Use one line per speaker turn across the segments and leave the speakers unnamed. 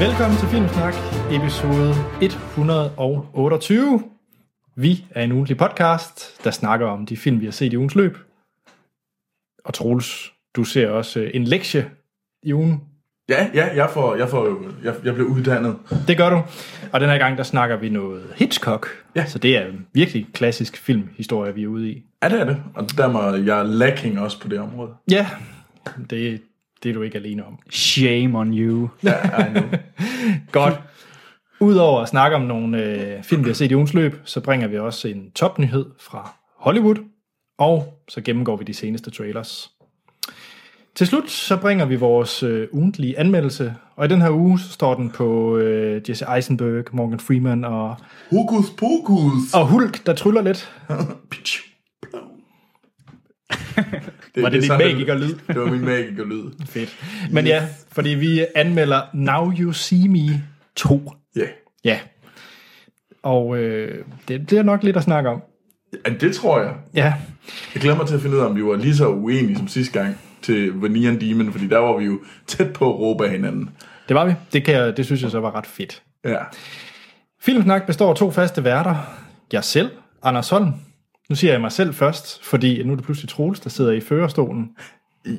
Velkommen til Filmsnak, episode 128. Vi er en ugentlig podcast, der snakker om de film, vi har set i ugens løb. Og Troels, du ser også øh, en lektie i ugen.
Ja, ja, jeg, får, jeg, får, jo- jeg, jeg blev uddannet.
Det gør du. Og den her gang, der snakker vi noget Hitchcock.
Ja.
Så det er en virkelig klassisk filmhistorie, vi er ude i.
Ja, det er det. Og der må jeg lacking også på det område.
Ja, det, det er du ikke alene om.
Shame on you.
Ja, I know.
Godt. Udover at snakke om nogle øh, film, vi har set i ugens løb, så bringer vi også en topnyhed fra Hollywood, og så gennemgår vi de seneste trailers. Til slut så bringer vi vores øh, ugentlige anmeldelse, og i den her uge så står den på øh, Jesse Eisenberg, Morgan Freeman og,
Hokus pokus.
og Hulk, der tryller lidt.
Pitch.
Var det
er
din
sådan,
magikerlyd?
Det var min magikerlyd.
Fedt. Men ja, fordi vi anmelder Now You See Me 2.
Ja.
Ja. Og øh, det bliver nok lidt at snakke om.
Yeah. det tror jeg.
Ja,
Jeg glæder mig til at finde ud af, om vi var lige så uenige som sidste gang til Vanilla Demon, fordi der var vi jo tæt på at råbe af hinanden.
det var vi. Det, kan jeg, det synes jeg så var ret fedt.
Ja.
Filmsnak består af to faste værter. Jeg selv, Anders Holm. Nu siger jeg mig selv først, fordi nu er det pludselig Troels, der sidder i førerstolen.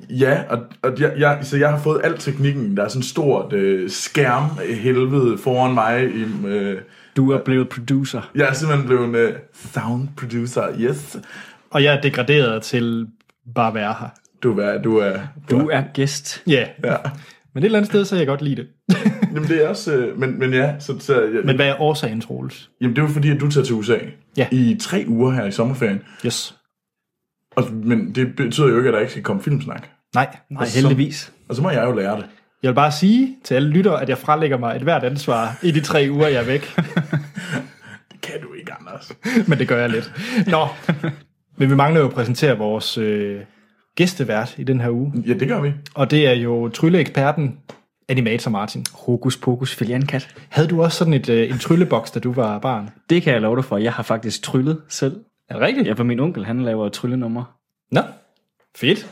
Ja, og, og jeg, jeg, så jeg har fået al teknikken. Der er sådan et stort øh, skærmhelvede foran mig. I, øh,
Du er blevet producer.
jeg er simpelthen blevet en øh, sound producer. Yes.
Og jeg er degraderet til bare at være her.
Du er, du er, du
Du er gæst.
Ja.
Ja.
Men et eller andet sted, så kan jeg godt lide det.
Jamen det er også, øh, men, men ja, så, så jeg,
Men
men,
hvad er årsagen, Troels?
jamen det er jo fordi, at du tager til USA
Ja.
i tre uger her i sommerferien.
Yes.
Og, men det betyder jo ikke, at der ikke skal komme filmsnak.
Nej.
Nej, heldigvis.
Og så må jeg jo lære det.
Jeg vil bare sige til alle lyttere, at jeg frelægger mig et hvert ansvar i de tre uger, jeg er væk.
Det kan du ikke, Anders.
Men det gør jeg lidt. Nå. Men vi mangler jo at præsentere vores øh, gæstevært i den her uge.
Ja, det gør vi.
Og det er jo trylleeksperten Animator Martin.
Hokus pokus filiankat.
Havde du også sådan et, øh, en trylleboks, da du var barn?
Det kan jeg love dig for. Jeg har faktisk tryllet selv.
Er det rigtigt?
Ja, for min onkel, han laver tryllenumre.
Nå, fedt.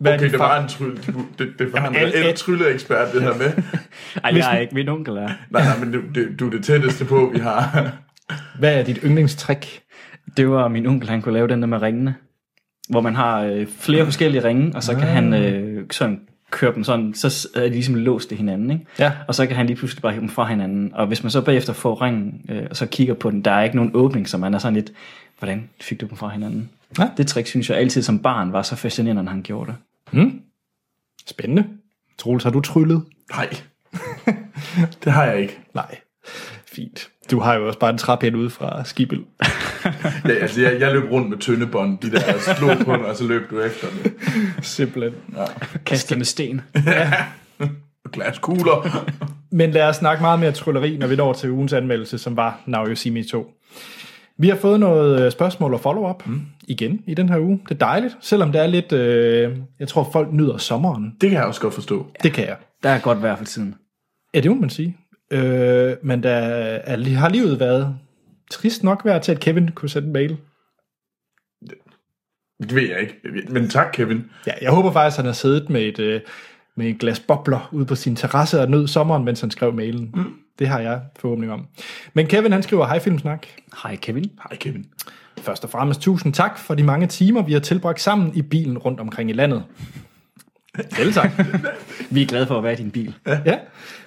Hvad
Okay,
er
det
din far?
var en trylle, det, det var en
alt-
reel
alt-
trylleekspert, det her med.
Ej,
Hvis-
jeg er ikke. Min onkel er.
Nej, nej, men du, det, du er det tætteste på, vi har.
Hvad er dit yndlingstrik?
Det var min onkel, han kunne lave den der med ringene. Hvor man har øh, flere forskellige ringe, og så kan han øh, sådan køre dem sådan, så er de ligesom låst i hinanden, ikke?
Ja.
Og så kan han lige pludselig bare hive dem fra hinanden. Og hvis man så bagefter får ringen, øh, og så kigger på den, der er ikke nogen åbning, så man er sådan lidt, hvordan fik du dem fra hinanden?
Ja.
Det trick, synes jeg altid som barn, var så fascinerende, når han gjorde det.
Spændende. Troels, har du tryllet?
Nej, det har jeg ikke.
Nej. Fint. Du har jo også bare en træpind ude fra Skibel.
Ja, altså, jeg, jeg løb rundt med tyndebånd, de der jeg slog på den, og så løb du efter dem.
Simpelthen.
Kaste med sten.
Og glaskugler.
Men lad os snakke meget mere trylleri, når vi når til ugens anmeldelse, som var Now You See Me 2. Vi har fået noget øh, spørgsmål og follow-up mm. igen i den her uge. Det er dejligt, selvom det er lidt... Øh, jeg tror, folk nyder sommeren.
Det kan jeg også godt forstå.
Det kan jeg.
Der er godt vejr for tiden.
Ja, det må man sige. Øh, men der er, har livet været trist nok værd til, at Kevin kunne sende en mail.
Det ved jeg ikke. Men tak, Kevin.
Ja, jeg håber faktisk, han har siddet med et, øh, med et glas bobler ude på sin terrasse og nød sommeren, mens han skrev mailen. Mm. Det har jeg forhåbning om. Men Kevin, han skriver, hej Filmsnak.
Hej Kevin.
Hej, Kevin.
Først og fremmest tusind tak for de mange timer, vi har tilbragt sammen i bilen rundt omkring i landet. Selv tak.
Vi er glade for at være i din bil.
Ja,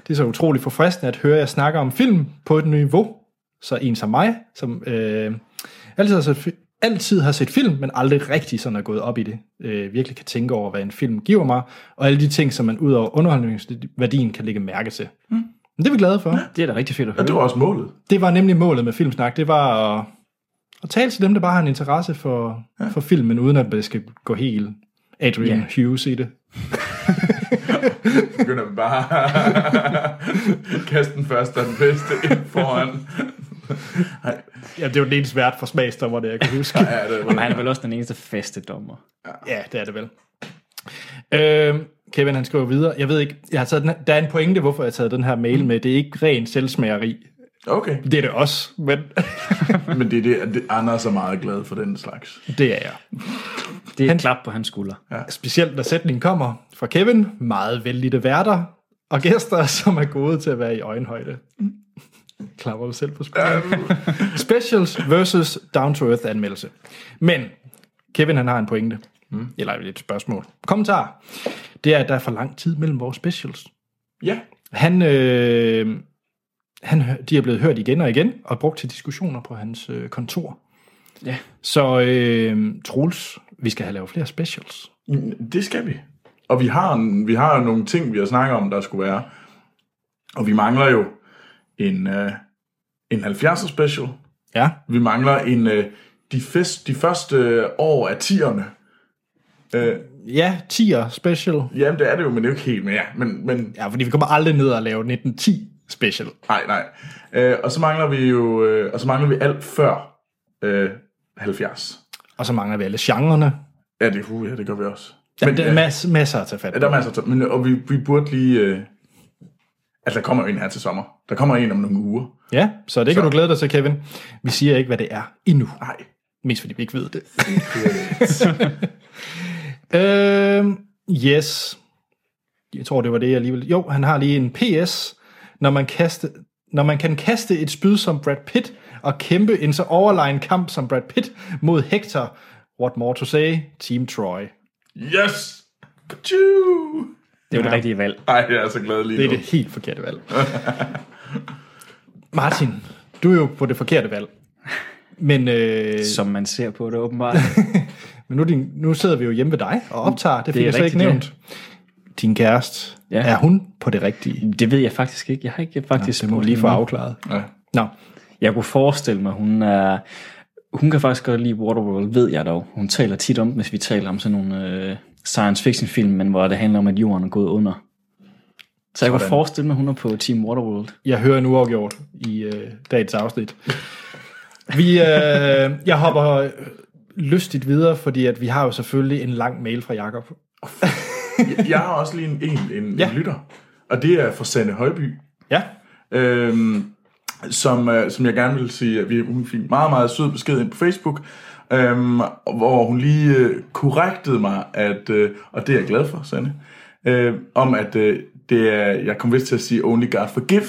det er så utroligt forfriskende at høre jer snakke om film på et niveau, så en som mig, som øh, altid, har set, fi- altid har set film, men aldrig rigtig sådan er gået op i det, øh, virkelig kan tænke over, hvad en film giver mig, og alle de ting, som man ud over underholdningsværdien kan lægge mærke til. Mm. Men det er vi glade for.
Det er da rigtig fedt at
Og det
høre.
var også målet.
Det var nemlig målet med Filmsnak, det var at, at tale til dem, der bare har en interesse for, ja. for filmen, uden at det skal gå helt Adrian
Ja.
Hughes i det.
Begynder vi bare kaste den første og den bedste ind foran. Hej.
Ja, det var den eneste vært for smagsdommer, det jeg kan huske.
Ja, det
Men
var
han er vel også den eneste faste dommer.
Ja, det er det vel. Øh, Kevin han skriver videre, jeg ved ikke, jeg har taget den, her- der er en pointe, hvorfor jeg har taget den her mail med, det er ikke ren selvsmageri.
Okay,
Det er det også, men
men det er det, at det- Anders er meget glad for den slags.
det er jeg.
Det er
Han-
et klap på hans skulder.
Specielt når sætningen kommer fra Kevin, meget vældige værter, og gæster, som er gode til at være i øjenhøjde. Klapper du selv på skulderen. Specials versus Down to Earth anmeldelse. Men Kevin han har en pointe. Mm. Eller et spørgsmål. Kommentar. Det er, at der er for lang tid mellem vores specials.
Ja.
Han, øh, han, hø- de er blevet hørt igen og igen, og brugt til diskussioner på hans øh, kontor.
Ja.
Så øh, Troels, vi skal have lavet flere specials.
Det skal vi. Og vi har, en- vi har nogle ting, vi har snakket om, der skulle være. Og vi mangler jo en, øh, en 70'er special.
Ja,
Vi mangler en, øh, de, fest, de første øh, år af 10'erne. Øh,
ja 10'er special.
jamen, det er det jo, men det er jo ikke helt mere. Men, men
Ja, fordi vi kommer aldrig ned og lave 1910 special.
nej, nej. Øh, og så mangler vi jo øh, og så mangler vi alt før øh, 70.
Og så mangler vi alle genrerne.
Ja, det, uh, ja, det gør vi også.
Der, men, der er
øh,
mas, masser at tage fat
Ja,
på.
der er masser af tid. Men, og vi, vi burde lige... Øh, altså, der kommer jo en her til sommer. Der kommer en om nogle uger.
Ja, så det kan du glæde dig til, Kevin. Vi siger ikke, hvad det er endnu.
Nej.
Mest fordi vi ikke ved det. øhm, yes. Jeg tror, det var det alligevel. Jo, han har lige en PS. Når man, kaste, når man kan kaste et spyd som Brad Pitt og kæmpe en så overlegen kamp som Brad Pitt mod Hector, what more to say, Team Troy.
Yes! Tju!
Det er jo det rigtige valg.
Ej, jeg er så glad lige
Det er
nu.
det helt forkerte valg. Martin, du er jo på det forkerte valg. Men, øh,
Som man ser på det åbenbart.
men nu, er din, nu sidder vi jo hjemme ved dig og optager. Det fik
er
jeg så ikke
rigtigt,
nævnt. Din kæreste, ja.
Ja.
er hun på det rigtige?
det ved jeg faktisk ikke. Jeg har ikke faktisk...
Det må vi lige få afklaret.
Ja.
Nå,
Jeg kunne forestille mig, hun er... Hun kan faktisk godt lide Waterworld, ved jeg dog. Hun taler tit om, hvis vi taler om sådan nogle øh, science fiction film, men hvor det handler om, at jorden er gået under. Så jeg kunne forestille mig, hun er på Team Waterworld.
jeg hører en uafgjort i øh, dagens afsnit. Vi, øh, jeg hopper lystigt videre, fordi at vi har jo selvfølgelig en lang mail fra Jakob.
Jeg- Jeg har også lige en, en, en, ja. en lytter. Og det er fra Sanne Højby.
Ja,
øhm, som, øh, som jeg gerne vil sige, at vi, hun fik meget, meget sød besked ind på Facebook, øhm, hvor hun lige øh, korrektede mig, at, øh, og det er jeg glad for, Sanne, øh, om at øh, det er, jeg kom vist til at sige Only God Forgive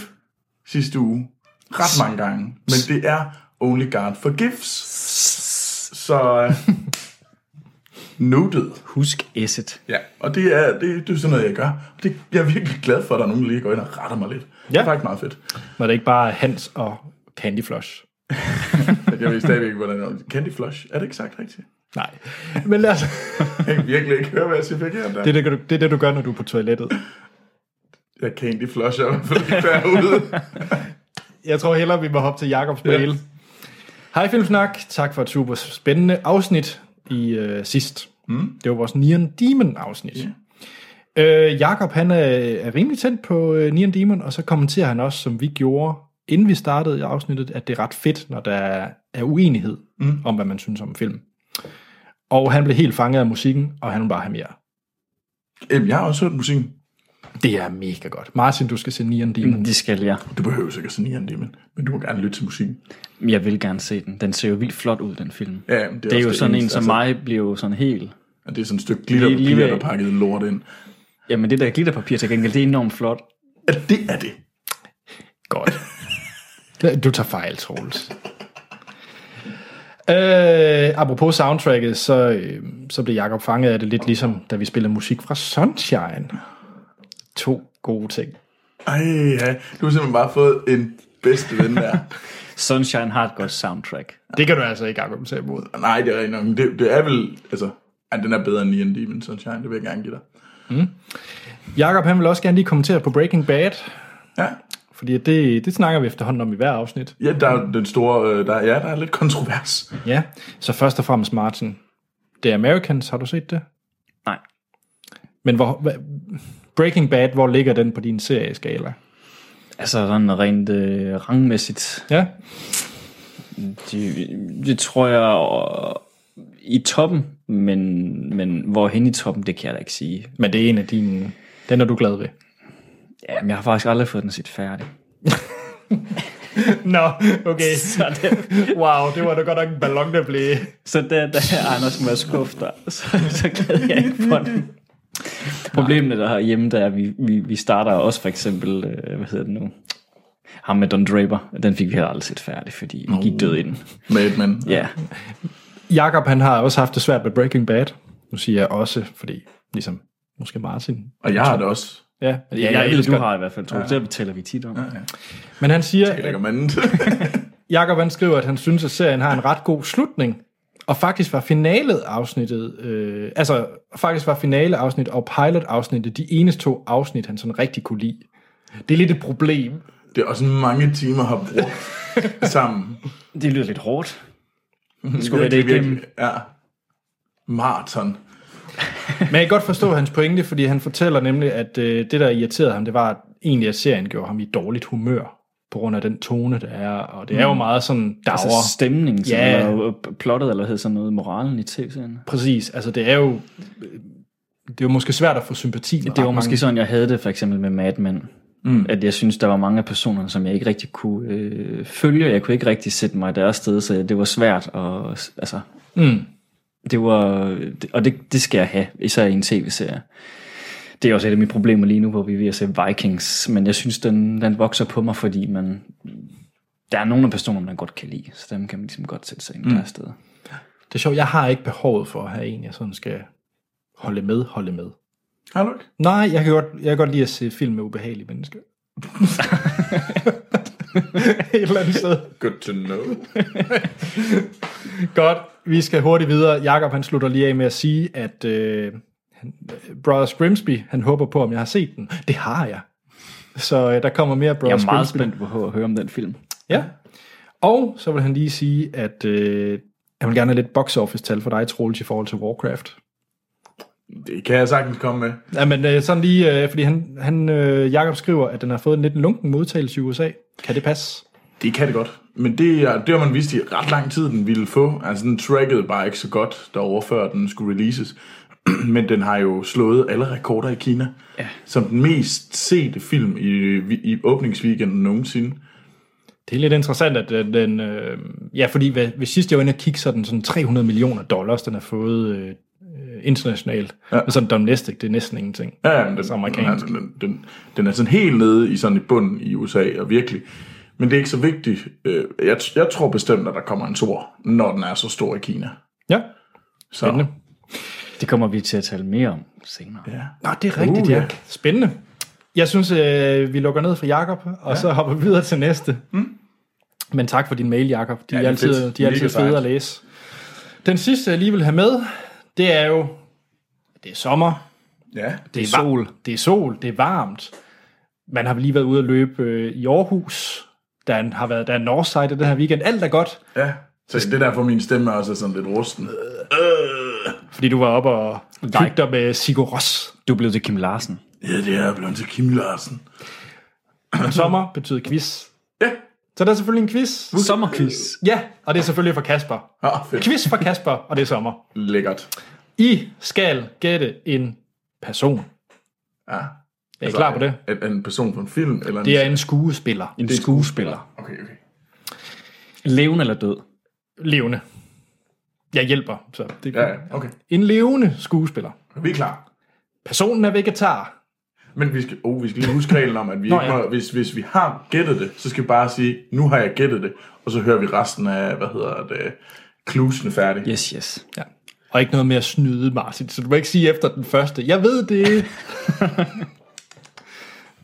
sidste uge, ret mange gange, men det er Only God Forgives. Så øh, noted.
Husk Esset.
Ja, og det er, det, det er sådan noget, jeg gør. Og det, jeg er virkelig glad for, at der er nogen, der lige går ind og retter mig lidt. Det er faktisk meget fedt.
når det ikke bare er Hans og Candy Floss.
Men jeg ved stadigvæk ikke, hvordan det er. Candy Flush, er det ikke sagt rigtigt?
Nej, men lad os...
Jeg kan virkelig ikke høre, hvad jeg siger forkert der.
Det
Det...
er det, du- det er det, du gør, når du er på toilettet.
Jeg Candy Flush er i hvert fald ikke derude.
Jeg tror hellere, vi må hoppe til Jakobs mail.
Ja.
Hej Filmsnak, tak for et super spændende afsnit i øh, sidst. Mm. Det var vores Neon Demon afsnit. Yeah. Øh, Jakob han er, er rimelig tændt på øh, Neon Demon, og så kommenterer han også, som vi gjorde, inden vi startede i afsnittet, at det er ret fedt, når der er uenighed mm. om, hvad man synes om film. Og han blev helt fanget af musikken, og han vil bare have mere.
Jamen, jeg har også hørt musikken.
Det er mega godt. Martin, du skal se Neon Demon.
Det skal jeg.
Du behøver sikkert sådan en det, men, men du må gerne lytte til musikken.
Jeg vil gerne se den. Den ser jo vildt flot ud, den film.
Ja, men det er
det er
også
jo
det
sådan en
eneste, altså.
som mig, bliver jo sådan helt...
Og det er sådan et stykke glitterpapir,
Lige- lige-
der er pakket lort ind.
Jamen det der glitterpapir til gengæld, det er enormt flot.
Ja, det er det.
Godt. Du tager fejl, Troels. Øh, apropos soundtracket, så, øh, så blev Jakob fanget af det lidt ligesom, da vi spillede musik fra Sunshine. To gode ting.
Ej, ja. Du har simpelthen bare fået en bedste ven der.
Sunshine har et godt soundtrack.
Det kan du altså ikke argumentere imod.
Nej, det er rigtig nok. men Det, det er vel, altså... Ja, den er bedre end Neon Demon Sunshine, det vil jeg gerne give dig.
Jakob han vil også gerne lige kommentere på Breaking Bad,
Ja,
fordi det, det snakker vi efterhånden om i hver afsnit.
ja der er den store... øh, Der, ja, der er lidt kontrovers.
Ja, så først og fremmest Martin. Det er Americans, har du set det?
Nej.
Men hvor, hva, Breaking Bad, hvor ligger den på din serieskala?
Altså sådan rent øh, rangmæssigt.
Ja,
Det, det tror jeg og, i toppen, men, men hvorhen i toppen, det kan jeg da ikke sige.
Men det er en af dine... Den er du glad ved.
Jamen, jeg har faktisk aldrig fået den set færdig.
Nå, okay. Wow, det var da godt nok en ballon, der blev...
Så der, der er Anders Mads Kufter, så, så glæder jeg ikke på den. Problemet der hjemme, der er, at vi, vi, vi starter også for eksempel, øh, hvad hedder den nu? Ham med Don Draper, den fik vi heller aldrig set færdig, fordi vi gik død i den.
Madman.
Ja,
Jakob han har også haft det svært med Breaking Bad. Nu siger jeg også, fordi ligesom måske Martin.
Og jeg har det også.
Ja, men ja, jeg,
jeg, jeg,
ved
jeg
det
du
godt.
har i hvert fald, Troels. Ja. Det taler vi tit om. Ja.
Men han siger,
Jeg
at
lægger manden til.
Jakob han skriver, at han synes, at serien har en ret god slutning. Og faktisk var finalet afsnittet, øh, altså faktisk var finale afsnit og pilot afsnittet de eneste to afsnit, han sådan rigtig kunne lide. Det er lidt et problem.
Det er også mange timer har brugt sammen.
Det lyder lidt hårdt.
Skulle
være det igennem.
Ja. Marathon.
Men jeg kan godt forstå hans pointe, fordi han fortæller nemlig, at øh, det, der irriterede ham, det var at egentlig, at serien gjorde ham i dårligt humør, på grund af den tone, der er, og det er jo meget sådan dagre.
Mm. Altså stemningen, som
Ja.
yeah. eller øh, plottet, eller hvad hedder sådan noget, moralen i tv-serien.
Præcis, altså det er jo, øh, det er jo måske svært at få sympati med
Det
ret
var
mange.
måske sådan, jeg havde det for eksempel med Mad Men. Mm. At jeg synes, der var mange af personerne, som jeg ikke rigtig kunne øh, følge. Jeg kunne ikke rigtig sætte mig deres sted, så det var svært. Og, altså,
Mm.
det var, og det, det skal jeg have, især i en tv-serie. Det er også et af mine problemer lige nu, hvor vi er ved at se Vikings. Men jeg synes, den, den vokser på mig, fordi man, der er nogle af personerne, man godt kan lide. Så dem kan man ligesom godt sætte sig ind mm. deres sted.
Det er sjovt, jeg har ikke behovet for at have en, jeg sådan skal holde med, holde med.
Har du ikke?
Nej, jeg kan godt, jeg kan godt lide at se film med ubehagelige mennesker. Et eller andet sted.
Good to know.
Godt, vi skal hurtigt videre. Jakob han slutter lige af med at sige, at øh, han, Brothers Grimsby, han håber på, om jeg har set den. Det har jeg. Så øh, der kommer mere
Jeg
Brothers
er meget
Grimsby.
spændt på at høre om den film.
Ja. Og så vil han lige sige, at øh, han vil gerne have lidt box office tal for dig, Troels, i forhold til Warcraft.
Det kan jeg sagtens komme med.
Ja, men øh, sådan lige, øh, fordi han, han øh, Jakob skriver, at den har fået en lidt lunken modtagelse i USA. Kan det passe?
Det kan det godt. Men det, er- det har man vidst i ret lang tid, den ville få. Altså, den trackede bare ikke så godt derovre, før den skulle releases. Men den har jo slået alle rekorder i Kina. Ja. Som den mest sete film i, i åbningsweekenden nogensinde.
Det er lidt interessant, at øh, den... Øh, ja, fordi hvad, hvis sidst jeg var inde og kigge, så er den sådan 300 millioner dollars, den har fået øh, øh, internationalt. Ja. Men sådan domestic, det er næsten ingenting.
Ja, ja, men
Altså
den,
amerikansk.
Den, den, den, den er sådan helt nede i sådan et bund i USA, og virkelig. Men det er ikke så vigtigt. Øh, Jeg, jeg tror bestemt, at der kommer en stor, når den er så stor i Kina.
Ja,
Så,
spændende.
Det kommer vi til at tale mere om senere.
Ja.
Nå, det er rigtigt,
Uh,
uh, ja.
ja.
Spændende. Jeg synes, øh, vi lukker ned for Jakob og ja. så hopper vi videre til næste. Mm. Men tak for din mail, Jakob. De ja,
det
er
er
altid,
fedt.
de er altid
Mega
fede
sejt.
at læse. Den sidste, jeg lige vil have med, det er jo... Det er sommer.
ja.
Det er sol. Det er sol. Det er varmt. Man har lige været ude at løbe øh, i Aarhus. Der er, en- har været der er Northside den her weekend. Alt er godt.
Ja. Så det er derfor, min stemme også er sådan lidt rusten. Øh.
Fordi du var oppe og hygge dig med Sigur Ros.
Du blev til Kim Larsen.
Ja, det er blevet til Kim Larsen.
Men sommer betyder quiz.
Ja.
Så der er selvfølgelig en quiz.
Sommerquiz.
Ja, og det er selvfølgelig for Kasper.
Ah, fedt.
Quiz for Kasper, og det er sommer.
Lækkert.
I skal gætte en person.
Ja. Er
Er I
Altså,
klar på det?
Er, er en person fra en film? Eller
Det
øh, en...
er en skuespiller.
En skuespiller.
Okay, okay.
Levende eller død?
Levende. Jeg hjælper. Så det
Ja, ja, okay.
En levende skuespiller.
Vi er klar.
Personen er vegetar.
Men vi skal, oh, vi skal lige huske reglen om, at vi Nå, ikke
ja.
må, hvis, hvis vi har gættet det, så skal vi bare sige, nu har jeg gættet det, og så hører vi resten af, hvad hedder det, klusene færdig.
Yes, yes.
Ja. Og ikke noget med at snyde, Martin. Så du må ikke sige efter den første. Jeg ved det.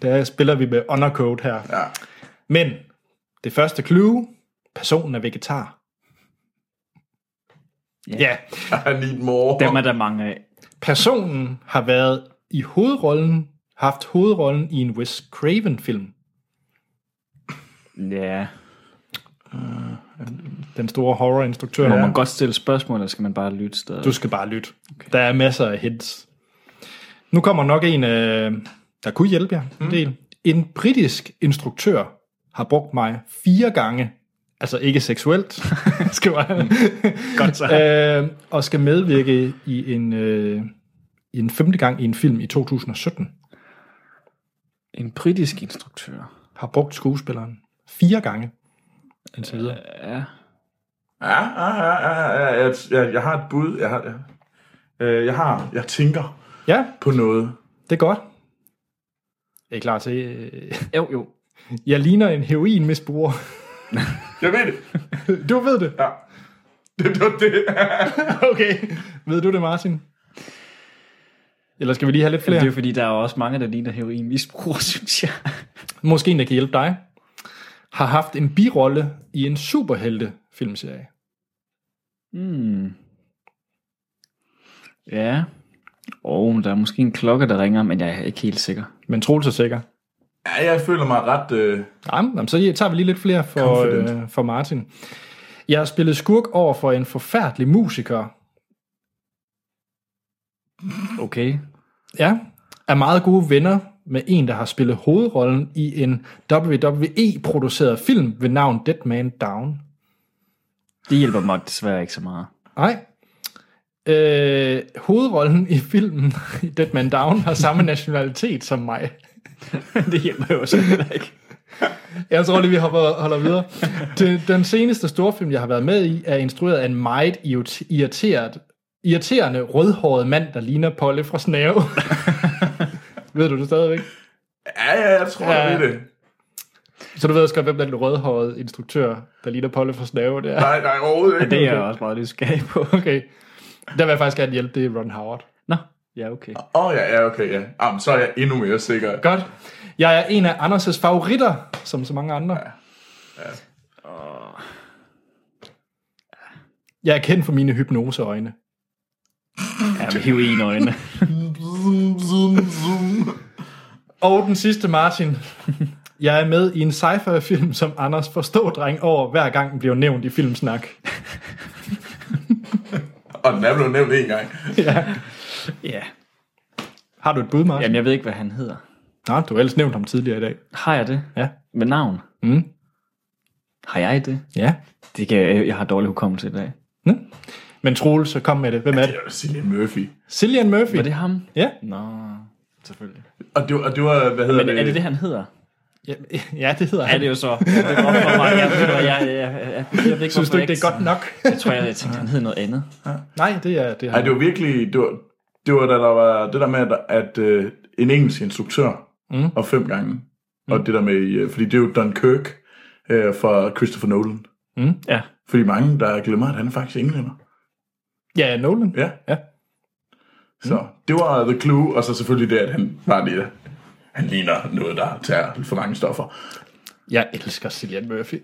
Der spiller vi med undercoat her.
Ja.
Men det første clue. Personen er vegetar.
Ja.
ja.
I need more.
Dem er der mange af.
Personen har været i hovedrollen, haft hovedrollen i en Wes Craven-film.
Ja.
Den store horrorinstruktør.
Må
Ja.
man godt stille spørgsmål, eller skal man bare lytte stadig?
Du skal bare lytte. Okay. Der er masser af hints. Nu kommer nok en, øh, der kunne hjælpe jer en del. En britisk instruktør har brugt mig fire gange, altså ikke seksuelt, skal jeg
godt så.
øh, og skal medvirke i en, øh, i en femte gang i en film i 2017.
En britisk instruktør.
Har brugt skuespilleren fire gange. Indtil videre.
Ja.
Ja, ja, ja, ja, ja, ja, jeg, jeg har et bud. Jeg har, jeg, øh, jeg har, jeg tænker
Ja,
på noget.
Det er godt. Er I klar til... øh,
Jo, jo.
Jeg ligner en heroinmisbruger.
Jeg ved det.
Du ved det.
Ja. Det var det.
Okay. Ved du det, Martin? Eller skal vi lige have lidt flere?
Jamen, det er jo fordi, der er jo også mange, der ligner heroinmisbrugere, synes jeg.
Måske en, der kan hjælpe dig. Har haft en birolle i en superhelte filmserie.
Hmm. Ja. Og oh, der er måske en klokke, der ringer, men jeg er ikke helt sikker.
Men Troels er sikker.
Ja, jeg føler mig ret... Øh,
Jamen, jamen, så tager vi lige lidt flere for,
Confident.
øh, for Martin. Jeg har spillet skurk over for en forfærdelig musiker.
Okay.
Ja, er meget gode venner med en, der har spillet hovedrollen i en WWE-produceret film ved navn Dead Man Down.
Det hjælper mig desværre ikke så meget.
Nej. Øh, hovedrollen i filmen i Dead Man Down har samme nationalitet som mig.
det hjælper jo også heller ikke.
Jeg tror lige, vi hopper, holder videre. Den, den seneste storfilm, jeg har været med i, er instrueret af en meget iot- irriteret, irriterende rødhåret mand, der ligner Polle fra Snave. ved du det stadigvæk?
ja, ja, jeg tror, ja. jeg ved det.
Så du ved også godt, hvem den rødhårede instruktør, der ligner Polle fra Snave, det er.
Nej, nej, overhovedet ikke.
Det er jeg også meget nysgerrig på.
Okay. Der vil jeg faktisk gerne hjælpe, det er Ron Howard.
Nå, ja, okay.
Åh, oh, ja, ja, okay, ja. Jamen, så er jeg endnu mere sikker.
Godt. Jeg er en af Anders' favoritter, som så mange andre. Jeg er kendt for mine hypnoseøjne.
Ja, med heroinøjne.
Zoom, zoom, zoom.
Og den sidste, Martin. Jeg er med i en sci-fi-film, som Anders forstår dreng over, hver gang den bliver nævnt i filmsnak.
Og den er blevet nævnt en gang.
ja.
Har du et bud, Martin?
Jamen, jeg ved ikke, hvad han hedder.
Nej, du har ellers nævnt ham tidligere i dag.
Har jeg det?
Ja.
Med navn?
Mm.
Har jeg det?
Ja.
Det kan jeg, jeg har dårlig hukommelse i dag.
Men Troels, så kom med det. Hvem er det?
Det er Cillian Murphy.
Cillian Murphy.
Var det ham?
Ja.
Nå, selvfølgelig.
Og det, var- og det var, hvad hedder
Men øh, er det det, han hedder?
Ja, ja, det hedder
Er
han.
det jo så. Jeg, ved godt, hvor meget- jeg, jeg, jeg, jeg, jeg, jeg ved ikke,
Synes
hvorfor
du
jeg
ikke, det er godt nok?
Jeg tror, jeg, jeg tænkte, han hed noget andet.
Nej, det er det. Er
Ej, det var virkelig... Det var, det var da der var det der med, at, at øh, en engelsk instruktør
Mm.
og fem gange. Mm. Og det der med... øh, Fordi det er jo Dunkirk øh, fra Christopher Nolan.
Ja.
Fordi mange, der glemmer, at han er faktisk englænder.
Ja, Nolan.
Ja.
Ja.
Så det var The Clue, og så selvfølgelig det, at han var det. Han ligner noget, der tager lidt for mange stoffer.
Jeg elsker Cillian Murphy.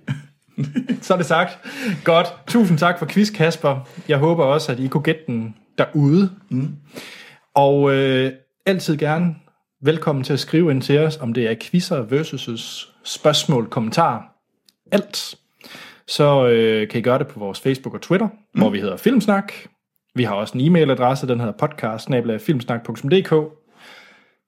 så er det sagt. Godt. Tusind tak for quiz, Kasper. Jeg håber også, at I kunne gætte den derude. Mm. Og øh, altid gerne velkommen til at skrive ind til os, om det er quizzer versus spørgsmål, kommentarer. Alt. Så øh, kan I gøre det på vores Facebook og Twitter, mm. hvor vi hedder Filmsnak. Vi har også en e-mailadresse, den hedder podcast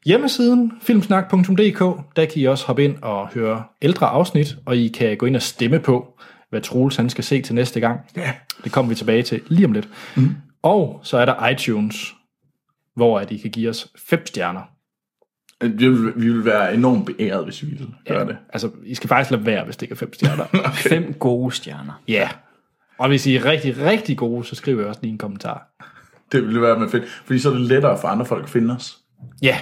hjemmesiden filmsnak.dk, der kan I også hoppe ind og høre ældre afsnit, og I kan gå ind og stemme på, hvad Troels han skal se til næste gang.
Ja.
Det kommer vi tilbage til lige om lidt. Mm. Og så er der iTunes, hvor at I kan give os fem stjerner.
Øh, Vi vil, vi vil være enormt beæret, hvis vi ville gøre det.
Altså, I skal faktisk lade være, hvis det ikke er fem stjerner.
Fem gode stjerner.
Ja. yeah. Og hvis I er rigtig, rigtig gode, så skriv også lige en kommentar.
Det ville være med fedt, fordi så er det lettere for andre folk at finde os.
Ja, yeah.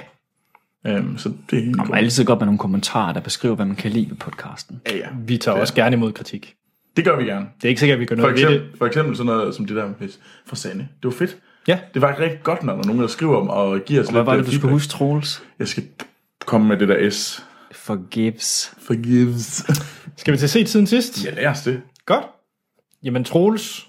Um, så det er helt
Man må altid godt med nogle kommentarer, der beskriver, hvad man kan lide ved podcasten.
Ja, ja.
vi tager også gerne imod kritik.
Det gør vi gerne.
Det er ikke sikkert, at vi gør
For
noget ved det.
eksempel, for eksempel sådan noget som det der med fra Sande. Det var fedt.
Ja.
Det var rigtig godt, når der er nogen, der skriver om og giver os
Hvad var
øh,
det, du skulle
feedback.
huske, Troels?
Jeg skal komme med det der S.
Forgives.
Forgives.
Skal vi til set siden sidst?
Jeg lærer os det.
Godt. Jamen Troels,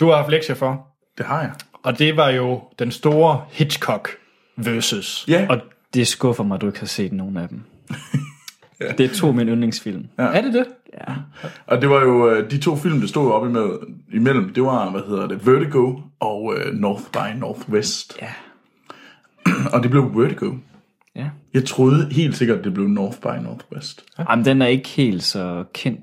du har haft lektier for.
Det har jeg.
Og det var jo den store Hitchcock versus.
Ja.
Og det skuffer mig, at du ikke har set nogen af dem. Det er to af mine yndlingsfilm.
Ja. Er det det?
Og det var jo øh, de to film, der stod op imellem, imellem. Det var, hvad hedder det, Vertigo og øh, North by Northwest.
Ja.
Og det blev Vertigo.
ja.
Jeg troede helt sikkert, det blev North by Northwest.
Jamen, den er ikke helt så kendt,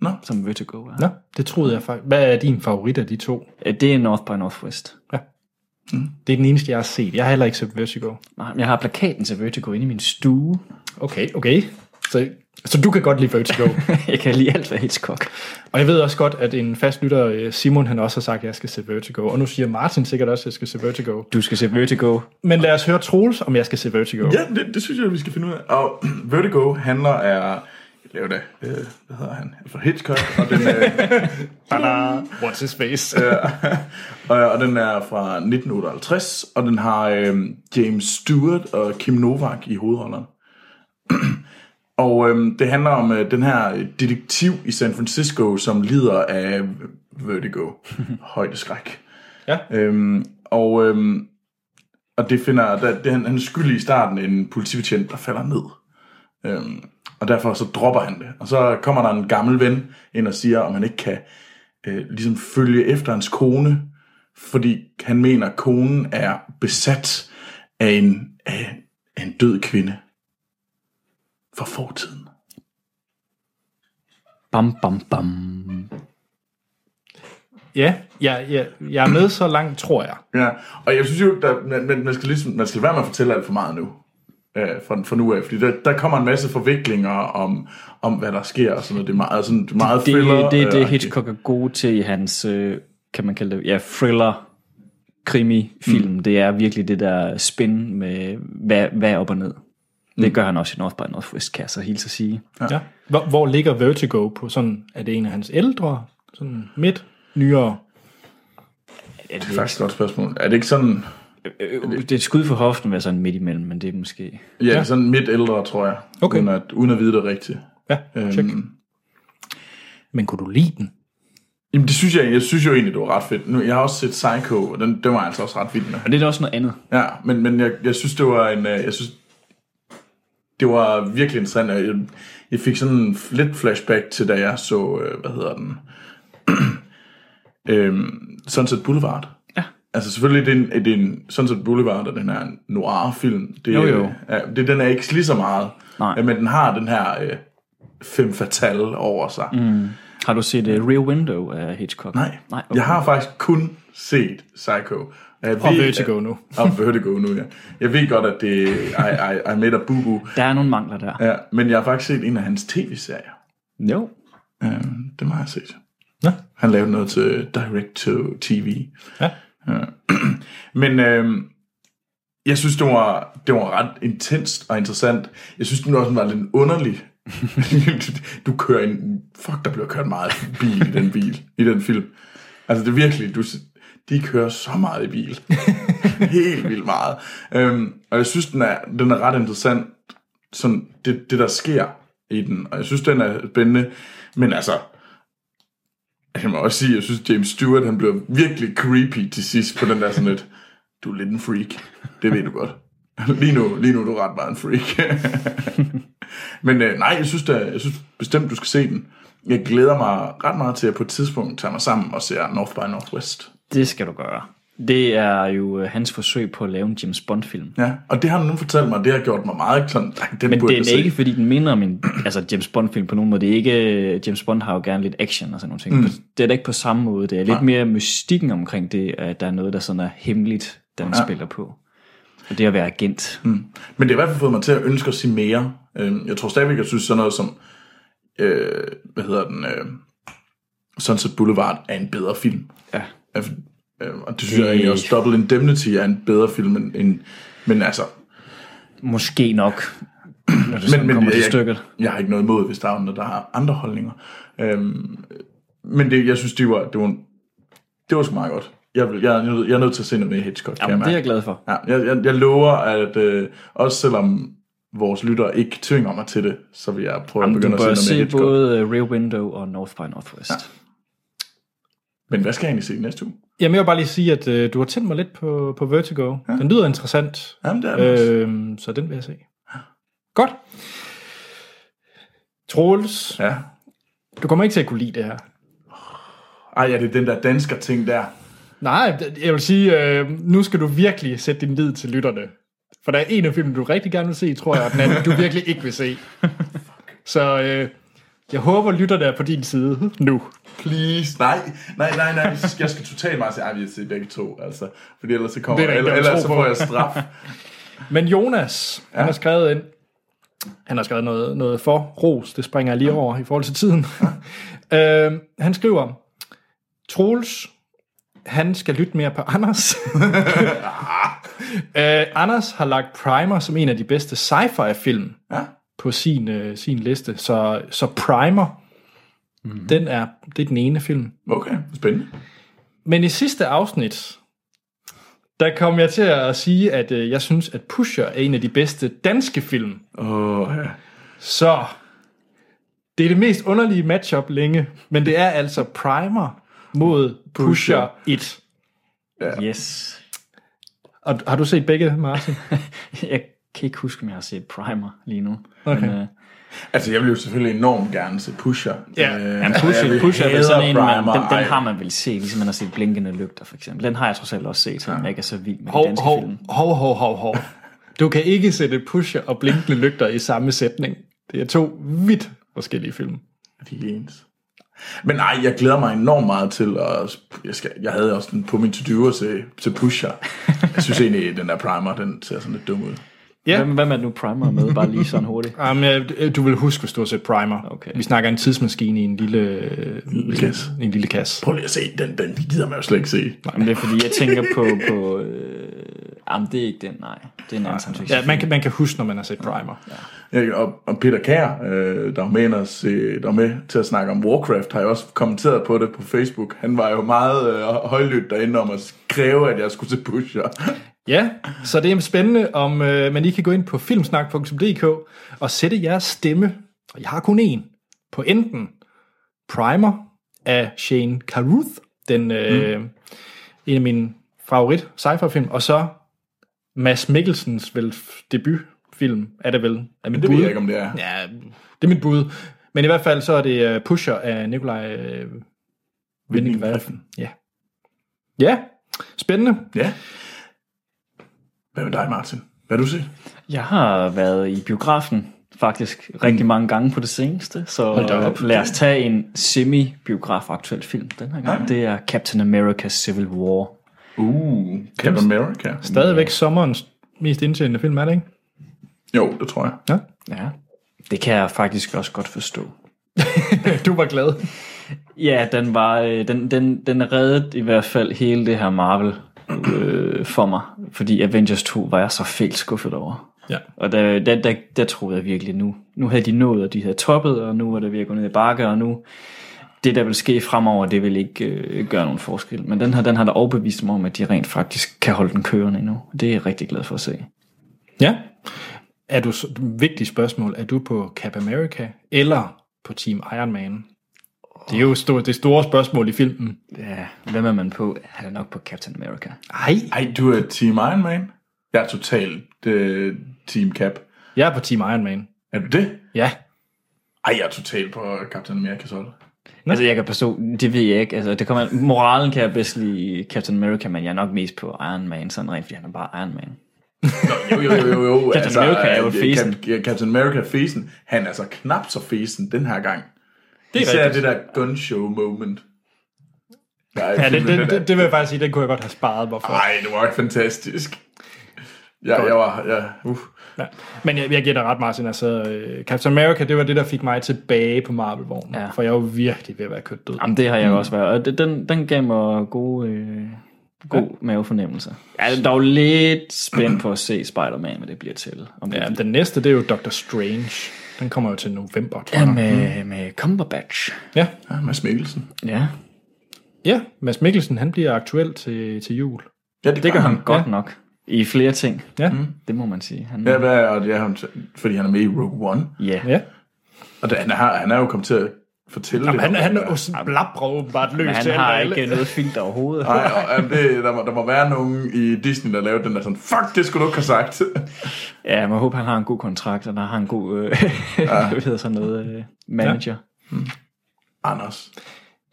Nå.
som Vertigo er.
Nå, det troede jeg faktisk. Hvad er din favorit af de to?
Ja, Øh, Det er North by Northwest.
Det er den eneste, jeg har set. Jeg har heller ikke set Vertigo.
Nej, men jeg har plakaten til Vertigo inde i min stue.
Okay, okay. Så Så du kan godt lide Vertigo.
jeg kan lige alt, hvad Hitchcock.
og jeg ved også godt, at en fast lytter, øh, Simon, han også har sagt, at jeg skal se Vertigo. Og nu siger Martin sikkert også, at jeg skal se Vertigo.
Du skal se Vertigo.
Men lad os høre Troels, om jeg skal se Vertigo.
Ja, det, det synes jeg, vi skal finde ud af. Og Vertigo handler af... Jeg laver da... Øh, hvad hedder han? Alfred Hitchcock. Og den, øh,
What's his face?
og, og den er fra 1958. Og den har øh, James Stewart og Kim Novak i hovedrollerne. og øh, det handler om øh, den her detektiv i San Francisco, som lider af Vertigo. Højdeskræk.
Ja.
Øhm, og, øhm, og det finder, der, det, han, han er skyldig i starten en politibetjent, der falder ned. Øhm, og derfor så dropper han det. Og så kommer der en gammel ven ind og siger, om han ikke kan øh, ligesom følge efter hans kone, fordi han mener, at konen er besat af en, af, af en død kvinde fra fortiden.
Bam, bam, bam.
ja, ja, ja, jeg er med så langt, tror jeg.
Ja, og jeg synes jo, der, man, man, man, skal ligesom, man skal være med at fortælle alt for meget nu. Øh, fra, fra nu af, fordi der, der kommer en masse forviklinger om, om hvad der sker og sådan noget. Det er meget, sådan, det er meget
Det
thriller.
er det, er det
øh,
Hitchcock er god til i hans, øh, kan man kalde det, ja, thriller krimi-film. Mm. Det er virkelig det der spin med, hvad, hvad op og ned. Det gør han også i North by Northwest, kan jeg så hilse at sige.
Ja. Ja. Hvor, hvor ligger Vertigo på sådan, er det en af hans ældre, sådan midt, nyere?
Er
Det er faktisk et godt spørgsmål. Er det ikke sådan,
Øh, Det er et skud for hoften, hvad sådan midt imellem, men det er måske...
ja, ja. sådan midt ældre, tror jeg.
Okay.
Uden at, uden at vide det rigtigt.
Ja, check. Øhm. Men kunne du lide den?
Jamen det synes jeg, jeg synes jo egentlig, det var ret fedt. Nu, jeg har også set Psycho, og den, den var altså også ret vild med.
Og det er da også noget andet.
Ja, men, men jeg, jeg synes, det var en... øh, Jeg synes, det var virkelig interessant, og jeg, jeg fik sådan lidt flashback til, da jeg så, øh, hvad hedder den, øhm, Sunset Boulevard.
Ja.
Altså selvfølgelig, det er en, det er en Sunset Boulevard, og den her noir-film. Det, er-
Jo, jo.
Ja, det, den er ikke lige så meget,
Nej.
men den har den her øh, fem fatale over sig. Mm.
Har du set uh, Rear Window af Hitchcock?
Nej,
Nej
okay. jeg har faktisk kun set Psycho. Jeg
Og
ved,
Vertigo nu.
og Vertigo nu, ja. Jeg ved godt, at det er I, I, I made a boo-boo.
Der er nogle mangler der.
Ja, men jeg har faktisk set en af hans tv-serier.
Jo.
Øhm, dem har jeg set.
Nå.
Han lavede noget til direct-to-tv.
Ja.
Øh, Men øhm, jeg synes, det var, det var ret intenst og interessant. Jeg synes, den også var lidt underlig. du kører en... Fuck, der bliver kørt meget bil i den bil, i den film. Altså, det er virkelig... Du, de kører så meget i bil. Helt vildt meget. Øhm, og jeg synes, den er, den er ret interessant, sådan det, det, der sker i den. Og jeg synes, den er spændende. Men altså, jeg må også sige, jeg synes, James Stewart, han bliver virkelig creepy til sidst på den der sådan lidt, du er lidt en freak. Det ved du godt. Lige nu, lige nu er du ret meget en freak. Men øh, nej, jeg synes, da, jeg synes bestemt, du skal se den. Jeg glæder mig ret meget til, at jeg på et tidspunkt tager mig sammen og ser North by Northwest.
Det skal du gøre. Det er jo øh, hans forsøg på at lave en James Bond-film.
Ja, og det har nogen fortalt mig, det har gjort mig meget sådan, "Ej, den
Men
burde
det
jeg
er
se."
ikke, fordi den minder om en altså James Bond-film på nogen måde. Det er ikke, øh, James Bond har jo gerne lidt action og sådan nogle ting. Mm. Det er da ikke på samme måde. Det er lidt mere mystikken omkring det, at der er noget, der sådan er hemmeligt, den ja. spiller på. Og det at være agent. Mm.
Men det har i hvert fald fået mig til at ønske at se mere. Øhm, Jeg tror stadigvæk, jeg synes sådan noget som, øh, hvad hedder den, øh, Sunset Boulevard er en bedre film.
Ja.
Altså, øh, Og det synes jeg egentlig også, Double Indemnity er en bedre film end, end men altså,
Måske nok, når det
men,
sådan
men
kommer til
jeg, jeg,
stykket.
jeg har ikke noget imod, hvis der er andre, der har andre holdninger. Øhm, men det, jeg synes, det var, det var, en- det var sgu meget godt. Jeg, vil, jeg, er nødt- jeg er nødt til at se noget mere Hitchcock. kan
Jamen, det
mærke.
er jeg glad for.
Ja, jeg, jeg, jeg lover, at øh, også selvom vores lytter ikke tvinger mig til det, så vil jeg prøve
Jamen,
at begynde
du
at
bør
se noget
se
mere Hitchcock. Både...
både øh, Rear Window og North by Northwest. Ja.
Men hvad skal jeg egentlig se næste uge?
Jamen, jeg vil bare lige sige, at øh, du har tændt mig lidt på, på Vertigo. Ja. Den lyder interessant,
Jamen, det er det også.
øhm, så den vil jeg se. Godt. Troels,
Ja.
du kommer ikke til at kunne lide det her.
Ej, ja, det er den der dansker-ting der.
Nej, d- jeg vil sige, øh, nu skal du virkelig sætte din lid til lytterne. For der er en af filmene, du rigtig gerne vil se, tror jeg, og den anden, du virkelig ikke vil se. Så øh, jeg håber, lytterne er på din side nu.
Please. Nej, nej, nej, nej. Jeg skal- Jeg skal totalt meget sige, at vi har set begge to. Altså, fordi ellers så kommer
Det er der ikke
eller,
nogen tro
ellers så
på.
får jeg straf.
Men Jonas, ja. han har skrevet ind, Han har skrevet noget, noget for ros, det springer jeg lige over i forhold til tiden. øh, han skriver, Troels, han skal lytte mere på Anders. øh, Anders har lagt Primer som en af de bedste sci-fi-film
Ja.
på sin, øh, sin liste, så, så Primer, mm. den er, det er den ene film.
Okay, spændende.
Men i sidste afsnit, der kom jeg til at sige, at øh, jeg synes, at Pusher er en af de bedste danske film.
Åh, ja.
Så det er det mest underlige matchup længe, men det er altså Primer mod Pusher 1.
Yes.
Og har du set begge, Martin?
Jeg kan ikke huske, om jeg har set Primer lige nu.
Okay.
Men, øh,
Altså, jeg vil jo selvfølgelig enormt gerne se Pusher. Øh,
Ja.
Jamen, Pusher,
jeg
Pusher er vel sådan en, man,
Primer.
den, den
Ej.
har man vel set, ligesom man har set Blinkende Lygter, for eksempel. Den har jeg trods alt også set, selvom jeg ikke er så vild med de
Hov,
danske
hov,
film.
hov, hov, hov, hov. Du kan ikke sætte Pusher og Blinkende Lygter i samme sætning. Det er to vidt forskellige film.
De er ens. Men nej, jeg glæder mig enormt meget til, at jeg, skal, jeg havde også den på min to-do at se, til Pusher. Jeg synes egentlig, at den der primer, den ser sådan lidt dum ud.
Ja.
Hvem, hvem er det nu Primer er med, bare lige sådan hurtigt?
Jamen, øh, du vil huske, hvis du har set Primer.
Okay.
Vi snakker en tidsmaskine i en lille, øh,
Lille kasse.
En lille kasse.
Prøv lige at se den, den gider man jo slet ikke se.
Jamen, det er fordi, jeg tænker på... på øh, jamen, det er ikke den, nej. Det er en anden science fiction.
Ja, man kan, man kan huske, når man har set Primer. Ja.
Ja, og, og Peter Kær, øh, der var med, os, øh, der var med til at snakke om Warcraft, har jo også kommenteret på det på Facebook. Han var jo meget øh, højlydt derinde om at kræve, at jeg skulle se Pusher.
Ja, så det er spændende, om øh, man lige kan gå ind på filmsnak.dk og sætte jeres stemme, og jeg har kun en, på enten Primer af Shane Carruth, den, øh, mm. en af mine favorit sci film og så Mads Mikkelsens vel, debutfilm, er det vel? Er mit
Det ved
bud.
jeg ikke, om det er.
Ja, det er mit bud. Men i hvert fald så er det øh, Pusher af Nikolaj Vinding Refn. Ja. ja, spændende.
Ja. Hvad med dig, Martin? Hvad har du set?
Jeg har været i biografen faktisk rigtig mange gange på det seneste, så
Mm. Hold da op.
lad os tage en semi-biograf-aktuel film den her gang. Det er Captain America Civil War.
Uh, Captain America.
Stadigvæk sommerens mest indtjenende film, er det ikke?
Jo, det tror jeg.
Ja.
Ja, det kan jeg faktisk også godt forstå.
Du var glad.
Ja, den var øh, den, den, den reddede i hvert fald hele det her Marvel øh, for mig, fordi Avengers 2 var jeg så fælt skuffet over.
Ja.
Og der, der, der, der troede jeg virkelig nu. Nu havde de nået, og de havde toppet, og nu var der ved at gå ned i bakke, og nu det, der vil ske fremover, det vil ikke øh, gøre nogen forskel. Men den her, den har der overbevist mig om, at de rent faktisk kan holde den kørende endnu. Det er jeg rigtig glad for at se.
Ja. Er du, så- vigtigt spørgsmål, er du på Cap America eller på Team Iron Man? Det er jo stort, det store spørgsmål i filmen.
Ja, hvem er man på? Han er nok på Captain America.
Nej,
Ej, du er Team Iron Man? Jeg er totalt øh, Team Cap.
jeg er på Team Iron Man.
Er du det?
Ja.
Ej, jeg er totalt på Captain America's hold.
Altså, jeg kan forstå, det ved jeg ikke. Altså, det kommer, moralen kan jeg bedst lide i Captain America, men jeg er nok mest på Iron Man, sådan rent, fordi han er bare Iron Man.
Jo, jo, jo, jo. jo.
Captain America er jo fesen.
Cap- ja, Captain America er fesen. Han er så knap så fesen den her gang.
Det er
Især
rigtigt.
det der gunshow moment. Nej,
Ja, det, det, det, det vil jeg faktisk sige, den kunne jeg godt have sparet mig for.
Ej, det var fantastisk. Ja, jeg var... Ja, uh.
Ja. Men jeg, jeg giver dig ret, Martin. Altså, øh, Captain America, det var det, der fik mig tilbage på Marvel-vognen.
Ja.
Ja. For jeg var virkelig ved at være kødt død.
Jamen, det har jeg også været. Og det- den, den gav mig gode, øh, god ja. mavefornemmelse. Jeg er dog lidt spændt på at se Spider-Man, hvad det bliver til. Om det
Ja,
ja,
den næste, det er jo Doctor Strange. Den kommer jo til november, tror
ja,
jeg.
med, med Cumberbatch.
Ja.
Ja, Mads Mikkelsen.
Mm. Ja,
ja, Mads Mikkelsen, han bliver aktuel til, til jul.
Ja, det,
det gør han godt
Ja.
nok. I flere ting.
Ja.
Det må man sige. Han,
Ja,
ja.
hvad er, og det er ham, til- fordi han er med i Rogue One.
Ja.
Og det, han, har, han er jo kommet til at fortælle
Jamen, han,
lidt om,
han
hvad-
blabrer åbenbart løs
Men han
til
har
alle.
ikke noget filter overhovedet.
Nej, og jamen, det, der, må, der må være nogen i Disney, der lavede den der sådan, fuck, det skulle du ikke have sagt.
Ja, men jeg håber, han har en god kontrakt, og der har en god øh, ja. hvad hedder sådan noget, øh, manager.
Anders,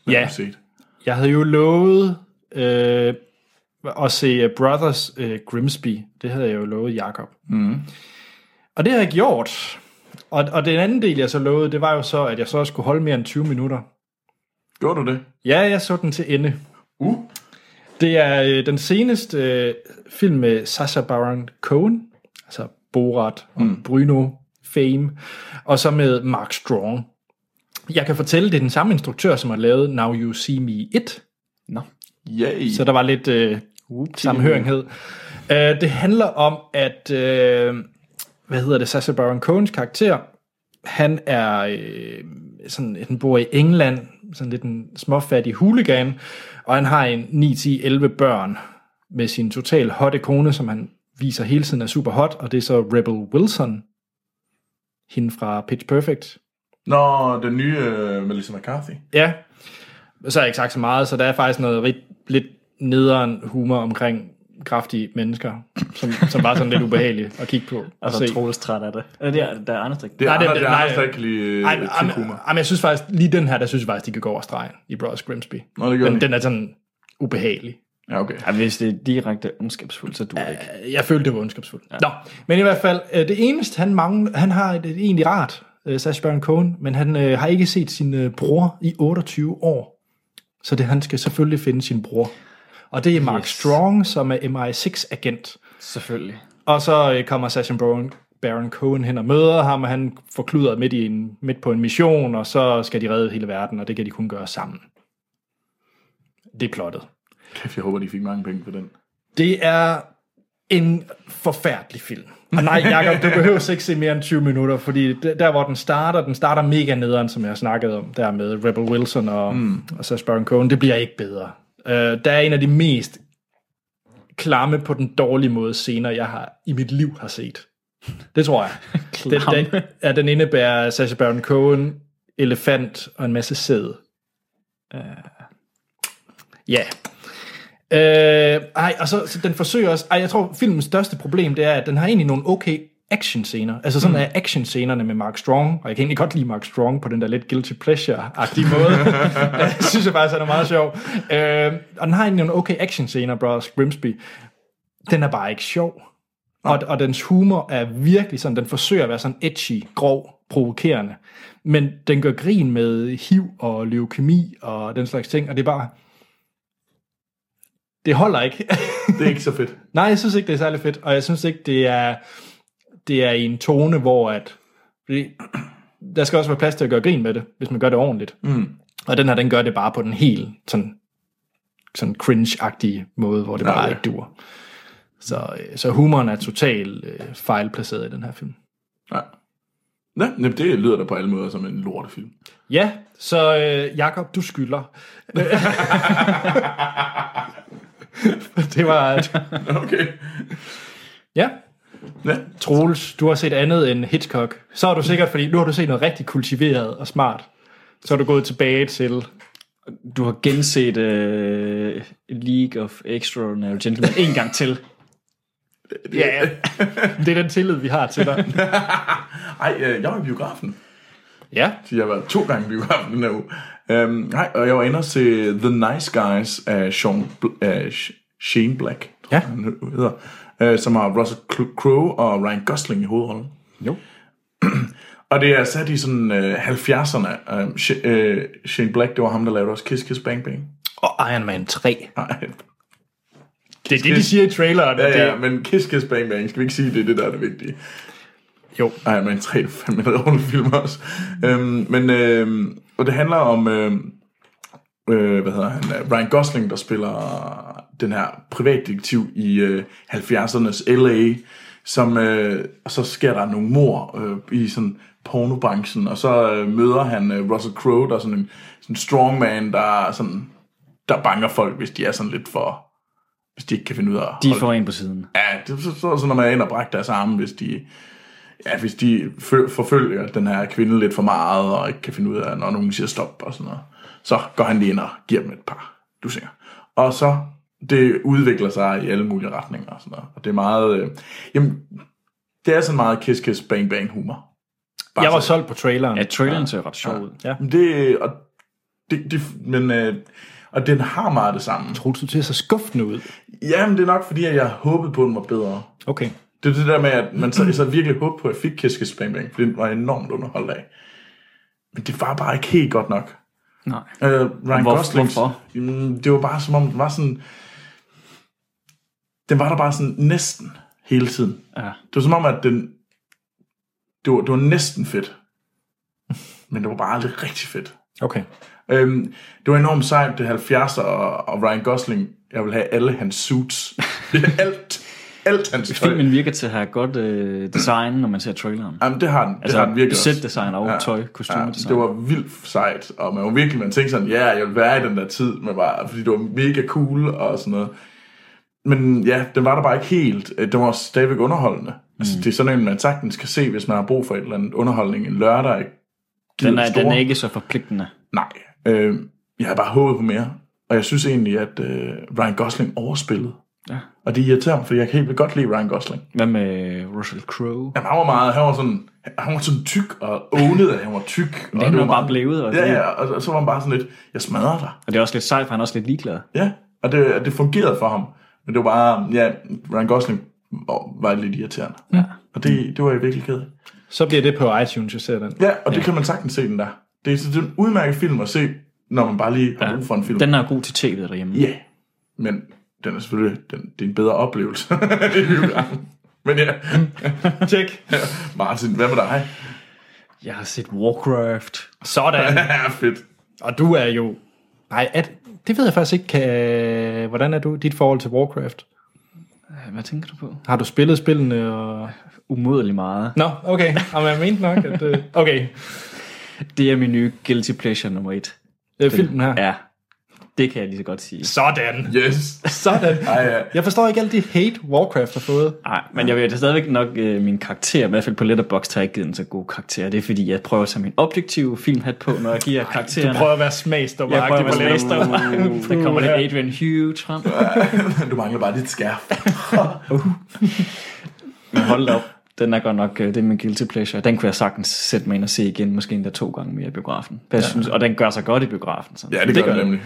hvad
Ja,
har du set?
jeg havde jo lovet øh, at se øh, Brothers øh, Grimsby. Det havde jeg jo lovet Jakob. Mm. Og det har jeg gjort. Og, og den anden del, jeg så lovede, det var jo så, at jeg så også skulle holde mere end 20 minutter.
Gjorde du det?
Ja, jeg så den til ende.
Uh,
Det er øh, den seneste øh, film med Sacha Baron Cohen, altså Borat og mm. Bruno fame, og så med Mark Strong. Jeg kan fortælle, det er den samme instruktør, som har lavet Now You See Me 1,
Nå.
Yay.
så der var lidt øh, sammenhørighed. Øh, det handler om, at, øh, hvad hedder det, Sacha Baron Cohens karakter, han er øh, sådan, han bor i England, sådan lidt en småfattig hooligan, og han har en 9-10-11 børn med sin total hotte kone, som han viser hele tiden er super hot, og det er så Rebel Wilson, hende fra Pitch Perfect,
Nå, den nye uh, Melissa McCarthy.
Ja, så har jeg ikke sagt så meget, så der er faktisk noget rit, lidt nederen humor omkring kraftige mennesker, som, som bare er sådan lidt ubehageligt at kigge på. Og
Altså, Troels træt af det. Er det der er Anders, der
Det er
Nej,
nej,
det-
andre, det,
nej.
nej, der ikke kan lide øh,
Ej,
Ej,
men-
tyk
ej, men-
humor.
ej, men jeg synes faktisk, lige den her, der synes jeg faktisk, de kan gå over stregen i Brothers Grimsby.
Nå, det gør
Den,
den,
den er sådan ubehagelig.
Ja, okay.
Ja, hvis det er direkte ondskabsfuldt, så dur det ikke.
Øh, Jeg følte, det var ondskabsfuldt. Ja. Nå, men i hvert fald, øh, det eneste, han mangler, han har et, et egentlig rart, øh, Sacha Baron Cohen, men han øh, har ikke set sin øh, bror i 28 år. Så det, han skal selvfølgelig finde sin bror. Og det er Mark yes. Strong, som er MI6-agent.
Selvfølgelig.
Og så øh, kommer Sacha Baron, Baron Cohen hen og møder ham, og han forklyder midt, i en, midt på en mission, og så skal de redde hele verden, og det kan de kun gøre sammen. Det er plottet.
Kæft, jeg håber, de fik mange penge for den.
Det er en forfærdelig film. Og nej, Jacob, du behøver ikke se mere end 20 minutter, fordi d- der, hvor den starter, den starter mega nederen, som jeg snakkede om, der med Rebel Wilson og, mm. og Sacha Baron Cohen, det bliver ikke bedre. Uh, der er en af de mest klamme på den dårlige måde scener, jeg har i mit liv har set. Det tror jeg. den, den, ja, den indebærer Sacha Baron Cohen, elefant og en masse sæd. Øh, Ja. Øh, ej, og så, så den forsøger også... Ej, jeg tror, filmens største problem, det er, at den har egentlig nogle okay action-scener. Altså sådan mm. er action-scenerne med Mark Strong, og jeg kan egentlig godt lide Mark Strong på den der lidt guilty pleasure-agtige måde. jeg synes jeg faktisk, han er meget sjov. Øh, og den har egentlig nogle okay action-scener, Brothers Grimsby. Den er bare ikke sjov. Og, og dens humor er virkelig sådan, den forsøger at være sådan edgy, grov, provokerende. Men den gør grin med HIV og leukemi og den slags ting, og det er bare... Det holder ikke.
Det er ikke så fedt.
Nej, jeg synes ikke, det er særlig fedt, og jeg synes ikke, det er, det er i en tone, hvor at, fordi der skal også være plads til at gøre grin med det, hvis man gør det ordentligt. Mm. Og den her, den gør det bare på den helt sådan, sådan cringe-agtige måde, hvor det bare
ja.
ikke dur. Så, øh, så humoren er totalt øh, fejlplaceret i den her film.
Nej. Ja, jamen, det lyder da på alle måder som en lortefilm.
Ja, så øh, Jakob, du skylder. det var...
Okay.
Ja,
Ja.
Troels, du har set andet end Hitchcock. Så er du sikkert, fordi nu har du set noget rigtig kultiveret og smart. Så er du gået tilbage til...
Du har genset uh, League of Extraordinary Gentlemen en gang til.
Ja, det er den tillid, vi har til dig.
Ej, øh, jeg var i biografen.
Ja,
Så jeg var to gange i biografen den her uge. Øhm, nej, og jeg var inde og se The Nice Guys af Sean Bl- af Sh- Shane Black, tror
Ja.
jeg, han hedder, øh, som har Russell Cl- Crowe og Ryan Gosling i hovedrollen.
Jo.
og det er sat i sådan øh, 70'erne. Øhm, Sh- øh, Shane Black, det var ham, der lavede også Kiss Kiss Bang Bang.
og Iron Man 3.
Nej,
Det er det, de siger i traileren. at
ja, ja,
Det,
men Kiss Kiss Bang Bang, skal vi ikke sige, det er det, der er det vigtige?
jo.
Iron Man 3 er fandme en dårlig film også. Øhm, men, øhm, og det handler om, øhm, øh, hvad hedder han, øh, Ryan Gosling, der spiller den her privatdetektiv i øh, 70'ernes L.A., som, øh, og så sker der nogle mor øh, i sådan pornobranchen, og så øh, møder han øh, Russell Crowe, der er sådan en sådan strongman, der, er sådan, der banker folk, hvis de er sådan lidt for, hvis de ikke kan finde ud af at
De
holde-
får en på siden.
Ja, det så, så, så når man er ind og brækker deres arme, hvis de, ja, hvis de fø, forfølger den her kvinde lidt for meget, og ikke kan finde ud af, når nogen siger stop og sådan noget. Så går han lige ind og giver dem et par dusinger. Og så, det udvikler sig i alle mulige retninger og sådan noget. Og det er meget, øh, jamen, det er sådan meget kiss-kiss-bang-bang-humor. Bare
Jeg var
så-
solgt på traileren.
Ja, traileren ser ret sjov ud.
Ja.
Men Det, og, det, det, men, øh, og den har meget det samme.
Troels, du ser så skuffende ud.
Jamen, det er nok, fordi at jeg håbede på, at den var bedre.
Okay.
Det er det der med, at man så, så virkelig håbede på, at jeg fik Kiss Kiss Bang Bang, for den var enormt underholdt af. Men det var bare ikke helt godt nok.
Nej.
Øh, Ryan
Hvor-
Gosling,
hvorfor?
Jamen, det var bare som om, den var sådan... Den var der bare sådan næsten hele tiden.
Ja.
Det var som om, at den... det var, det var næsten fedt. Men det var bare aldrig rigtig fedt.
Okay.
Øhm, det var enormt sejt, det 70'er og, og Ryan Gosling. Jeg vil have alle hans suits. alt, alt hans tøj.
Filmen virker til at have godt øh, design, når man ser traileren.
Jamen, det har den, altså, det har den virkelig også.
set design og tøj, kostumedesign.
det var vildt sejt, og man var virkelig, man tænkte sådan, ja, jeg vil være i den der tid, men bare, fordi det var mega cool og sådan noget. Men ja, den var der bare ikke helt. Øh, Den var stadigvæk underholdende. Altså,
Mm.
det er sådan en, man sagtens kan se, hvis man har brug for et eller andet underholdning en lørdag. ikke?
Den er,
store.
den er ikke så forpligtende.
Nej. Øh, jeg har bare håbet på mere. Og jeg synes egentlig, at øh, Ryan Gosling overspillede.
Ja.
Og det irriterer mig, for jeg kan helt vildt godt lide Ryan Gosling.
Hvad med Russell Crowe?
Jamen, han var meget, han var sådan, han var sådan tyk, og ånede, at han var tyk. og
Ja, han
det
var
var
bare blevet, og,
Ja,
det,
ja, og så- så var han bare sådan lidt, jeg smadrer dig.
og det er også lidt sejt, for han er også lidt ligeglad.
Ja, og det, og det fungerede for ham. Men det var bare, ja, Ryan Gosling var- var lidt irriterende. Ja. Og det, det var jeg virkelig ked af.
Så bliver det på iTunes, jeg ser den.
Ja, og det kan man sagtens se, den der. Det er, det er en udmærket film at se, når man bare lige har brug for en film.
Den er god til tv'et derhjemme.
Ja, men den er selvfølgelig, den, det er en bedre oplevelse. det er biografen. men ja,
Tjek.
Martin, hvad med dig?
Jeg har set Warcraft.
Sådan.
Ja, fedt.
Og du er jo... Nej, at, det ved jeg faktisk ikke. Kan, hvordan er du dit forhold til Warcraft?
Hvad tænker du på?
Har du spillet spillene? Og...
Umådelig meget.
Nå, okay. Jamen, jeg mente nok, at... øh, Okay,
Det er min nye guilty pleasure nummer et.
øh, filmen her.
Ja, det kan jeg lige så godt sige.
Sådan.
Yes.
Sådan.
Ej, ja.
Jeg forstår ikke alt det hate Warcraft har fået.
Nej, men jeg vil stadigvæk nok øh, min karakter, i hvert fald på Letterboxd, har jeg ikke givet den så god karakter. Det er fordi, jeg prøver at tage min objektive filmhat på, når jeg giver karaktererne.
Prøv at være smagsdommer.
jeg prøver at
Agtig på
være
Letterboxd.
smagsdommer. Der kommer lidt Adrian Hughes frem.
Du mangler bare dit skærf.
Men hold da op. Den er godt nok, øh, det er min guilty pleasure. Den kunne jeg sagtens sætte mig ind og se igen, måske endda to gange mere i biografen. Jeg synes, og den gør sig godt i biografen. Sådan.
Ja, det, det gør det nemlig.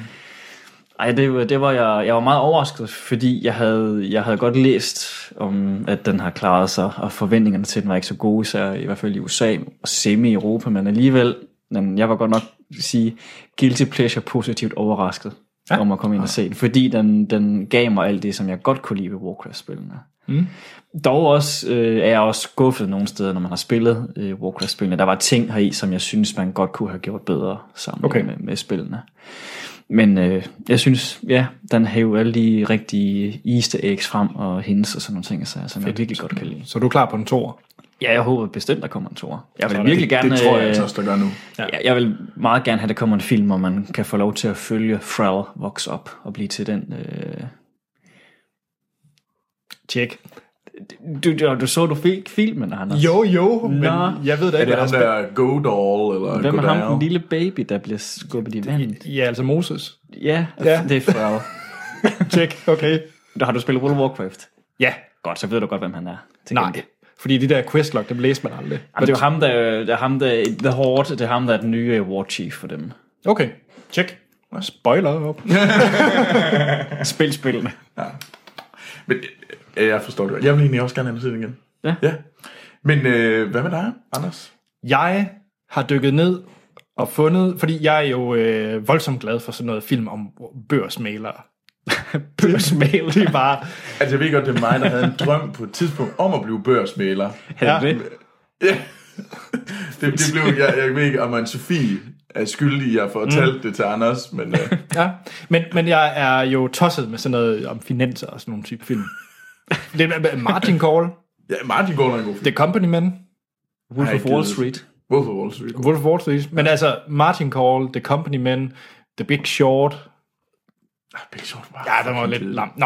Ej, det, var- det var jeg, jeg var meget overrasket, fordi jeg havde, jeg havde godt læst om, at den har klaret sig, og forventningerne til den var ikke så gode, især i hvert fald i USA og semi-Europa, men alligevel, men jeg var godt nok sige guilty pleasure positivt overrasket ja. om at komme ind og se den, fordi den, den gav mig alt det, som jeg godt kunne lide ved Warcraft-spillene. Dog også øh, er jeg også skuffet nogle steder, når man har spillet øh, Warcraft-spillene. Der var ting heri, som jeg synes, man godt kunne have gjort bedre sammen okay.
Okay.
med, med spillene. Men øh, jeg synes, ja, den har jo alle de rigtige easter eggs frem og hints og sådan nogle ting, så, som jeg virkelig godt kan lide.
Så er du klar på en toer?
Ja, jeg håber bestemt, der kommer en tor. Jeg vil
Sådan.
virkelig gerne...
Det tror jeg
øh,
altså også, der gør nu.
Ja. Jeg vil meget gerne have, at der kommer en film, hvor man kan få lov til at følge Frel vokse op og blive til den... Øh...
Tjek.
Du, du, du så du fik filmen, Anders.
Jo, jo, men
Nå.
jeg ved da
Er
ikke, hvad
det ham
der er
der Godall, eller
Hvem er ham, den
Godall?
lille baby, der bliver skubbet i vandet?
spil- Ja, altså Moses.
Ja,
Ja.
det er Frel.
Tjek, okay.
Der har du spillet World of Warcraft.
Ja,
Godt, så ved du godt, hvem han er. Til
nej.
gengæld.
Fordi de der questlog, dem læste man aldrig.
Jamen, det er jo ham, der, det er ham, der The Horde, det er ham, der er den nye øh, war chief for dem.
Okay, tjek. Spoiler op.
Spil spillene.
Men øh, jeg forstår det godt. Jeg vil egentlig også gerne have den set igen.
Ja.
ja. Men øh, hvad med dig, Anders?
Jeg har dykket ned og fundet, fordi jeg er jo øh, voldsomt glad for sådan noget film om børsmalere. børsmalere? Det er bare,
Altså, jeg ved godt, det er mig, der havde en drøm på et tidspunkt om at blive børsmaler.
Er det
Ja.
det?
Ja. Det, det blev, jeg, jeg ved ikke, om man Sofie er skyldig i at fortælle mm. det til Anders, men øh,
ja. Men, men jeg er jo tosset med sådan noget om finanser og sådan nogle type film. Det er Martin Call,
ja, Martin går nok en god film.
The Company Man,
Wolf
Ej,
of
det
Wall
ved-
Street.
Hvorfor Wall Street? er god.
Wolf of Wall Street. Men altså, Martin Call, The Company Man, The Big Short,
Ah, Big Short var
Ja, den var lidt lam. Nå.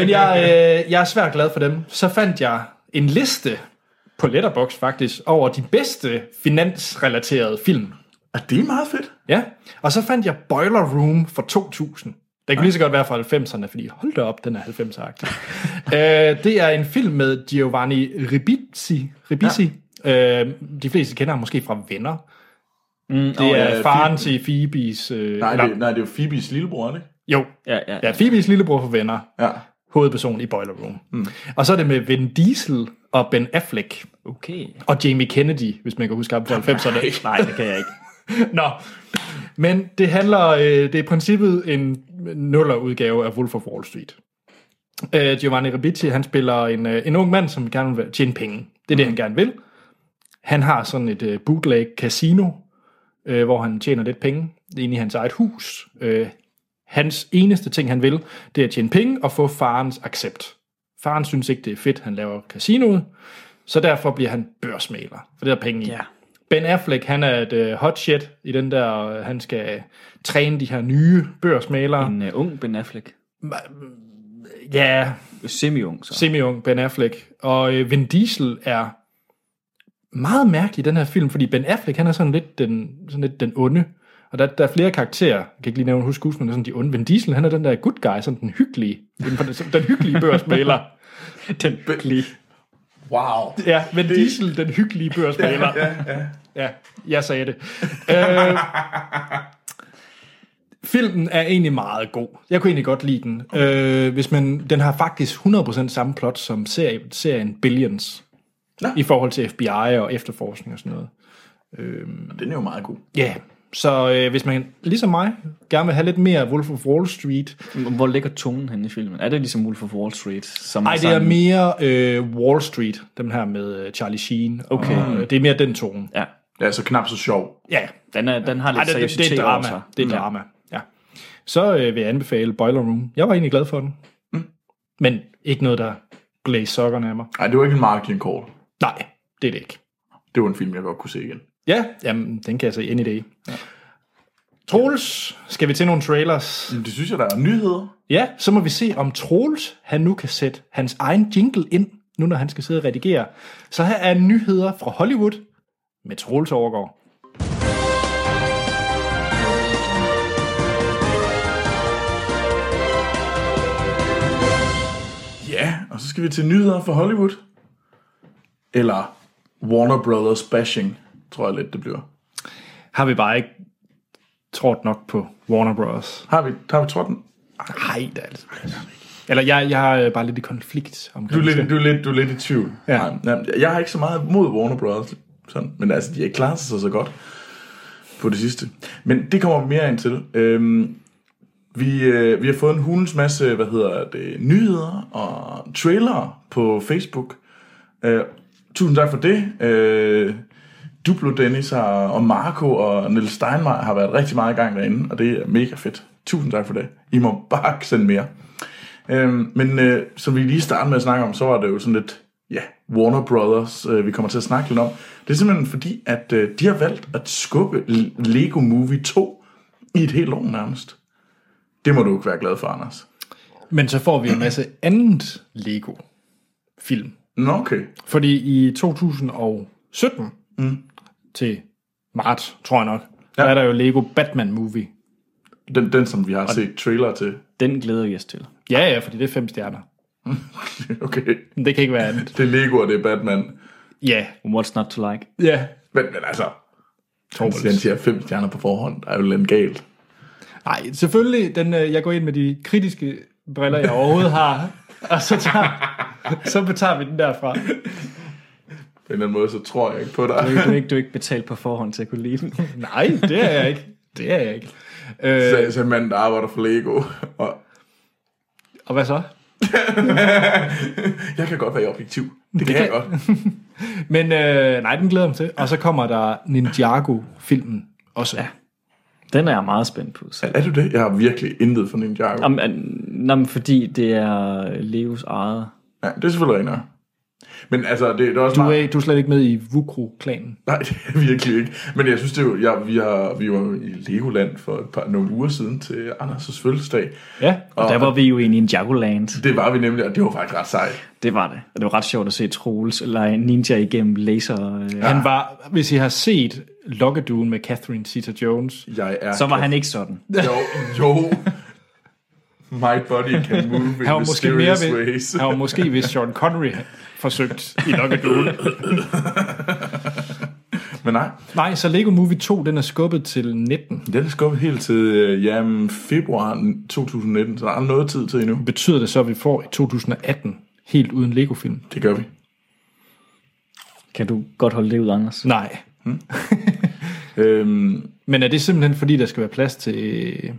Men jeg, øh, jeg er svært glad for dem. Så fandt jeg en liste på Letterbox faktisk over de bedste finansrelaterede film.
Er det meget fedt?
Ja, og så fandt jeg Boiler Room fra 2000. Den kan lige så godt være fra 90'erne, fordi hold da op, den er 90'er-agtig. øh, det er en film med Giovanni Ribisi. Ribisi. Ja. Øh, de fleste kender ham måske fra Venner.
Mm,
Det
åh,
er
ja,
faren til Phoebes... Øh,
Nej,
eller-
det, nej, det er jo Phoebes lillebror, ikke?
Jo,
ja, ja,
ja,
ja.
Phoebes lillebror fra Venner.
Ja.
hovedperson i Boiler Room. Mm. Og så er det med Vin Diesel og Ben Affleck
Okay.
og Jamie Kennedy, hvis man kan huske ham fra 90'erne.
Nej, det kan jeg ikke.
Nå, men det handler, øh, det er i princippet en nullerudgave af Wolf of Wall Street. Øh, Giovanni Ribisi, han spiller en, øh, en ung mand, som gerne vil tjene penge. Det er det, han gerne vil. Han har sådan et øh, bootleg casino, øh, hvor han tjener lidt penge inde i hans eget hus. Øh, hans eneste ting, han vil, det er at tjene penge og få farens accept. Faren synes ikke, det er fedt, han laver casinoet, så derfor bliver han børsmaler, for det er der penge i.
Ja.
Ben Affleck, han er et øh, hot shit i den der, øh, han skal træne de her nye børsmalere.
En uh, ung Ben Affleck.
Ja,
Semi-ung, så.
semi-ung Ben Affleck. Og øh, Vin Diesel er meget mærkelig i den her film, fordi Ben Affleck, han er sådan lidt den, sådan lidt den onde. Og der, der er flere karakterer, jeg kan ikke lige nævne huske skuespillerne, sådan de onde. Vin Diesel, han er den der good guy, sådan den hyggelige, den, den, den hyggelige børsmaler.
den hyggelige.
Wow.
Ja, Vin Diesel, den hyggelige børsmaler.
Ja, ja.
Ja, jeg sagde det. Øh, filmen er egentlig meget god. Jeg kunne egentlig godt lide den. Øh, hvis man, den har faktisk 100% samme plot som serie, serien Billions.
Nå.
I forhold til FBI og efterforskning og sådan noget.
Den er jo meget god.
Ja, så øh, hvis man, ligesom mig, gerne vil have lidt mere Wolf of Wall Street.
Hvor ligger tonen hen i filmen? Er det ligesom Wolf of Wall Street? Som
Nej, det er
sådan-
mere øh, Wall Street, dem her med øh, Charlie Sheen.
Okay.
Og, øh, det er mere den tone.
Ja,
Ja, så knap så sjov.
Ja,
den, er, den har lidt
Ej, det, det, det er
seriøsitet
et
over
drama.
sig.
Det er et drama, ja. Så øh, vil jeg anbefale Boiler Room. Jeg var egentlig glad for den. Mm. Men ikke noget, der glaze sokkerne af mig.
Nej, det var ikke en marketing call.
Nej, det er det ikke.
Det var en film, jeg godt kunne se igen.
Ja, jamen, den kan jeg se any day. Ja. Troels, skal vi til nogle trailers?
Men det synes jeg, der er nyheder.
Ja, så må vi se, om Troels, han nu kan sætte hans egen jingle ind, nu når han skal sidde og redigere. Så her er nyheder fra Hollywood med Troels Overgaard.
Ja, og så skal vi til nyheder fra Hollywood. Eller Warner Brothers bashing, tror jeg lidt, det bliver.
Har vi bare ikke trådt nok på Warner Bros.
Har vi, har vi trådt den?
Nej, det er altså. Eller jeg, jeg er bare lidt i konflikt
Du
omkring
er
det.
lidt, du er lidt, du er lidt i tvivl.
Ja.
Nej, nej, jeg har ikke så meget mod Warner Brothers, sådan, men altså, de har ikke klaret sig så godt på det sidste. Men det kommer vi mere ind til. Øhm, vi, øh, vi har fået en hulens masse, hvad hedder det, nyheder og trailere på Facebook. Øh, tusind tak for det. Øh, Duplo Dennis har, og Marco og Niels Steinmeier har været rigtig meget i gang derinde, og det er mega fedt. Tusind tak for det. I må bare sende mere. Øhm, men øh, som vi lige startede med at snakke om, så var det jo sådan lidt, ja, Warner Brothers, øh, vi kommer til at snakke lidt om. Det er simpelthen fordi, at øh, de har valgt at skubbe L- Lego Movie 2 i et helt år nærmest. Det må du ikke være glad for, Anders.
Men så får vi en masse andet Lego-film.
Nå, okay.
Fordi i 2017 mm. til marts, tror jeg nok, ja. der er
Ja.
der jo Lego Batman Movie.
Den, den som vi har set trailer til.
Den glæder vi os til.
Ja, ja, fordi det er fem stjerner.
okay,
Men Det kan ikke være andet.
det er Lego, og det er Batman.
Ja,
What's not to like?
ja.
Men, men altså, han
Torvalds.
siger fem stjerner på forhånd. Der er jo lidt galt.
Nej, selvfølgelig, den, øh, jeg går ind med de kritiske briller, jeg overhovedet har, og så tager, så betager vi den derfra.
På en eller anden måde, så tror jeg ikke på
Du,
dig.
du, er ikke, du er ikke betalt på forhånd til at kunne lide den.
Nej, det er jeg ikke. Det er jeg ikke. Øh,
Så, så manden, der arbejder for Lego. Og
og hvad så?
jeg kan godt være objektiv. Det, det kan jeg
kan-
godt.
Men øh, nej, den glæder jeg mig til. Og så kommer der Ninjago-filmen også. Ja.
Den er jeg meget spændt på. Så.
Er du det? Jeg har virkelig intet for Ninjago.
Om, an, nå, men fordi det er Leos eget.
Ja, det er selvfølgelig rigtigt. nok. Men altså, det, det er også
Du,
meget...
er, du er slet ikke med i Vukro-klanen.
Nej, det er jeg virkelig ikke. Men jeg synes, det er jo... Jeg, vi, har, vi var jo i Legoland for et par, nogle uger siden til Anders' fødselsdag.
Ja.
Og der var vi jo i Ninjagoland.
Det var vi nemlig, og det var faktisk ret sejt.
Det var det. Og det var ret sjovt at se Troels lege ninja igennem laser. Øh. Ja.
Han var, hvis I har set Lockeduen med Catherine Zeta-Jones,
Jeg er...
Så var han ikke sådan.
Jo, jo. My body can move in
han var, måske mere
mysterious ways.
ved, han var måske, hvis Sean Connery forsøgt i Lockeduen.
Men nej,
Nej, så Lego Movie 2, den er skubbet til 19.
det er skubbet helt til øh, jamen, februar 2019, så der er noget tid til endnu.
Betyder det så, at vi får i 2018 helt uden Lego-film?
Det gør vi.
Kan du godt holde det ud, Anders?
Nej.
Øhm,
Men er det simpelthen, fordi der skal være plads til øh,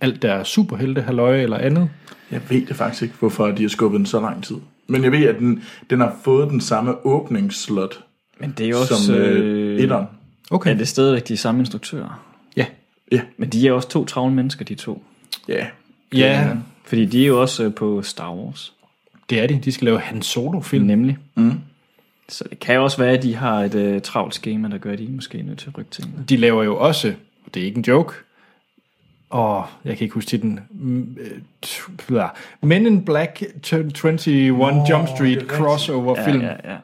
alt, der er superhelte, halløj eller andet?
Jeg ved det faktisk ikke, hvorfor de har skubbet den så lang tid. Men jeg ved, at den, den har fået den samme åbningsslot
Men det er jo også...
som øh, etteren.
Okay.
Er det stadigvæk de samme instruktører?
Ja.
Men de er også to travle mennesker, de to.
Ja.
Ja,
Fordi de er jo også øh, på Star Wars,
det er de. De skal lave Han Solo-film.
nemlig.
Mm.
Så det kan jo også være, at de har et øh, travlt schema, der gør, at de måske er nødt til at rykke tingene.
De laver jo også, og det er ikke en joke, og jeg kan ikke huske titlen, mm, øh, t- bla. Men in Black t- 21 oh, Jump Street
rigtigt.
crossover film. Ja, ja.
ja.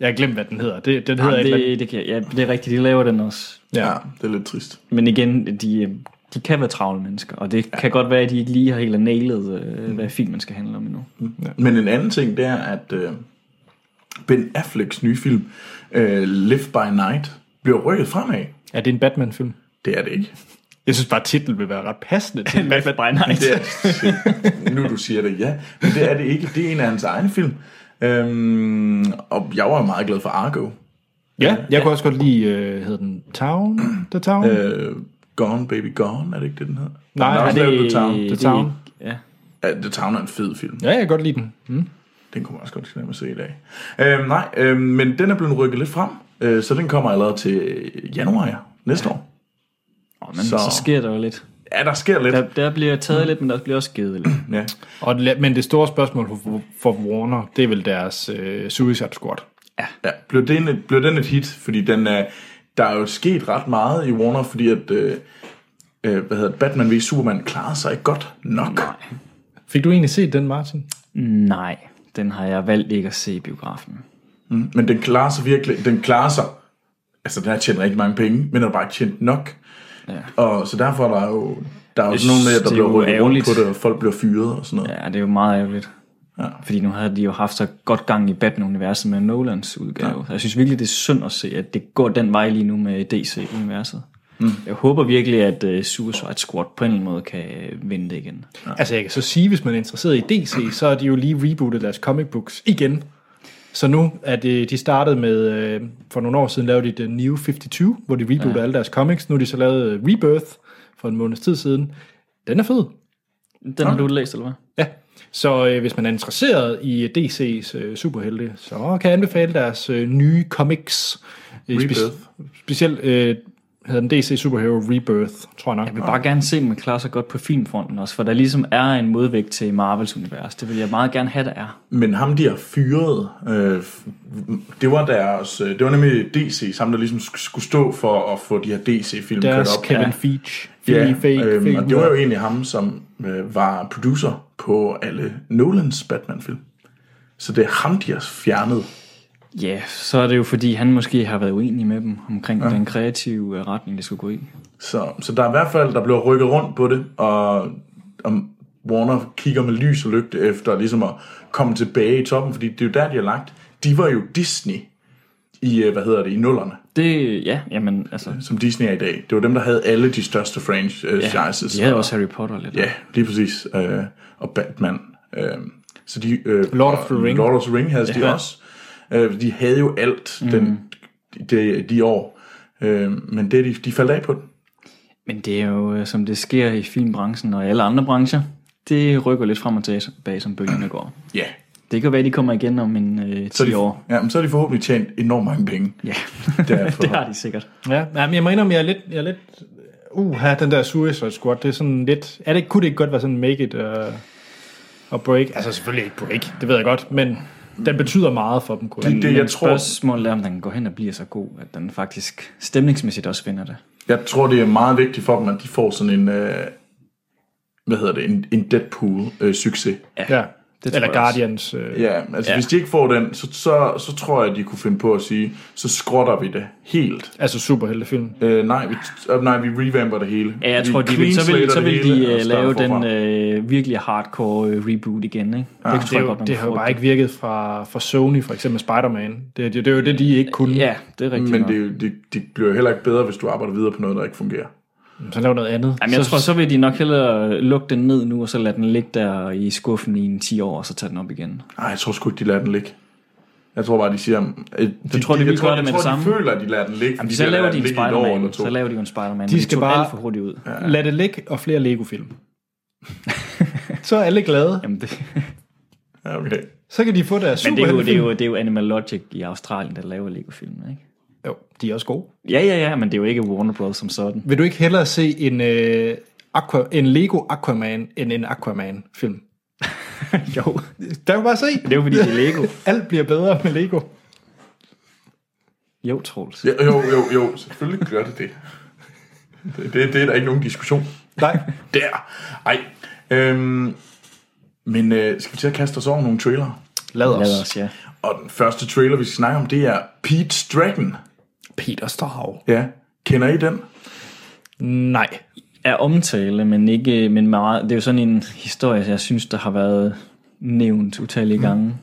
Jeg har glemt, hvad den hedder. Det, den hedder
Jamen,
et eller andet.
det, det, kan, ja, det er rigtigt, de laver den også.
Ja.
ja, det er lidt trist.
Men igen, de, øh, de kan være travle mennesker, og det ja. kan godt være, at de ikke lige har helt nailet, øh, hvad filmen skal handle om endnu.
Men en anden ting, det er, at øh, Ben Afflecks nye film, øh, Live by Night, bliver rykket fremad.
Er det en Batman-film?
Det er det ikke.
Jeg synes bare, titlen vil være ret passende til en Batman.
Bare nej.
Det er, nu du siger det, ja. Men det er det ikke. Det er en af hans egne film. Øhm, og jeg var meget glad for Argo.
Ja, jeg kunne også godt lide, øh, hedder den Town? The Town? Øh,
Øh, Gone Baby Gone, er det ikke det, den hedder?
Nej,
den er
er
også
det-
lavet The Town.
The Town.
ikke- Ja.
Ja, The Town er en fed film.
ja, jeg kan godt lide den. Mm.
Den kunne man også godt tænke mig at se i dag. Øhm, nej, øhm, men den er blevet rykket lidt frem, øh, så den kommer allerede til øh, januar ja, næste år.
Oh, men
Så-
så. så sker der jo lidt.
Ja, der sker lidt.
Der, der bliver taget lidt, men der bliver også givet lidt.
Ja.
Og, la- men det store spørgsmål for, for Warner, det er vel deres øh, Suicide Squad.
Ja, blev den, et, blev den et hit? Fordi den er, der er jo sket ret meget i Warner, fordi at øh, øh, hvad hedder det, Batman v Superman klarede sig ikke godt nok. Nej.
Fik du egentlig set den, Martin?
Nej, den har jeg valgt ikke at se i biografen.
Men den klarer sig virkelig. Den klarer sig. Altså, den har tjent rigtig mange penge, men den har bare ikke tjent nok. Ja. Og så derfor er der jo, der er jo sådan noget med, at der
Det er
bliver
jo
rykket rundt
ærgerligt.
på det, og folk bliver fyret og sådan noget.
Ja, det er jo meget ærgerligt.
Ja.
Fordi nu havde de jo haft så godt gang i Batman-universet med Nolans udgave. Ja. Jeg synes virkelig, det er synd at se, at det går den vej lige nu med DC-universet. Mm. Jeg håber virkelig, at uh, Suicide Squad på en eller anden måde kan øh, vinde det igen.
Altså jeg kan så sige, hvis man er interesseret i DC, så er de jo lige rebootet deres comic books igen. Så nu er det, de startede med, øh, for nogle år siden lavede de The New 52, hvor de rebootede ja. alle deres comics. Nu har de så lavet øh, Rebirth for en måneds tid siden. Den er fed.
Den har du læst, eller hvad?
Ja. Så øh, hvis man er interesseret i øh, DC's øh, superhelte, så kan jeg anbefale deres øh, nye comics. Øh,
Rebirth.
specielt øh, hedder den DC Superhero Rebirth, tror jeg nok.
Jeg vil bare gerne se, om man klarer sig godt på filmfronten også, for der ligesom er en modvægt til Marvels univers. Det vil jeg meget gerne have, der er.
Men ham de har fyret, øh, f- det var deres, øh, det var nemlig DC, sammen der ligesom sk- skulle stå for at få de her DC-film kørt
Deres
op.
Kevin ja. Feige.
ja,
Feige, Feige,
øhm,
Feige,
og det var jo egentlig ham, som øh, var producer på alle Nolans Batman-film. Så det er ham, de har fjernet.
Ja, så er det jo fordi, han måske har været uenig med dem omkring ja. den kreative øh, retning, det skulle gå i.
Så, så der er i hvert fald, der bliver rykket rundt på det, og, og Warner kigger med lys og lygte efter ligesom at komme tilbage i toppen, fordi det er jo der, de har lagt. De var jo Disney i, øh, hvad hedder det, i nullerne.
Det, ja, jamen, altså,
som Disney er i dag. Det var dem, der havde alle de største franchises.
de havde også Harry Potter lidt.
Ja, lige præcis. Øh, og Batman. Øh, så de, øh,
Lord of the
og
Ring.
Lord of the Ring havde ja. de
Ja.
også. Øh, de havde jo alt den, de, de år. Øh, men det, de, de faldt af på den.
Men det er jo, øh, som det sker i filmbranchen og i alle andre brancher, det rykker lidt frem og tilbage, som bølgerne går.
Ja.
Det kan være, de kommer igen om en øh, 10
Så er de,
år.
Ja, men så har de forhåbentlig tjent enormt mange penge.
Ja,
Derfor.
det har de sikkert.
Ja, ja, men jeg må indrømme, jeg er lidt... Jeg er lidt uha, den der Suicide Squad, det er sådan lidt... Er det, kunne det ikke godt være sådan make it og uh, break? Altså selvfølgelig ikke break, det ved jeg godt, men den betyder meget for dem, kunne jeg.
Det, det, jeg, tror,
Spørgsmålet er, om den går hen og bliver så god, at den faktisk stemningsmæssigt også vinder det.
jeg tror, det er meget vigtigt for dem, at de får sådan en... Øh, hvad hedder det? En, øh, en Deadpool-succes.
Ja.
det
Det
tror jeg
Eller
også.
Guardians. Øh, ja.
Ja, altså ja. hvis de ikke får den, så, så, så tror jeg, at de kunne finde på at sige, så skrotter vi det helt.
Altså superheltefilm.
Øh, nej, vi, øh, nej, vi revamper det hele.
Ja, jeg
vi
tror, de vil, så vil,
cleanslater
så
det hele
vil de
og
øh,
starter
lave den
forfra.
øh, virkelig hardcore øh, reboot igen, ikke? Ja, det,
Det, er jo,
man
det har jo
frygter.
bare ikke virket fra, fra Sony, for eksempel Spider-Man. Det, det, det er jo det, de ikke kunne.
Ja, det er rigtigt.
Men
nok.
det, er jo- det, det bliver jo heller ikke bedre, hvis du arbejder videre på noget, der ikke fungerer.
Så lav noget andet.
Jamen, jeg
så,
tror, så vil de nok hellere lukke den ned nu, og så lade den ligge der i skuffen i en 10 år, og så tage den op igen.
Nej, jeg tror sgu ikke, de lader den ligge. Jeg tror bare, de siger... øh, De,
Du tror, de
jeg
vil gøre det
jeg
med
tror,
det
de
samme?
føler, at de lader den ligge.
Jamen,
fordi
så
har
laver
ladt
de
den
en
ligge i et år eller
Spider-Man,
to.
så laver de jo en Spider-Man,
De
de
skal
skal
bare-
alt for hurtigt ud. Ja.
Lad det ligge og flere Lego-film. så er alle glade.
Jamen, det,
Ja, okay.
Så kan de få deres
Men det er, jo, det, er
superheltefilm.
jo, det er jo Animal Logic i Australien, der laver Lego-filmen, ikke?
Jo, de er også gode.
Ja, ja, ja, men det er jo ikke Warner Bros. som sådan.
Vil du ikke hellere se en, øh, Aqua, en Lego Aquaman end en Aquaman-film?
jo,
Der kan du bare se.
det er jo fordi, det er Lego.
Alt bliver bedre med Lego.
Jo, Troels.
Ja, jo, jo, jo, selvfølgelig gør det det. Det, det, det er der ikke nogen diskussion.
Nej.
Der. Ej. Øhm, men øh, skal vi til at kaste os over nogle trailere?
Lad os.
Lad os, ja.
Og den første trailer, vi skal snakke om, det er Pete's Dragon.
Peter Strav.
Ja. Kender I den?
Nej.
Er omtale, men ikke, men meget, det er jo sådan en historie, jeg synes, der har været nævnt utallige gange.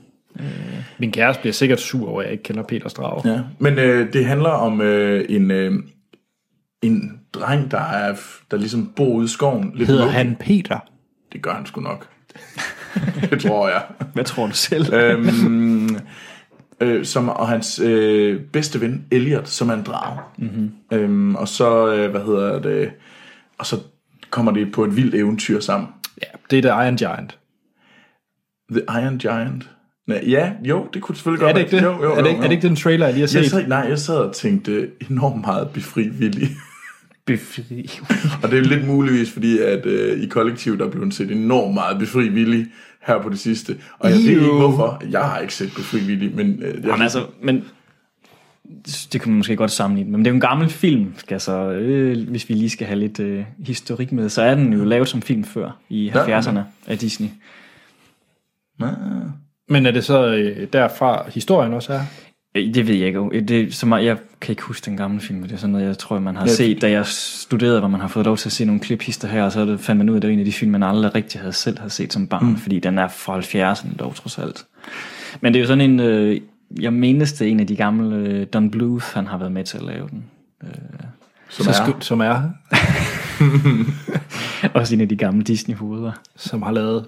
Min kæreste bliver sikkert sur over, at jeg ikke kender Peter Strav. Ja.
Ja. Men øh, det handler om øh, en, øh, en dreng, der, er, der ligesom bor ude i skoven. Lidt
Hedder
lukket.
han Peter?
Det gør han sgu nok. det tror jeg.
Hvad tror du selv?
øhm, øh, som, og hans øh, bedste ven, Elliot, som er en drag.
Mhm.
Mm-hmm. Øhm, og så, øh, hvad hedder det, og så kommer de på et vildt eventyr sammen.
Ja, det er The Iron Giant.
The Iron Giant. Nej, ja, jo, det kunne selvfølgelig
Er
godt
det ikke det?
være. Jo, jo,
er, det
jo,
ikke, er det
jo.
ikke den trailer, jeg lige har set?
Jeg sad, nej, jeg sad og tænkte enormt meget befri villig.
Befri.
og det er lidt muligvis, fordi at øh, i kollektivet der er blevet set enormt meget befri villig her på det sidste. Og jeg ved ikke
Ew.
hvorfor. Jeg har ikke set befri villig, men... Øh, jeg,
Jamen altså, men det kan man måske godt sammenligne, men det er jo en gammel film, skal jeg så, øh, hvis vi lige skal have lidt øh, historik med, så er den jo lavet som film før, i
Ja.
70'erne af Disney.
Ah.
Men er det så øh, derfra, historien også er?
Øh, Det ved jeg ikke. Øh, Det, er så meget, jeg kan ikke huske den gamle film, men det er sådan noget, jeg tror, man har set, da jeg studerede, hvor man har fået lov til at se nogle kliphister her, og så er det- fandt man ud af, at det var en af de film, man aldrig rigtig havde selv har set som barn, mm. fordi den er fra 70'erne dog trods alt. Men det er jo sådan en, øh, jeg mindes det er en af de gamle, øh, Don Bluth, han har været med til at lave den.
Som
Så
er.
sku- som er,
Også en af de gamle Disney-hoveder.
som har lavet.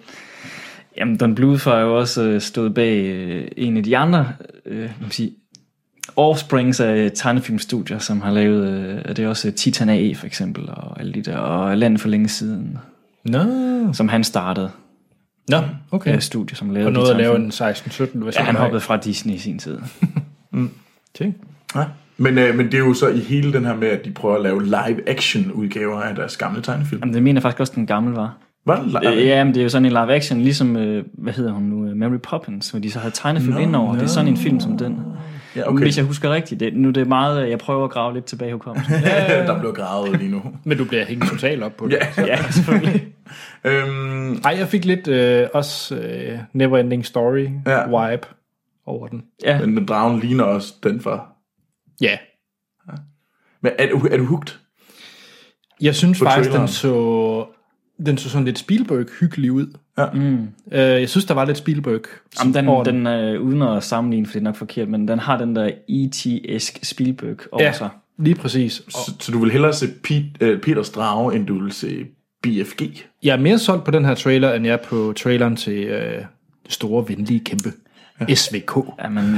Jamen, Don Bluth har jo også øh, stået bag øh, en af de andre, øh, hvad kan man sige, offsprings af tegnefilmstudier, som har lavet, øh, er det er også øh, Titan AE for eksempel, og alle de der, og Land for længe siden,
Nå.
som han startede,
Nå, okay.
øh, studie, som lavede
Og nåede at lave
tegnefilm.
en 16-17 version.
Ja, han
af-
hoppede fra Disney i sin tid.
Ting.
Ja. Men, øh, men det er jo så i hele den her med, at de prøver at lave live-action-udgaver af deres gamle tegnefilm.
Jamen, det mener jeg faktisk også, den gamle var.
Var det live?
Øh, ja, men det er jo sådan en live action, ligesom, øh, hvad hedder hun nu, øh, Mary Poppins, hvor de så havde tegnefilm no, indover. No. Det er sådan en film som den.
ja,
Okay.
okay.
Hvis jeg husker rigtigt, det, nu det er meget, øh, jeg prøver at grave lidt tilbage i hukommelsen.
der blev gravet lige nu.
Men du bliver hængt totalt op på det.
ja.
ja, selvfølgelig.
Øhm,
Ej, jeg fik lidt øh, også øh, Neverending Story
Ja.
ja. vibe over den.
Ja.
men den dragen ligner også den fra...
Ja,
Men er, du- er du hooked?
jeg synes
På
faktisk,
traileren.
den så, den så sådan lidt Spielberg-hyggelig ud.
Ja.
Mm. Øh, jeg synes, der var lidt Spielberg.
Jamen,
over
den, den øh, uden at sammenligne, for det er nok forkert, men den har den der E.T.-esk Spielberg over ja. sig.
Ja, lige præcis.
Så, så du vil hellere se Pete, uh, Peters drage, end du vil se BFG?
Jeg er mere solgt på den her trailer, end jeg er på traileren til øh, det store, venlige kæmpe. Ja. SVK.
Jamen,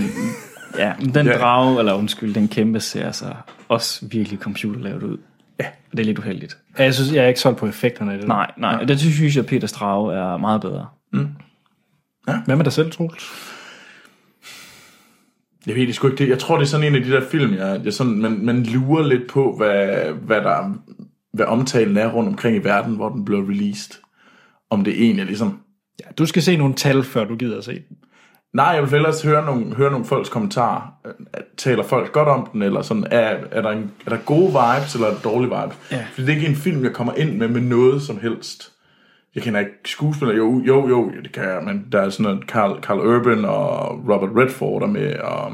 ja, men den
Ja.
ja. drage, eller undskyld, den kæmpe ser altså også virkelig computerlavet ud. Ja. Det er lidt uheldigt.
Ja, jeg synes, jeg er ikke solgt på effekterne. af Det.
Nej, nej, ja. det synes jeg, Peter Drage er meget bedre.
Hvad med dig selv, Troels?
Jeg ved det sgu ikke. Det, jeg tror, det er sådan en af de der film, jeg, jeg sådan, man, man lurer lidt på, hvad, hvad, der, hvad omtalen er rundt omkring i verden, hvor den blev released. Om det egentlig er ligesom...
Ja, du skal se nogle tal, før du gider at se den.
Nej, jeg vil ellers høre nogle, høre nogle folks kommentarer. Øh, Taler folk godt om den, eller sådan, er, er, der, en, er der gode vibes, eller er der dårlige vibes? Ja. Fordi det er ikke en film, jeg kommer ind med med noget som helst. Jeg kender ikke skuespillere. Jo, jo, jo, det kan jeg, men der er sådan noget Carl, Carl Urban og Robert Redford er med, og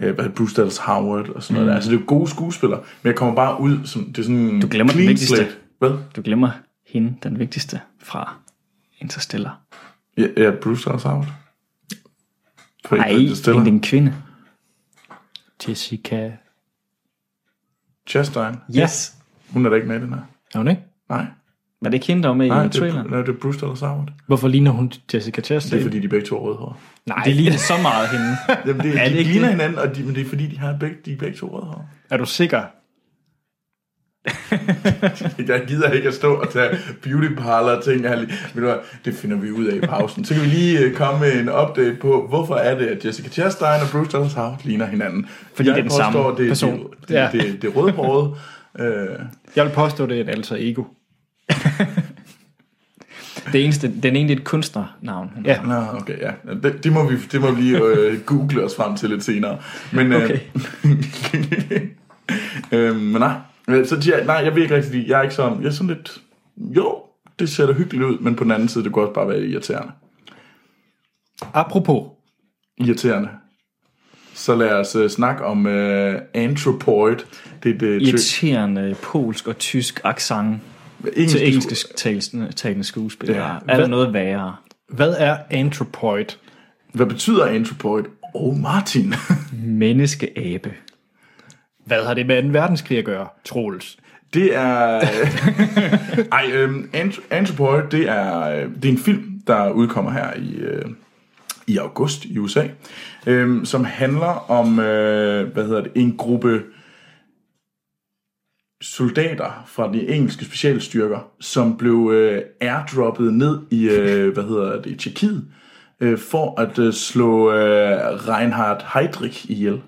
øh, hvad hedder Bruce Dallas Howard og sådan noget der. Altså, det er jo gode skuespillere, men jeg kommer bare ud som, det er sådan... Du
Mm. glemmer den vigtigste.
Hvad?
Du glemmer hende, den vigtigste, fra Interstellar.
Ja, ja, Bruce Dallas Howard.
Nej, hende den kvinde.
Jessica.
Chastain.
Yes.
Hun er da ikke med i den her.
Er hun ikke?
Nej.
Var det ikke hende, der var med
Nej,
i
det er,
traileren?
nej, det er Bruce Dallas Howard.
Hvorfor ligner hun Jessica
Det
Chastain?
er fordi, de begge to er rødhårede.
Nej,
Det ligner så meget hende.
Jamen, det,
Er
er
det
de
ikke
ligner
det?
hinanden, og de, men det er fordi, de, har begge, de er begge to rødhårede.
er du sikker?
Jeg gider ikke at stå og tage beauty parlor og ting. Jeg lige, ved du hvad, det finder vi ud af i pausen. Så kan vi lige øh, komme med en update på, hvorfor er det, at Jessica Chastain og Bruce Dallas Howard ligner hinanden. Fordi
det er den samme
det er
person.
Det, det,
Ja.
det, det, det rødhårede. Øh,
Jeg vil påstå, det er et alter ego.
Det eneste, den ene det er et kunstnernavn.
Ja.
Nå, okay, ja. Det, det, må vi, det må vi lige øh, google os frem til lidt senere. Men,
Okay.
øh, øh, men nej, Øh, så siger jeg, nej, jeg vil ikke rigtig lide. Jeg er ikke sådan, jeg er sådan lidt, jo, det ser da hyggeligt ud, men på den anden side, det kunne også bare være irriterende.
Apropos,
Irriterende. Så lad os øh, snakke om øh, anthropoid. Det er et, øh, tø-
Irriterende polsk og tysk accent
engelsk-
til engelske talende, talende skuespillere.
Ja.
Ja. Er der
Hvad-
noget værre?
hvad er anthropoid?
Hvad betyder anthropoid? Oh, Martin.
Menneskeabe.
Hvad har det med 2. verdenskrig at gøre, Troels?
Det er... Ej, øhm, Ant- Anthropoid, det er, øh, det er en film, der udkommer her i, øh, i august i USA, øhm, som handler om, øh, hvad hedder det, en gruppe soldater fra de engelske specialstyrker, som blev øh, airdroppet ned i, øh, hvad hedder det, Tjekkiet, øh, for at øh, slå øh, Reinhard Heydrich ihjel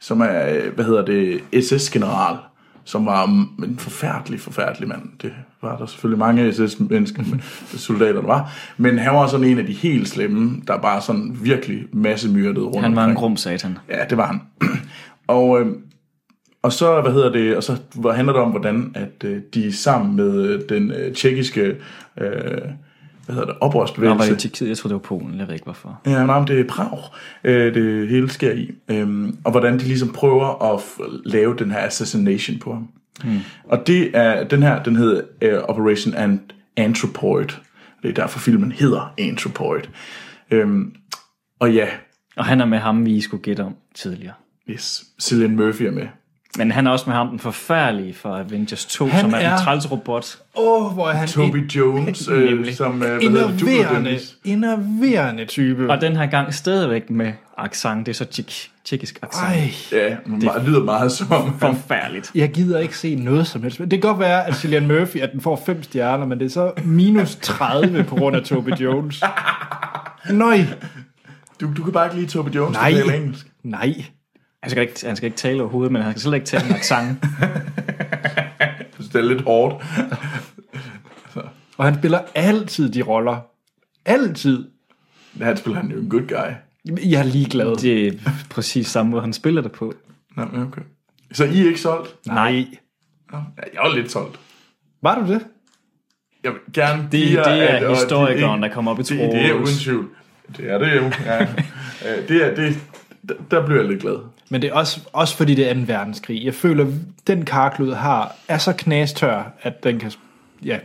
som er, øh, hvad hedder det, SS-general, som var mm, en forfærdelig, forfærdelig mand. Det var der selvfølgelig mange SS-mennesker, men- soldater, der var. Men han var sådan en af de helt slemme, der bare sådan virkelig masse myrdede rundt
Han var en
omkring.
grum satan.
Ja, det var han. og, øh, og så, hvad hedder det, og så hvor handler det om, hvordan at øh, de sammen med øh, den øh, tjekkiske, øh, hvad hedder det,
Nå, var det
oprørsbevægelse,
i Tjekkiet? Jeg tror, det var Polen. Jeg ved ikke, hvorfor.
Ja, nej, men det er Prag, øh, det hele sker i. Øhm, og hvordan de ligesom prøver at f- lave den her assassination på ham. Mm. Og det er, den her, den hedder øh, Operation Ant- Anthropoid. Det er derfor filmen hedder Anthropoid. Øhm, og ja,
Og han er med ham, vi skulle gætte om tidligere.
yes, Cillian Murphy er med.
Men han er også med ham, den forfærdelige fra Avengers 2, han som er,
er-
en træls robot.
Åh, oh, hvor er han
Toby Jones, øh, som øh, hvad hedder det, Jupiter
enerverende,
Dennis.
enerverende type.
Og den her gang stadigvæk med accent. Det er så tjek, tjekkisk accent.
Ej,
Ja, det lyder meget som... øh,
Forfærdeligt.
jeg gider ikke se noget som helst. Men Det kan godt være, at Cillian Murphy, at den får 5 stjerner, men det er så minus 30 på grund af Toby Jones. Nøj,
Du, du kan bare ikke lide Toby Jones,
Nej.
der taler engelsk.
nej.
Han skal, ikke, han skal ikke tale overhovedet, men han skal slet ikke tale en accent.
Så Det er lidt hårdt.
Og han spiller altid de roller. Altid.
Han spiller han jo en good guy.
Jeg er ligeglad.
Det er præcis samme måde, han spiller det på.
Nej, men okay. Så I er ikke solgt?
Nej.
Nå, ja, jeg er lidt solgt.
Var du det?
Jeg vil gerne
Det,
give jer,
det
at- og
er historikeren,
det-
der kommer op i
det, det er uden
Troels.
tvivl. Det er det jo. Ja. Øh, det er, det, der, der bliver jeg lidt glad.
Men det er også, også fordi det er 2. verdenskrig. Jeg føler, den karklud har, er så knastør, at den kan... Ja,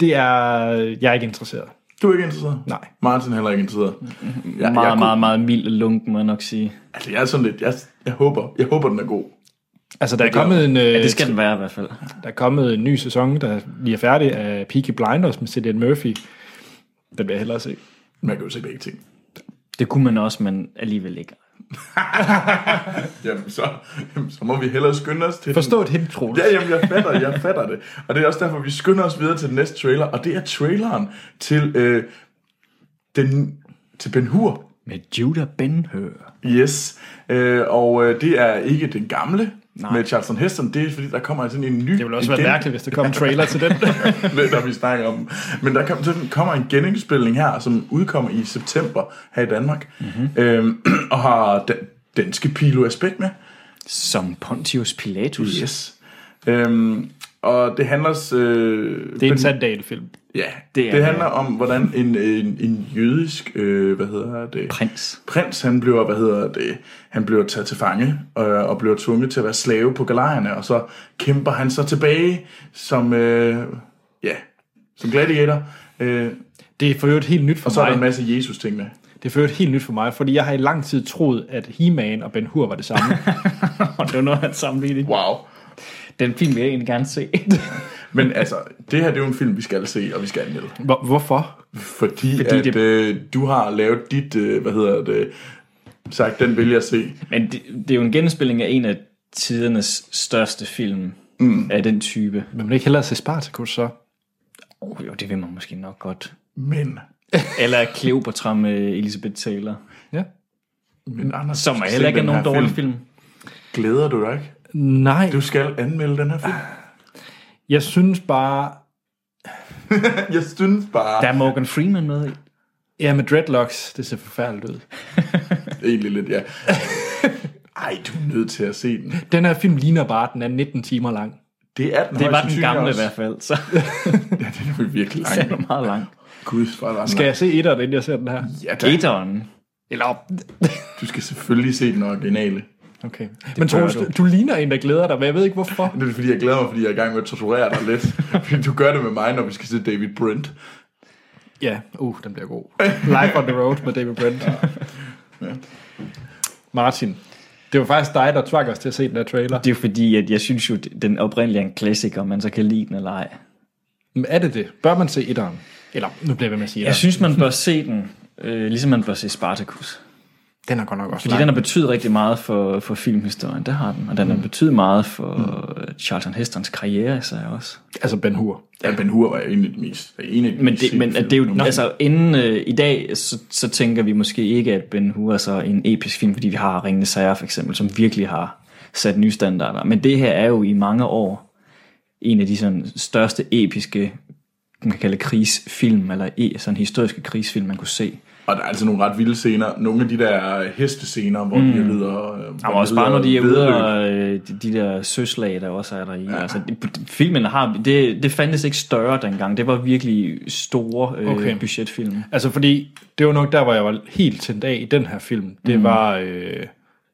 det er... Jeg er ikke interesseret.
Du er ikke interesseret?
Nej.
Martin er heller ikke interesseret. Jeg, jeg,
Mm-hmm. Meget,
kunne-
meget, meget mild og lunken, må jeg nok sige.
Altså, jeg er sådan lidt... Jeg, jeg, håber, jeg håber, den er god.
Altså, der er kommet en, øh,
Ja, det skal den være i hvert fald.
der er kommet en ny sæson, der lige er færdig af Peaky Blinders med Cillian Murphy. Den vil jeg hellere se.
Man kan jo se begge ting.
Det kunne man også, men alligevel ikke.
Jamen, så, jamen, så må vi hellere skynde os til den.
Forstå et hint, Troels.
Ja, jamen, jeg fatter, jeg fatter det. Og det er også derfor, vi skynder os videre til den næste trailer, og det er traileren til, øh, den, til Ben Hur.
Med Judah Ben-Hur.
Yes, øh, og øh, det er ikke den gamle Nej.
Nej.
med Charlton Heston, det er fordi, der kommer altså sådan en ny...
Det ville også være mærkeligt, hvis der kom en trailer til den.
mærkeligt. når vi snakker om den. Men der kom, sådan, kommer en genindspilning her, som udkommer i september her i Danmark,
Mhm.
mm-hmm. øhm, og har den, danske Pilo Aspekt med.
Som Pontius Pilatus.
Yes. Øhm, og det handler... Øh,
Det er en Sandal-film.
Ja,
Det
det,
er-
det handler om, hvordan en, en, en jødisk, øh, hvad hedder det?
Prins.
Prins, han bliver, hvad hedder det, han bliver taget til fange øh, og bliver tvunget til at være slave på galejerne, og så kæmper han så tilbage som, øh, ja, som gladiator. Øh,
Det er for øvrigt helt nyt for
og så er der en
mig.
masse Jesus-ting med.
Det er for øvrigt helt nyt for mig, fordi jeg har i lang tid troet, at He-Man og Ben Hur var det samme.
Og det var noget af en sammenligning.
Wow.
Den film vil jeg egentlig gerne se.
Men altså, det her det er jo en film, vi skal se, og vi skal anmelde.
Hvor, hvorfor?
Fordi, Fordi at
det-
det... øh, du har lavet dit, øh, hvad hedder det, sagt, den vil jeg se.
Men det, det er jo en genspilling af en af tidernes største film. mm. af den type.
Vil man ikke hellere se Spartacus så?
Oh, jo, det vil man måske nok godt.
Men,
Eller Cleopatra med Elizabeth Taylor,
Ja.
men Anders,
som
du skal
heller
se
ikke er
den
nogen
her
dårlig film. film.
Glæder du dig ikke?
Nej,
Du skal anmelde den her film.
jeg synes bare,
Jeg synes bare,
Der er Morgan Freeman med i.
ja med dreadlocks, det ser forfærdeligt ud.
egentlig lidt, ja. Ej, du er nødt til at se den.
Den her film ligner bare, at den er 19 timer lang.
Det er den
Det
højst
var den
sandsynligt
gamle i
også.
hvert fald, så
Ja, den er jo virkelig
den
lang.
er meget lang.
Gud, hvor er der
Skal jeg se etteren, inden jeg ser den her?
Ja, da.
Gateren.
Eller
Du skal selvfølgelig se den originale.
Okay. Men
bør
Troels,
du.
du. du ligner en, der glæder dig, men jeg ved ikke hvorfor.
Det er fordi, jeg glæder mig, fordi jeg er i gang med at torturere dig lidt. Fordi du gør det med mig, når vi skal se David Brent.
Ja, uh, den bliver god. Life on the Road med David Brent. Martin, det var faktisk dig, der tvang os til at se den her trailer.
Det er jo fordi, at jeg synes jo, den oprindelige er en klassiker, om man så kan lide den eller ej.
Men er det det? Bør man se etteren? Eller, nu bliver jeg ved med at sige
Jeg
etteren.
synes, man bør se den, øh, ligesom man bør se Spartacus.
Den er godt nok også
Fordi den har betydet rigtig meget for, for filmhistorien, det har den. Og den har betydet meget for øh, Charlton Hestons karriere, så jeg også.
Altså Ben Hur.
Ja, Ben Hur var egentlig det mest. er En af de
Men
mest
det,
sete
men at
film.
det er jo,
Nå,
altså inden øh, i dag, så, så tænker vi måske ikke, at Ben Hur er så en episk film, fordi vi har Ringende Sager for eksempel, som virkelig har sat nye standarder. Men det her er jo i mange år en af de sådan, største episke, man kan kalde krigsfilm, eller e, sådan historiske krigsfilm, man kunne se.
Og der er altså nogle ret vilde scener. Nogle af de der hestescener, hvor mm. de rider... øh, hvor
Og også
rider
bare når de er ude
væddeløb.
og øh, de, de der søslag, der også er der i. Ja. Altså, det, filmen har, det, det fandtes ikke større dengang. Det var virkelig store øh,
Okay.
okay. budgetfilm.
Altså fordi, det var nok der, hvor jeg var helt tændt af i den her film. Det mm. var øh,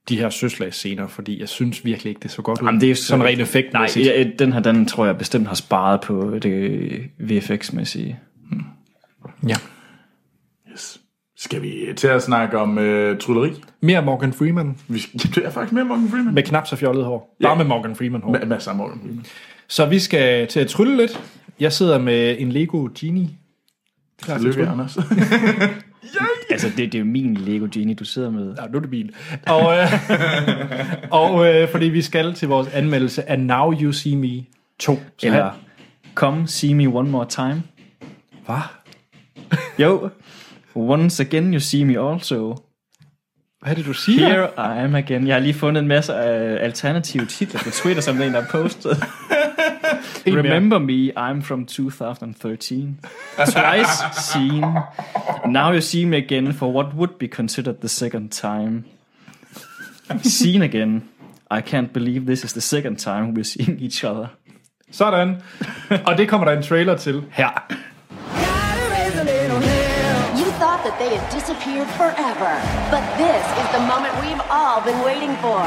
de her søslagsscener, fordi jeg synes virkelig ikke, det så godt ud.
Jamen, det er jo så-
sådan rent effekt.
Nej, ja, den her, den tror jeg bestemt har sparet på det VFX-mæssige.
ja.
Yes. Skal vi til at snakke om øh, trylleri?
Mere Morgan Freeman
Vi skal, det er faktisk mere Morgan Freeman.
med knap så fjollet hår. Bare
Ja.
med Morgan Freeman hår.
Hvad- Hvad er samme Morgan Freeman?
Så vi skal til at trylle lidt. Jeg sidder med en Lego Genie. Klar til at
Lykke,
trylle.
Anders.
Altså, det, det er jo min Lego Genie, du sidder med.
Ja, nu er det min. Og, øh, og øh, fordi vi skal til vores anmeldelse af Now You See Me 2. Så
Eller, come see me one more time.
hvad?
Jo, once again you see me also.
Hvad er det, du siger?
Here I am again. Jeg har lige fundet en masse af alternative titler på Twitter, som en, der har postet.
mere.
Remember me, I'm from 2013. Twice seen. Now you see me again for what would be considered the second time. Seen again. I can't believe this is the second time we're seeing each other.
Sådan. Og det kommer der en trailer til her.
You thought that they had disappeared forever, but this is the moment we've all been waiting for.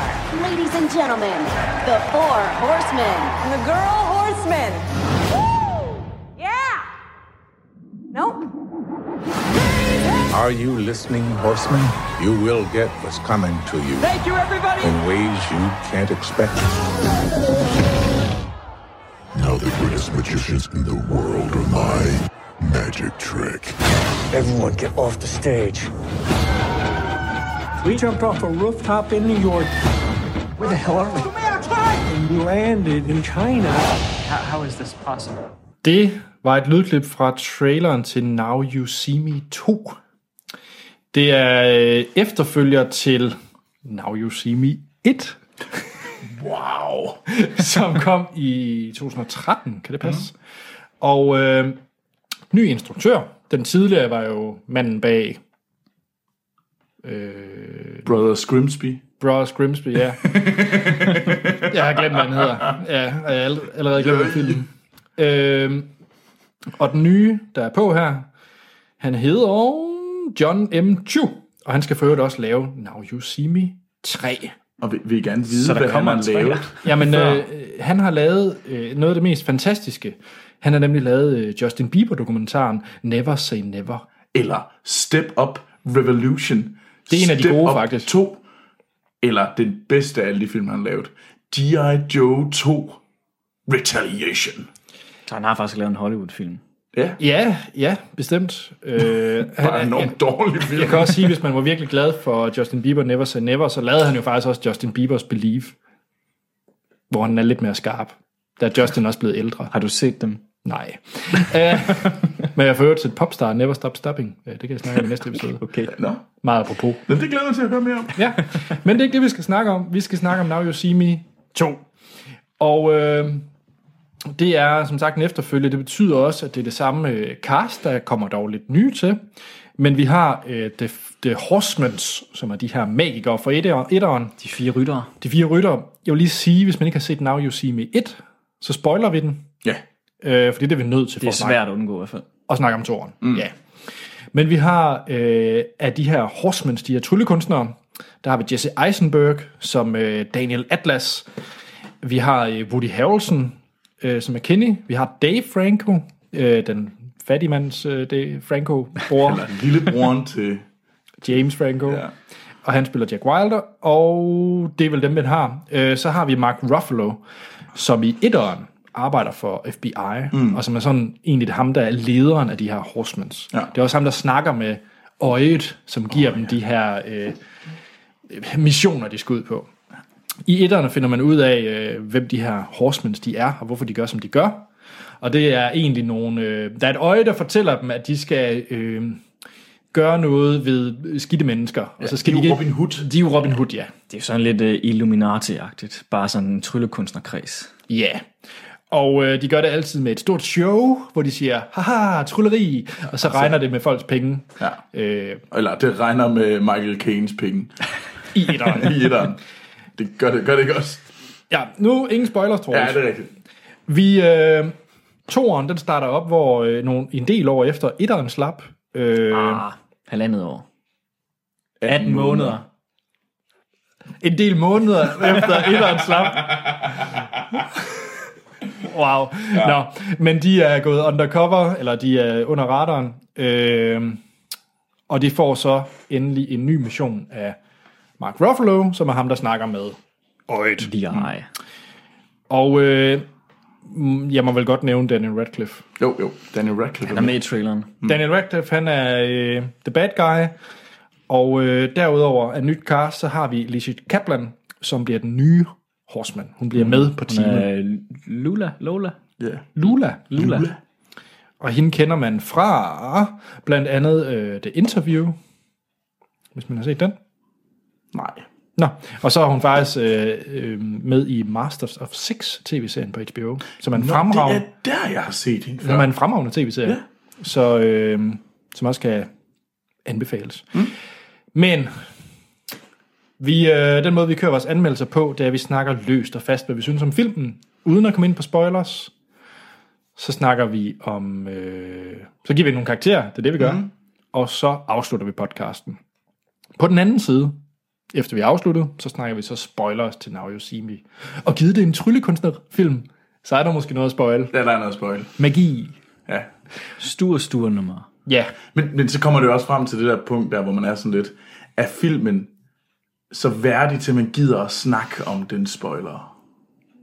Ladies and gentlemen, the four horsemen.
And the girl horsemen. Woo! Yeah! Nope.
Are you listening, horseman? You will get what's coming to you. Thank you, everybody! In ways you can't expect.
Now the greatest magicians in the world are my magic trick.
Everyone get off the stage.
We jumped off a rooftop in New York. Where the hell are we? And we landed in China.
How is this possible?
Det var et lydklip fra traileren til Now You See Me 2. Det er øh, efterfølger til Now You See Me 1,
Wow.
som kom i 2013. Kan det passe? Mm. Og øh, ny instruktør. Den tidligere var jo manden bag øh,
Brother Grimsby.
Bros Grimsby, ja. jeg har glemt, hvad han hedder. Ja, og jeg har all- allerede glemt hvad filmen. Øhm, og den nye, der er på her, han hedder John M. Chu, og han skal for øvrigt også lave Now You See Me 3.
Og vi vil I gerne vide,
Så der
hvad han
kommer
har
en trailer.
lavet.
Jamen, øh, han har lavet øh, noget af det mest fantastiske. Han har nemlig lavet øh, Justin Bieber-dokumentaren Never Say Never.
Eller Step Up Revolution.
Det er en af de
Step
gode,
Up
faktisk.
2. Eller den bedste af alle de film, han har lavet. G.I. Joe 2. Retaliation.
Så han har faktisk lavet en Hollywood-film.
Ja,
Ja, ja, bestemt. Øh, han,
bare en enormt dårlig film.
Jeg kan også sige, hvis man var virkelig glad for Justin Bieber Never Say Never, så lavede han jo faktisk også Justin Bieber's Believe, hvor han er lidt mere skarp. Der er Justin også blevet ældre.
Har du set dem?
Nej. Øh, Men jeg har fået til popstar Never Stop Stopping. Øh, Det kan jeg snakke om i næste episode.
Okay.
Nå,
Meget apropos.
men det glæder jeg mig til at høre mere om.
Ja, men det er ikke det, vi skal snakke om. Vi skal snakke om Now You See Me 2. Og øh, det er som sagt en efterfølge. Det betyder også, at det er det samme øh, cast, der kommer dog lidt nye til. Men vi har øh, The, The Horsemans, som er de her magikere fra etter- etteren.
De fire ryttere.
De fire ryttere. Jeg vil lige sige, hvis man ikke har set Now You See Me 1, så spoiler vi den.
Ja.
Øh, fordi det er vi nødt til
Det
for
er
at snakke
svært at undgå i hvert fald.
og snakke om toren. Mm. Ja. Men vi har øh, af de her horsemans, de her tryllekunstnere, der har vi Jesse Eisenberg som øh, Daniel Atlas. Vi har øh, Woody Harrelson øh, som er Kenny. Vi har Dave Franco, øh, den fattigmands øh, Dave Franco, bror
Eller lillebroren til...
James Franco.
Ja.
Og han spiller Jack Wilder, og det er vel dem, den har. Øh, så har vi Mark Ruffalo, som i etteren arbejder for FBI, mm. og som er sådan egentlig det ham, der er lederen af de her Horsemans.
Ja.
Det er også ham, der snakker med øjet, som giver oh, dem de her øh, missioner, de skal ud på. I etterne finder man ud af, øh, hvem de her Horsemans de er, og hvorfor de gør, som de gør. Og det er egentlig nogle... Øh, der er et øje, der fortæller dem, at de skal... Øh, gøre noget ved skidte mennesker. Ja, og så skal
de er jo
ikke-
Robin Hood.
De er jo Robin Hood, ja.
Det er jo sådan lidt uh, Illuminati-agtigt. Bare sådan en tryllekunstnerkreds.
Ja. Og øh, de gør det altid med et stort show, hvor de siger, haha, trylleri, og så regner det med folks penge
Ah, Ja.
øh,
Eller det regner med Michael Caines penge
i etteren.
i etteren. Det gør det, gør det ikke også?
ja, nu ingen spoilers, tror
Ja,
jeg.
det er rigtigt.
Vi, øh, toren, den starter op, hvor øh, nogle, en del år efter etteren slap. Øh, ah.
Ah, halvandet år.
18
En del måneder efter etteren slap. Wow. Ja. Nå, men de er gået undercover, eller de er under radaren, øh, og de får så endelig en ny mission af Mark Ruffalo, som er ham, der snakker med.
Øjet. De
Mm.
er
Og øh, mm, jeg må vel godt nævne Daniel Radcliffe.
Jo, jo. Daniel Radcliffe.
Han er med i traileren.
Mm. Daniel Radcliffe, han er øh, the bad guy, og øh, derudover af nyt cast, så har vi Alicia Kaplan, som bliver den nye Horseman. Hun bliver med på
Hun
teamet.
er Øh, Lula, Lola,
Ja.
Lula. Mm.
Lula.
Lula.
Og hende kender man fra blandt andet øh, The Interview, hvis man har set den.
Nej.
Nå, og så er hun faktisk øh, øh, med i Masters of Six tv-serien på HBO, som er en,
Det
fremragende,
er der, jeg har set hende
som
før.
er en fremragende tv-serie, ja. så, øh, som også kan anbefales. Mm. Men vi, øh, den måde, vi kører vores anmeldelser på, det er, at vi snakker løst og fast, hvad vi synes om filmen, uden at komme ind på spoilers. Så snakker vi om... Øh, så giver vi nogle karakterer, det er det, vi gør. Mm. Og så afslutter vi podcasten. På den anden side, efter vi er afsluttet, så snakker vi så spoilers til Now You See Me. Og givet det en tryllekunstnerfilm, så er der måske noget at spoil.
Ja, der er noget spoil.
Magi.
Ja.
Stur, stur nummer.
Ja,
Men, men så kommer det jo også frem til det der punkt der, hvor man er sådan lidt, er filmen så værdig til, at man gider at snakke om den spoiler?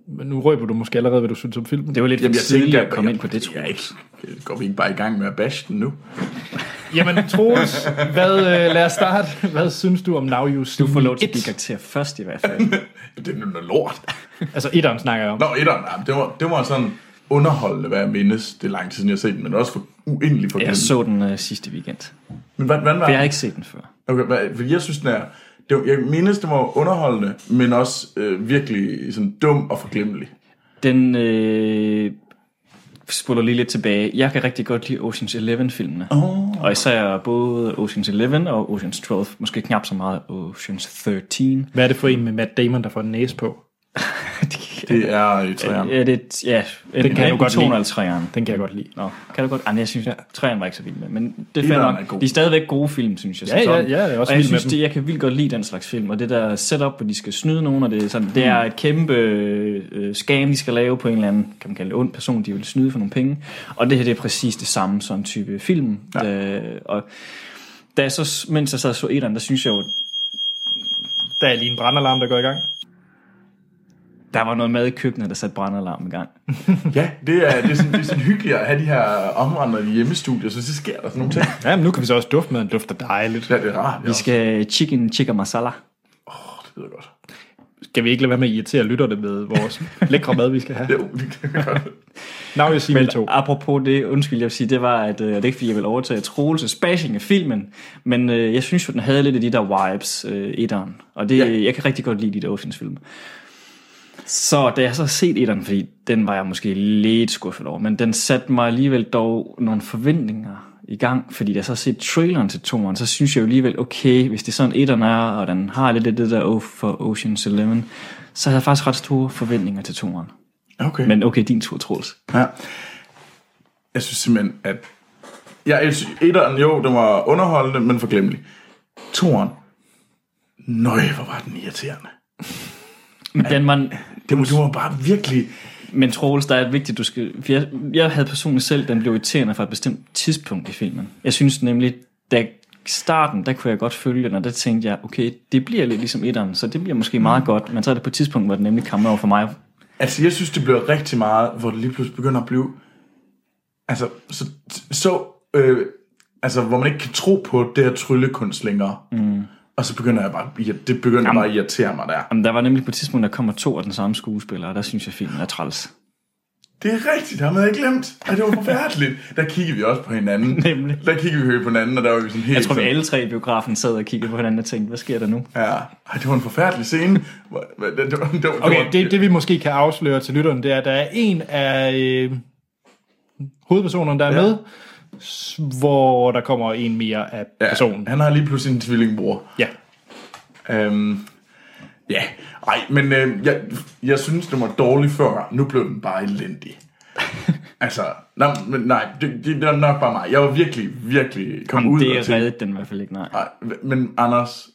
men nu røber du måske allerede, hvad du synes om filmen.
Det var lidt for
Jamen, jeg
tidligt
tænker,
at komme ind på det, tror
tror jeg
jeg.
ikke. Det Går vi ikke bare i gang med at bashe den nu?
Jamen, Troels, hvad, øh, lad os starte. Hvad synes du om Now You See
Du får lov til at
Me
give
1?
karakter først i hvert fald.
Det er noget lort.
Altså, etteren snakker jeg om.
Nå, etteren, ja, det var, det var sådan underholdende, hvad jeg mindes. Det er lang tid siden, jeg har set den, men også for uendelig for
Jeg så den uh, sidste weekend.
Men hvad, hvad var
For jeg har ikke set den før.
Okay, hvad, fordi jeg synes, den er... Det var, jeg mindes, den var underholdende, men også øh, virkelig sådan dum og forglemmelig.
Den øh, spoler lige lidt tilbage. Jeg kan rigtig godt lide Ocean's Eleven-filmene. Oh. Og især både Ocean's Eleven og Ocean's 12. Måske knap så meget Ocean's 13.
Hvad er det for en med Matt Damon, der får en næse på?
Det er øh, træerne.
Ja, det, ja,
Den kan du godt lide.
203'eren.
Den kan jeg godt lide.
Nå, kan du godt? Ej, men jeg synes, ja. træerne var ikke så vild med, men det er fair
Etteren er
nok.
god.
De er stadigvæk gode film, synes jeg. som
Ja, ja,
sådan.
ja, jeg er også
og jeg
vild med
synes,
dem.
det, jeg kan vildt godt lide den slags film, og det der setup, hvor de skal snyde nogen, og det, er sådan, det er et kæmpe øh, scam, de skal lave på en eller anden, kan man kalde det, ond person, de vil snyde for nogle penge. Og det her, det er præcis det samme sådan type film. Ja. Øh, og da jeg så, s- mens jeg sad og så etteren, der synes jeg jo,
Der er lige en brandalarm, der går i gang.
der var noget mad i køkkenet, der satte brandalarm i gang.
Ja, det er, det, er sådan, det er sådan hyggeligt at have de her omrendende hjemmestudier, så det sker der sådan nogle ting.
Ja, men nu kan vi så også dufte med, den dufter dejligt.
Ja, det er rart.
Vi skal chicken chicken masala.
Det lyder godt.
Skal vi ikke lade være med at irritere lytterne med vores lækre mad, vi skal have?
jo, det kan jeg godt.
Now you see me
Men
too.
apropos det, undskyld, jeg vil sige, det var, at øh, det er ikke fordi, jeg vil overtage Troelses bashing af filmen, men øh, jeg synes jo, den havde lidt af de der vibes, øh, etteren. Og det,
Ja.
ja. jeg kan rigtig godt lide de der Oceans-film. Så da jeg så har set etteren, fordi den var jeg måske lidt skuffet over, men den satte mig alligevel dog nogle forventninger i gang, fordi da jeg så har set traileren til toeren, så synes jeg jo alligevel, okay, hvis det er sådan etteren er, og den har lidt af det der O for Ocean's Eleven, så havde jeg faktisk ret store forventninger til toeren.
Okay.
Men okay, din tur, Troels.
Ja. Jeg synes simpelthen, at... Ja, jeg synes, etteren, jo, den var underholdende, men forglemmelig. Toren. Nøj, hvor var den irriterende.
Men den var,
Det var, det var bare virkelig...
Men Troels, der er vigtigt, du skal... For jeg, jeg havde personligt selv, den blev irriterende fra et bestemt tidspunkt i filmen. Jeg synes nemlig, da starten, der kunne jeg godt følge den, og der tænkte jeg, okay, det bliver lidt ligesom etteren, så det bliver måske meget godt, men så er det på et tidspunkt, hvor den nemlig kom over for mig.
Altså, jeg synes, det bliver rigtig meget, hvor det lige pludselig begynder at blive... Altså, så... så øh, altså, hvor man ikke kan tro på det her tryllekunst længere. Mm. Og så begynder jeg bare... ja, Det begynder Jamen. bare at irritere mig der.
Jamen, der var nemlig på et tidspunkt, der kommer to af den samme skuespiller, og der synes jeg, filmen er træls.
Det er rigtigt, ham havde jeg glemt. Og det var forfærdeligt. Der kiggede vi også på hinanden.
Nemlig.
Der kiggede vi på hinanden, og der var vi sådan helt...
Jeg tror, vi
sådan-
alle tre i biografen sad og kiggede på hinanden og tænkte, hvad sker der nu?
Ja, Ej, det var en forfærdelig scene. Hvor- hvad- Det, det, var- det, var-
Okay,
det,
det, det vi måske kan afsløre til lytterne, det er, at der er en af øh, hovedpersonerne, der er
Ja.
ja. med, s- hvor der kommer en mere af ja. personen.
ja, han har lige pludselig en tvillingbror.
Ja.
Øhm, ja, ej, men øh, jeg, jeg synes, den var dårlig før. Nu blev den bare elendig. altså, nej, men, nej det, det, det var nok bare mig. Jeg var virkelig, virkelig kom
Jamen,
ud
det
og tænkte,
reddede den i hvert fald ikke, nej.
nej, men Anders,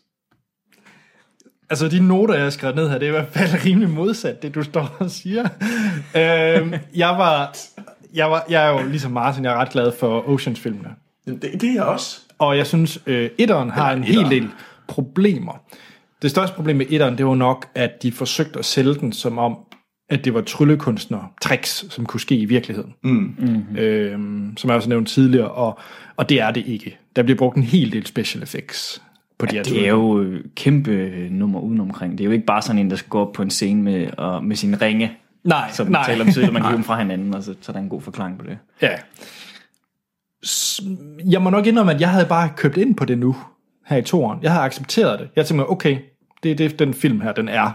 Altså, de noter, jeg har skrevet ned her, det er i hvert fald rimelig modsat, det du står og siger. øhm, jeg var... Jeg, var, jeg er jo ligesom Martin, jeg er ret glad for Oceans-filmene.
det, det er jeg også.
Og jeg synes, øh, etteren har en hel del problemer. Det største problem med etteren, det var nok, at de forsøgte at sælge den som om, at det var tryllekunstnere, tricks, som kunne ske i virkeligheden. Mm. Mm-hmm. Øhm, som jeg også nævnte tidligere, og, og det er det ikke. Der bliver brugt en hel del special effects på de her
Det er jo øh, kæmpe øh, nummer udenomkring. Det er jo ikke bare sådan en, der skal gå op på en scene med, og, med sin ringe,
Nej,
som
nej.
taler om tidligere, man hiver dem fra hinanden, og så, så er der en god forklaring på det.
Ja. S- Jeg må nok indrømme, at jeg havde bare købt ind på det nu, her i toren. Jeg havde accepteret det. Jeg tænkte, mig, okay, det er det, den film her, den er.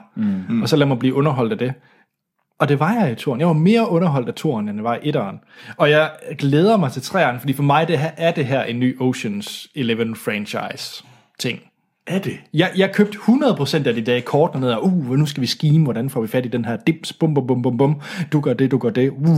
Mm. Og så lad mig blive underholdt af det. Og det var jeg i toren. Jeg var mere underholdt af toren, end jeg var i etteren. Og jeg glæder mig til træeren, fordi for mig det her, er det her en ny Ocean's Eleven franchise ting.
Er det?
Jeg, jeg købte 100% af de dage kortene ned, og uh, nu skal vi skime, hvordan får vi fat i den her dims, bum bum bum bum bum, du gør det, du gør det, uh.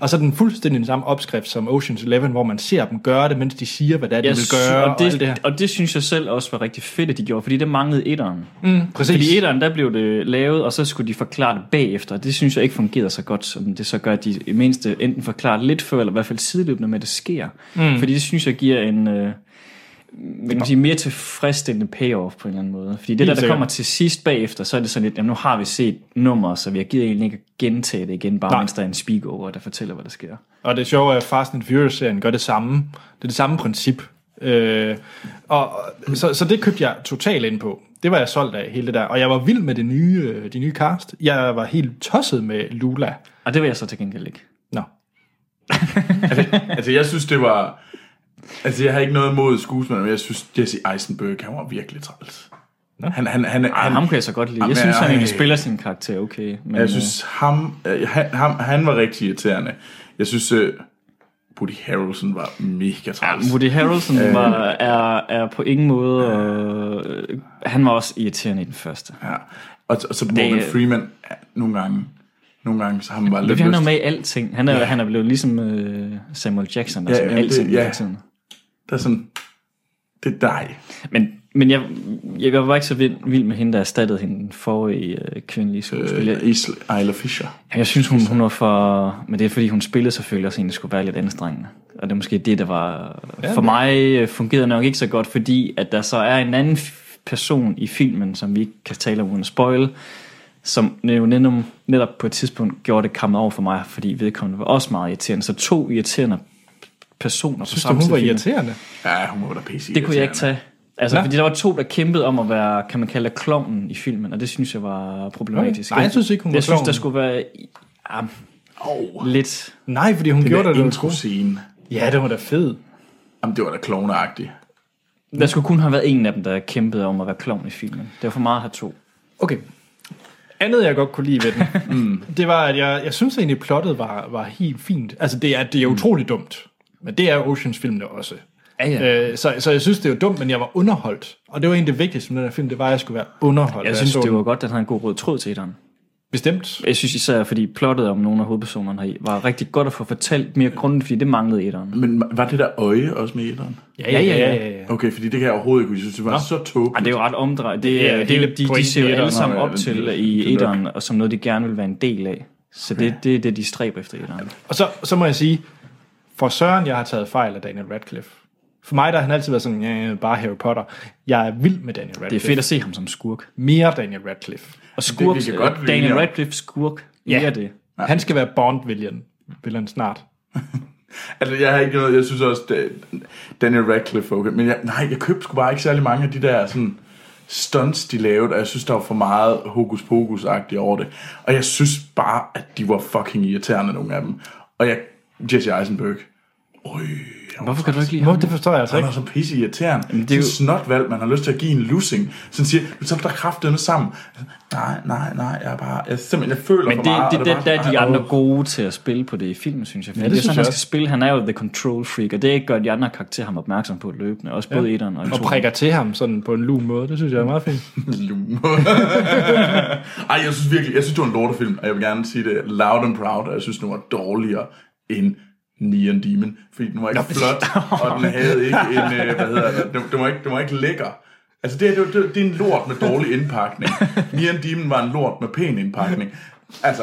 Og så den fuldstændig den samme opskrift som Ocean's Eleven, hvor man ser dem gøre det, mens de siger, hvad det er, de vil gøre, og,
og, det,
alt det her.
og det synes jeg selv også var rigtig fedt, at de gjorde, fordi det manglede etteren. Mm,
Præcis.
fordi etteren, der blev det lavet, og så skulle de forklare det bagefter. Det synes jeg ikke fungerede så godt, som det så gør, at de i mindste enten forklarer det lidt før, eller i hvert fald sideløbende med, at det sker. Mm. Fordi det synes jeg giver en... Øh, hvad kan man sige, mere tilfredsstillende payoff på en eller anden måde. Fordi det
Helt
der, der
sikkert.
kommer til sidst bagefter, så er det sådan lidt, jamen nu har vi set nummer, så vi har givet egentlig ikke at gentage det igen, bare
Nej.
Nej. mens der er en speak over, der fortæller, hvad der sker.
Og det sjove er, at Fast and Furious-serien gør det samme. Det er det samme princip. Øh, og, og- så, så det købte jeg totalt ind på. Det var jeg solgt af, hele det der. Og jeg var vild med det nye, øh, de nye cast. Jeg var helt tosset med Lula.
Og Ah, det vil jeg så til gengæld ikke.
Nå.
Altså, jeg synes, det var... Altså, jeg har ikke noget imod skuespilleren, men jeg synes, Jesse Eisenberg, han var virkelig træls. Han, han, han,
Ej,
han,
ham kan jeg så godt lide.
Jamen,
Jeg synes, han
ej.
egentlig spiller sin karakter okay. Men,
jeg synes, ham, øh, han, ham, han var rigtig irriterende. Jeg synes, øh, Woody Harrelson var mega træls.
øh, Woody Harrelson var, er, er på ingen måde... Øh, han var også irriterende i den første.
Ja. Og, og så Morgan
Det-
Freeman, ja, nogle gange, nogle gange, så har han bare
Det
lidt
er, han er
lyst.
med i alting. Han er, han er blevet ligesom øh, Samuel Jackson, der
Ja,
ja,
jamen, det-
sådan alting
ja.
ja. hele tiden.
Der er sådan, det er dig.
Men, men jeg, jeg, jeg var ikke så vild, vild med hende, der erstattede hende den forrige øh, kvindelige skuespiller.
Øh,
Øh,
Isla, Isla Fisher.
jeg synes, hun, hun var for... Men det er, fordi hun spillede selvfølgelig også en, der skulle være lidt anstrengende. Og det er måske det, der var... For mig øh, fungerede nok ikke så godt, fordi at der så er en anden f- person i filmen, som vi ikke kan tale om uden at spoil, som jo netop, netop på et tidspunkt gjorde det kommet over for mig, fordi vedkommende var også meget irriterende. Så to irriterende personer på
Synes
samme
du, hun
tid
var
i filmen.
irriterende?
Ja, hun var da pisse
Det kunne jeg ikke
irriterende.
tage. Altså,
Nå.
Nå. fordi der var to, der kæmpede om at være, kan man kalde det, klovnen i filmen, og det synes jeg var problematisk.
Okay. Nej, jeg synes ikke, hun var
Jeg synes, der
klovnen.
skulle være ja,
Oh,
lidt...
Nej, fordi hun
den
gjorde
der
det, det.
intro scene.
Ja, det var da fed.
Jamen, det var da klovneagtigt.
Mm. Der skulle kun have været en af dem, der kæmpede om at være klovn i filmen. Det var for meget at have to.
Okay. Andet, jeg godt kunne lide ved den, mm. det var, at jeg, jeg synes egentlig, plottet var, var helt fint. Altså, det er, det er utroligt dumt. Men det er Oceans-filmene også.
Mm. Ja, ja.
Øh, så, så jeg synes, det var dumt, men jeg var underholdt. Og det var egentlig det vigtigste med den her film, det var, at jeg skulle være underholdt.
Jeg
da
synes,
så
det
den.
var godt, at han havde en god rød tråd til den.
Bestemt.
Jeg synes især, fordi plottet om nogle af hovedpersonerne her var rigtig godt at få fortalt mere grundigt, fordi det manglede i etteren.
Men var det der øje også med i etteren?
Ja, ja, ja. ja,
Okay, fordi det kan jeg overhovedet ikke huske. Jeg synes, det var Nå. så
Ej,
tåbeligt.
det er jo ret omdrejet. Det,
Ja,
er,
det
det,
er
hele, de, de
pointen
ser jo
i
alle
etteren,
sammen
og-
op
ja,
til
det-
i
det er nok.
etteren, og som noget, de gerne vil være en del af. Så det, det er det, de stræber efter i etteren.
Og så, så må jeg sige, for Søren, jeg har taget fejl af Daniel Radcliffe. For mig der har han altid været sådan, ja, bare Harry Potter. Jeg er vild med Daniel
Det er
Radcliffe.
fedt at se ham som skurk.
Mere Daniel Radcliffe.
Og
Det-
skurk,
vi
det,
kan
det
godt
godt
blive
Daniel
enige om.
Radcliffe skurk, ja. mere det.
Han skal være Bond-villain villain snart.
Altså, jeg har ikke noget, jeg synes også, det, Daniel Radcliffe, er okay. Men jeg, nej, jeg købte sgu bare ikke særlig mange af de der sådan, stunts, de lavede, og jeg synes, der var for meget hokus pokus agtigt over det. Og jeg synes bare, at de var fucking irriterende, nogle af dem. Og jeg, Jesse Eisenberg, øj, han var-
Hvorfor kan du ikke lide
Hvor,
ham?
det forstår jeg altså
han
ikke.
var så pisse irriterende. Det er jo...
er jo-
snotvalg, man har lyst til at give en lussing. Sådan siger, du tager dig kraftedeme sammen. Altså, Nej, nej, nej, jeg er bare, jeg, er simpelthen, jeg føler
Men
for
det,
meget.
det,
og
det, det,
bare
der er
sådan,
de
ej,
andre
åh.
gode til at spille på det i filmen, synes jeg. Fordi ja, det, det er
synes
sådan, han
jeg
skal spille. Han er jo the control freak, og det er godt, de andre karakterer ham opmærksom på løbende. Også både ja. etteren og,
Og
toeren.
prikker til ham sådan på en lun måde. Det synes jeg er meget fint.
Lume. Ej, jeg synes virkelig, jeg synes, det var en lortefilm, og jeg vil gerne sige det loud and proud, og jeg synes, den var dårligere end Neon Demon, fordi den var ikke flot, og den havde ikke en, øh, hvad hedder det, den, den, var ikke, den var ikke lækker. Altså, det, her, det, var- det, det er en lort med dårlig indpakning. Neon Demon var en lort med pæn indpakning. Altså,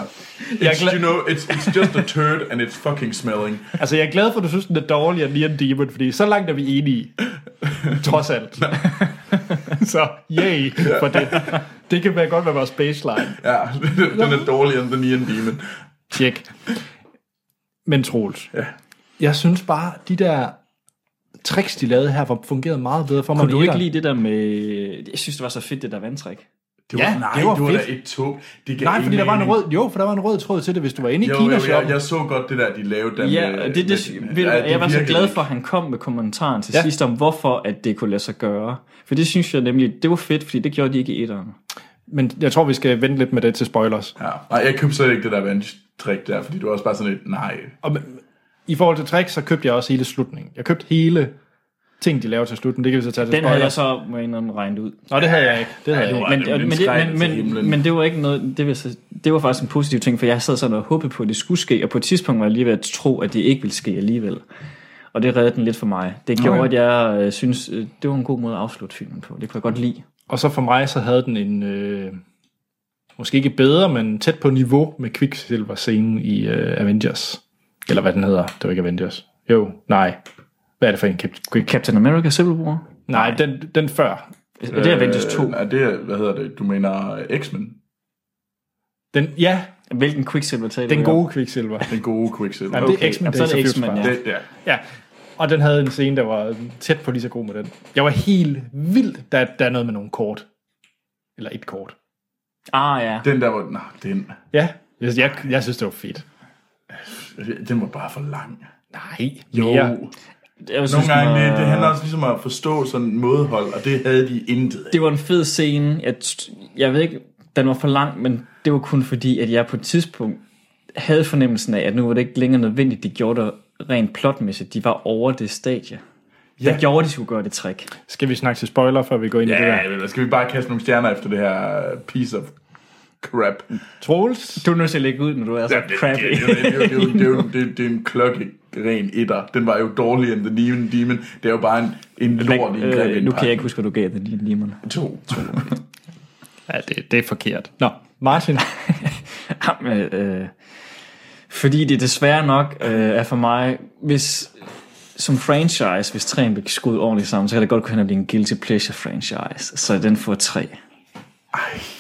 Jeg er
it's,
glad-
you know, it's, it's just a turd, and it's fucking smelling.
Altså, jeg er glad for, at du synes, den er dårlig at Neon Demon, fordi så langt er vi enige. Trods alt. så yay for det. Det kan være godt være vores baseline.
Ja, den er dårligere end The Neon Demon.
Tjek. Men Troels, ja. jeg synes bare, de der tricks, de lavede her, var fungeret meget bedre for mig.
Kunne
end
du ikke
etteren.
lide det der med... Jeg synes, det var så fedt, det der vandtræk.
Det var,
Ja,
nej,
det var
du var da
fedt.
et tog. Det gav
Nej, fordi
ingen
der var en
mening.
rød, jo, for der var en rød tråd til det, hvis du var inde i
Jo,
Kina
jo, jeg,
shoppen.
jeg så godt det der, de lavede den.
Ja,
øh,
og det, det,
med-
ved du,
ja, det
jeg var så
virkede
glad
ikke.
for, at han kom med kommentaren til
Ja.
ja. sidst om, hvorfor at det kunne lade sig gøre. For det synes jeg nemlig, det var fedt, fordi det gjorde de ikke i etteren.
Men jeg tror, vi skal vente lidt med det til spoilers.
Ja. Nej, jeg købte slet ikke det der vandtrik der, fordi det var også bare sådan et, nej.
Og men- i forhold til tricks, så købte jeg også hele slutningen. Jeg købte hele ting, de laver til slutningen. Det kan vi så tage til
Den havde jeg
spoilers.
så med en eller anden regnet ud.
Nå, det havde jeg ikke. Det havde jeg
det
ikke.
var- nemlig
Men, men,
en
men,
skræk
det,
til
men,
himlen.
men, men det var ikke noget, det, vil, jeg så- det var faktisk en positiv ting, for jeg sad sådan og håbede på, at det skulle ske, og på et tidspunkt var jeg lige ved at tro, at det ikke ville ske alligevel. Og det reddede den lidt for mig. Det gjorde, okay. at jeg øh, synes, øh, det var en god måde at afslutte filmen på. Det kunne jeg godt lide.
Og så for mig, så havde den en... Øh, måske ikke bedre, men tæt på niveau med Quicksilver-scenen i øh, Avengers. Eller hvad den hedder. Det var ikke Avengers. Jo, nej. Hvad er det for en? Cap- Quick?
Captain America Civil War?
Nej, den, den før.
Er det Avengers 2?
Er Øh, det, hvad hedder det, du mener øh, X-Men?
Den, ja,
Hvilken Quicksilver taler
den
vi om?
gode Quicksilver.
Den gode Quicksilver.
Jamen, det
Okay,
er X-Men,
jamen, så er det
Days of
X-Men,
Future
ja.
det, ja.
Past. ja. Og den havde en scene, der var tæt på lige så god med den. Jeg var helt vildt, da der er noget med nogle kort. Eller et kort.
Ah ja.
Den der var, nej, den,
Ja, jeg, jeg, jeg synes, det var fedt.
den var bare for lang.
Nej,
Jo,
mere.
Jeg synes,
nogle
den
gange,
var-
det, det handler også ligesom om at forstå sådan et modhold, og det havde de intet. af.
det var en fed scene. Jeg, jeg ved ikke, den var for lang, men det var kun fordi, at jeg på et tidspunkt havde fornemmelsen af, at nu var det ikke længere nødvendigt, de gjorde det rent plotmæssigt. De var over det stadie. Ja. Der gjorde, de skulle gøre det trick.
Skal vi snakke til spoiler, før vi går ind i det
Ja,
der?
jeg ved det. skal vi bare kaste nogle stjerner efter det her øh, piece of crap?
Troels?
Du er nødt til at lægge ud, når du er så
Jamen, det-
crappy.
det- det- det- det- det- det- det- Det er en klokke ren etter. Den var jo dårligere end The Neon Demon. Det er jo bare en, en lort i en grim
øh, nu kan jeg ikke
indpakning.
huske, hvad du gav den lille limon.
To.
Ja, det, det er forkert. Nå, Martin.
Jamen, øh, fordi det desværre nok øh, er for mig, hvis som franchise, hvis træen bliver skudt ordentligt sammen, så kan det godt gå hen og blive en guilty pleasure franchise. Så den får tre.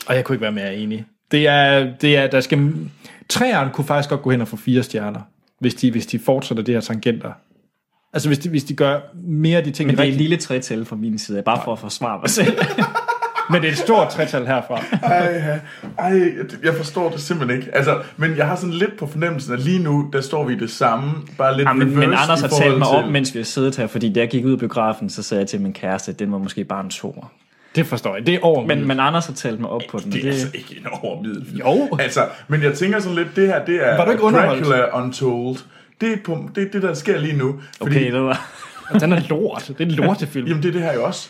Og jeg kunne ikke være mere enig. Det er, det er, der skal... Træerne kunne faktisk godt gå hen og få fire stjerner, hvis de, hvis de fortsætter det her tangenter. Altså hvis de, hvis de gør mere af de ting, de
Men det er et
rigtigt-
lille tretal fra min side, bare for at forsvare mig selv.
men det er et stort tretal herfra.
Ej, ja. ej, jeg forstår det simpelthen ikke. Altså, men jeg har sådan lidt på fornemmelsen, at lige nu, der står vi i det samme, bare lidt
Ja, men, men
reverse
Anders
i
har
forhold
talt mig
til-
op, mens vi har siddet her, fordi da jeg gik ud af biografen, så sagde jeg til min kæreste, at den var måske bare en toer.
Det forstår jeg. Det er over
Men, men Anders har talt mig op på den.
Mm. Det er
og
altså ikke en overmiddel.
Jo.
Altså, men jeg tænker sådan lidt, det her, det er
Var du ikke underholdt?
Dracula Untold. Det er, på, det, er det, der sker lige nu. Fordi,
Okay, det var...
Altså, Den er lort. Det er en lortefilm.
Jamen, det er det her jo også.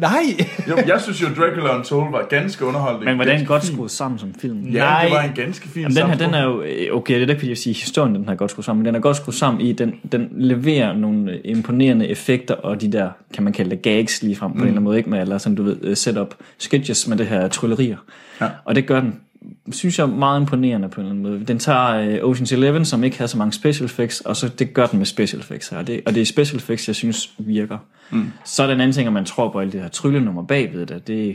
Nej!
Jo, jeg synes jo, Dracula Untold var ganske underholdende.
Men hvordan
Ganske
godt
fin.
skruet sammen som film?
Ja, Nej. det var en ganske fin
Jamen, den her, den er
samtale.
jo, øh, okay, det er da ikke, fordi jeg vil sige, historien den har godt skruet sammen, men den er godt skruet sammen i, den, den leverer nogle øh, imponerende effekter, og de der, kan man kalde det gags lige frem på mm. en eller anden måde, ikke? Med, eller sådan, du ved, øh, setup sketches med det her tryllerier. Ja. Og det gør den, synes jeg, meget imponerende på en eller anden måde. Den tager øh, Ocean's Eleven, som ikke havde så mange special effects, og så det gør den med special effects her. Og det, og det er special effects, jeg synes virker. Mm. Så er der en anden ting, at man tror på alle de her tryllenummer bagved det. Det er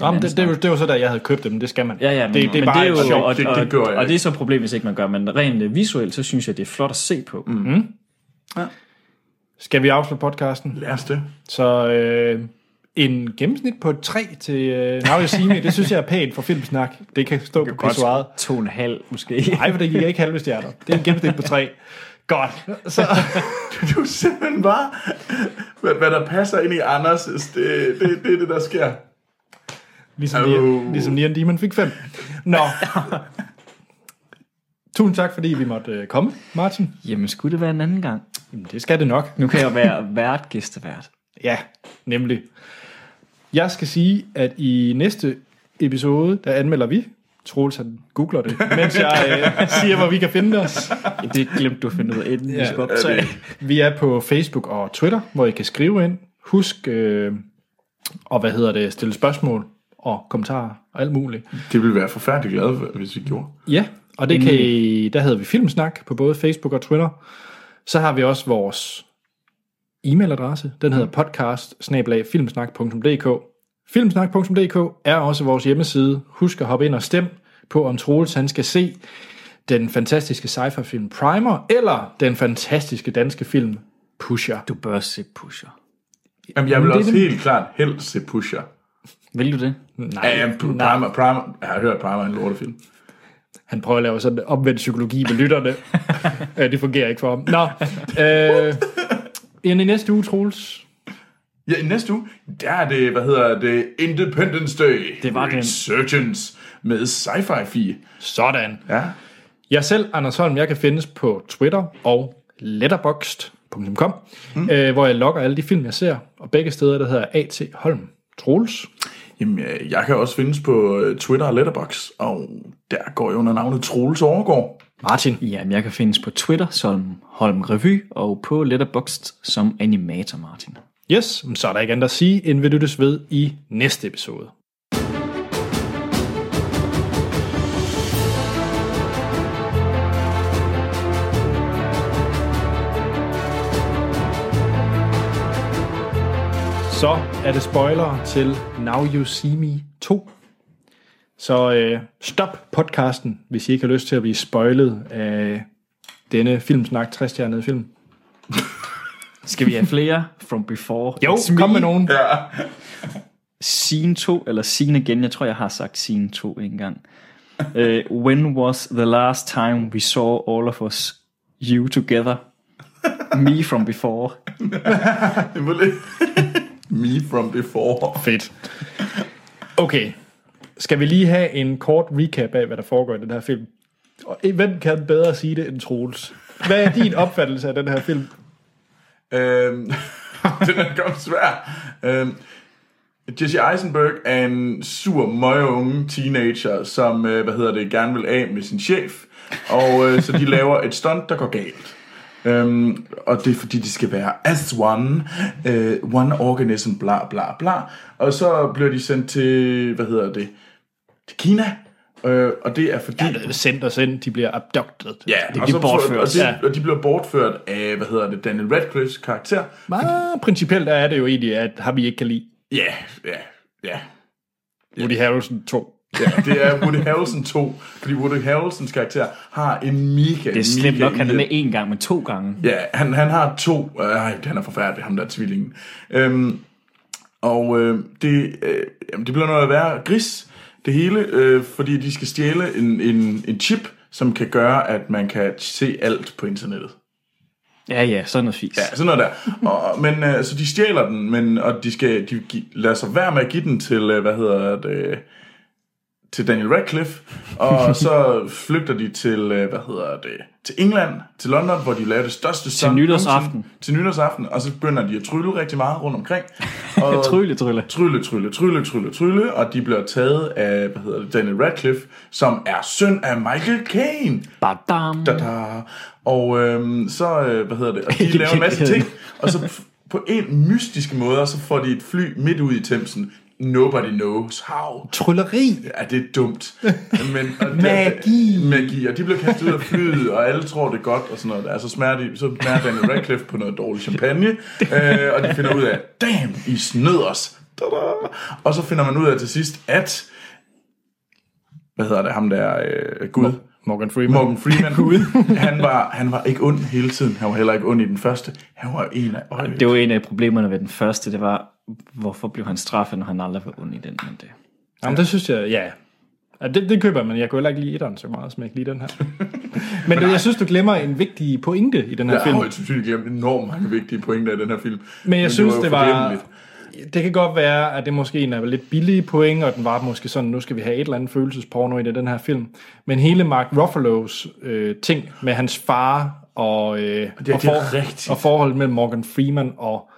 Jamen, det, det, er jo- det, var så der, jeg havde købt dem. Det skal man.
Ja, ja,
det, det er bare
jo,
ikke sjovt.
Og,
Det- det
og,
gør jeg
og, og det
ikke.
er så et problem, hvis ikke man gør, men rent øh, visuelt, så synes jeg, det er flot at se på. Mm.
Mm-hmm. Skal vi afslutte podcasten?
Lad os det.
Så øh, en gennemsnit på 3 til øh, Navle Simi, det synes jeg er pænt for filmsnak. Det kan stå på pissoiret.
To og en halv, måske.
Nej, for det gik ikke halve stjerner. Det er en gennemsnit på 3. Godt. Så,
Du er simpelthen bare, hvad, hvad der passer ind i Anders, det, det, det er det, der sker.
ligesom, Nier,
Oh.
ligesom Nian Demon fik 5. Nå. Tusind tak, fordi vi måtte øh, komme, Martin.
Jamen, skulle det være en anden gang?
Jamen, det skal det nok.
Nu kan jeg være vært, gæstevært.
Ja, nemlig. Jeg skal sige, at i næste episode, der anmelder vi. Troels, han googler det, mens jeg øh, siger, hvor vi kan finde os.
Det glemte du at finde ud af, inden ja, vi skulle optage.
Vi er på Facebook og Twitter, hvor I kan skrive ind. Husk, øh, og hvad hedder det, stille spørgsmål og kommentarer og alt muligt.
Det ville være forfærdeligt glad, for, hvis vi gjorde.
Ja, og det kan I, der hedder vi Filmsnak på både Facebook og Twitter. Så har vi også vores e-mailadresse. Den hedder podcast Filmsnak.dk er også vores hjemmeside. Husk at hoppe ind og stem på, om Troels han skal se den fantastiske sci-fi film Primer, eller den fantastiske danske film Pusher.
Du bør se Pusher.
Jamen, jeg vil
det er
også
det-
helt klart helst se Pusher.
Vil du det?
Nej,
Ja, Primer, Primer, jeg har hørt Primer er en lortefilm.
han prøver at lave sådan en omvendt psykologi med lytterne. Øh, det fungerer ikke for ham. Nå, øh, inden i næste uge, Troels,
Ja, i næste uge, der er det, hvad hedder det, Independence Day.
Det var den.
Resurgence med sci-fi fi.
Sådan.
Ja.
Jeg selv, Anders Holm, jeg kan findes på Twitter og letterboxd.com, mm. øh, hvor jeg logger alle de film, jeg ser, og begge steder, der hedder A.T. Holm Troels.
Jamen, øh, jeg kan også findes på øh, Twitter og Letterboxd, og der går jeg under navnet Troels Overgaard.
Martin.
Jamen, jeg kan findes på Twitter som Holm Revy, og på Letterboxd som Animator Martin.
Yes, men så er der ikke andet at sige, end vi lyttes ved i næste episode. Så er det spoiler til Now You See Me 2. Så øh, stop podcasten, hvis I ikke har lyst til at blive spoilet af denne filmsnak 60 film.
Skal vi have flere From Before?
Jo,
It's Me?
kom med nogen.
Scene 2, eller Scene igen, jeg tror, jeg har sagt Scene 2 engang. Uh, when was the last time we saw all of us, you together, me from before?
Det var lidt Me from before.
Fedt. Okay. Skal vi lige have en kort recap af, hvad der foregår i den her film? Og eh, hvem kan bedre sige det end Troels? Hvad er din opfattelse af den her film?
Øhm, den er godt svær. Øhm, Jesse Eisenberg er en sur, møgeunge teenager, som, øh, hvad hedder det, gerne vil af med sin chef. Og øh, så de laver et stunt, der går galt. Øhm, og det er fordi, de skal være as one, øh, one organism, bla bla bla. Og så bliver de sendt til, hvad hedder det, til Kina. Øh, og det er fordi...
Sendt og sendt, de bliver abducted.
Ja,
Det
og
bliver
så-
bortført.
Og,
Ja.
de, og de bliver bortført af, hvad hedder det, Daniel Radcliffe's karakter.
Meget principielt er det jo egentlig, at ham vi ikke kan lide.
Ja, ja, ja.
Woody Harrelson 2.
Ja, det er Woody Harrelson 2, fordi Woody Harrelsons karakter har en mega,
Det er slemt
mega
nok, han er med
irriterende-
én gang, men to gange.
Ja, han, han har to. øh, Ej, han er forfærdelig, ham der tvillingen. Øhm, og øh, det, øh, jamen, det bliver noget værre gris, det hele, øh, fordi de skal stjæle en, en, en chip, som kan gøre, at man kan se alt på internettet.
Ja, ja, sådan noget fis.
Ja, sådan noget der. Og, men, øh, så de stjæler den, men, og de, skal, de gi- lader sig være med at give den til, øh, hvad hedder det, øh, til Daniel Radcliffe, og så flygter de til, øh, hvad hedder det, til England, til London, hvor de laver det største stunt
nytårsaften.
nogensinde. Til nytårsaften, og så begynder de at trylle rigtig meget rundt omkring. Og
Trylle, trylle.
trylle, trylle, trylle, trylle, trylle, og de bliver taget af, hvad hedder det, Daniel Radcliffe, som er søn af Michael Caine.
Badam.
Da, da. Og øhm, så, øh, hvad hedder det, og de laver en masse ting, og så f- på en mystisk måde, så får de et fly midt ud i Thamesen. Nobody knows how.
Trylleri.
Ja, det er dumt. Men, og det-
Magi.
magi, og de bliver kastet ud af flyet, og alle tror, det er godt, og sådan noget. Altså, smager de, så smager Daniel Radcliffe på noget dårlig champagne, øh, og de finder ud af, damn, I snød os. Da-da. Og så finder man ud af til sidst, at, hvad hedder det, ham der, øh, Gud,
Morgan Freeman.
Morgan Freeman, han, var, han var ikke ond hele tiden. Han var heller ikke ond i den første. Han var en af øjeblikket.
Det var en af problemerne ved den første, det var, hvorfor blev han straffet, når han aldrig var ond i den? Men det.
Jamen, det synes jeg, ja. ja det, det køber jeg, men jeg kunne heller ikke lide etteren så meget, som jeg kan lide den her. men det, jeg synes, du glemmer en vigtig pointe i den her
Jeg har
film.
højst sandsynligt glemt enormt mange vigtige pointer i den her film.
Men jeg synes, det
jo
var...
forglemmeligt.
Det kan godt være, at det måske en af lidt billige point, og den var måske sådan, nu skal vi have et eller andet følelsesporno i det, den her film. Men hele Mark Ruffalo's øh, ting med hans far og, øh,
det er
og, for,
rigtigt.
og forholdet mellem Morgan Freeman og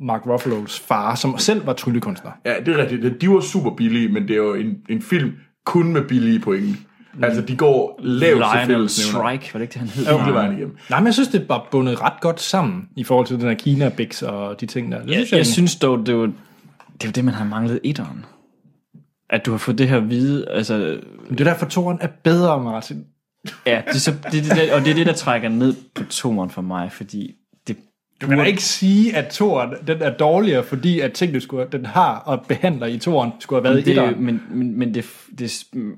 Mark Ruffalo's far, som selv var tryllekunstner.
Ja, det er rigtigt. De var super billige, men det er jo en, en film kun med billige point.
Mm.
Altså, de går lavt til
Lionel
fællesnævner.
Strike, var det ikke det, han hed?
Ja, hele vejen igennem.
Nej, men jeg synes, det var bundet ret godt sammen i forhold til den her kina bix og de ting der. Det
Jeg, jeg synes dog, det var, det var det, man har manglet i etteren. At du har fået det her hvide, altså
Men det er derfor, toren er bedre, Martin.
Ja, det er så, det, det, det, og det er det, der trækker ned på toren for mig, fordi det,
Du kan da ikke sige, at toren den er dårligere, fordi at ting, du skulle, den har og behandler i toren, skulle have været i
det,
etteren.
men, men, men det, det,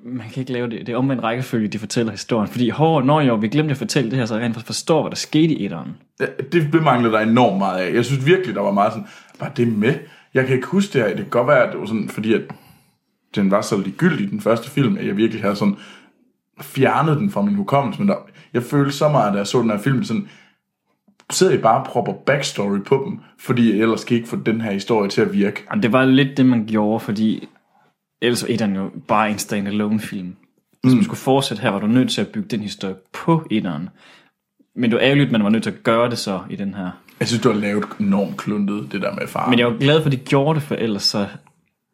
man kan ikke lave det. Det er omvendt rækkefølge, de fortæller historien. Fordi, hår, når jo, vi glemte at fortælle det her, så jeg rent faktisk forstår, hvad der skete i etteren.
Ja, Det bemanglede der enormt meget af. Jeg synes virkelig, der var meget sådan, var det med? Jeg kan ikke huske det her. Det kan godt være, at det var sådan, fordi at den var så ligegyldig, den første film, at jeg virkelig havde sådan fjernet den fra min hukommelse. Men der, jeg følte så meget, da jeg så den her film, sådan, sidder I bare og propper backstory på dem, fordi ellers kan I ikke få den her historie til at virke.
Og det var lidt det, man gjorde, fordi ellers var etteren jo bare en standalone film. Hvis man skulle fortsætte her, var du nødt til at bygge den historie på etteren. Men du ærgerligt, man var nødt til at gøre det så i den her.
Jeg synes, du har lavet enormt kluntet, det der med far.
Men jeg var glad for, at de gjorde det, for ellers så,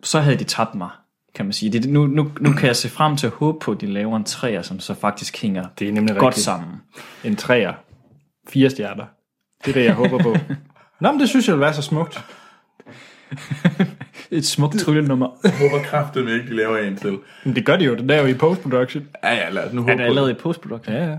så havde de tabt mig, kan man sige. Det, nu, nu, nu kan jeg se frem til at håbe på, at de laver en træer, som så faktisk hænger
Det er nemlig
godt
rigtigt.
sammen.
En træer. Fire stjerner. Det er det, jeg håber på. Nå, men det synes jeg vil være så smukt.
Et smukt tryllenummer.
Jeg håber kraftedeme ikke, de laver en til.
Men det gør de jo. Det laver i post-production.
Ja, ja, lad os nu håbe
Er det
på
allerede i postproduktion?
Ja, ja.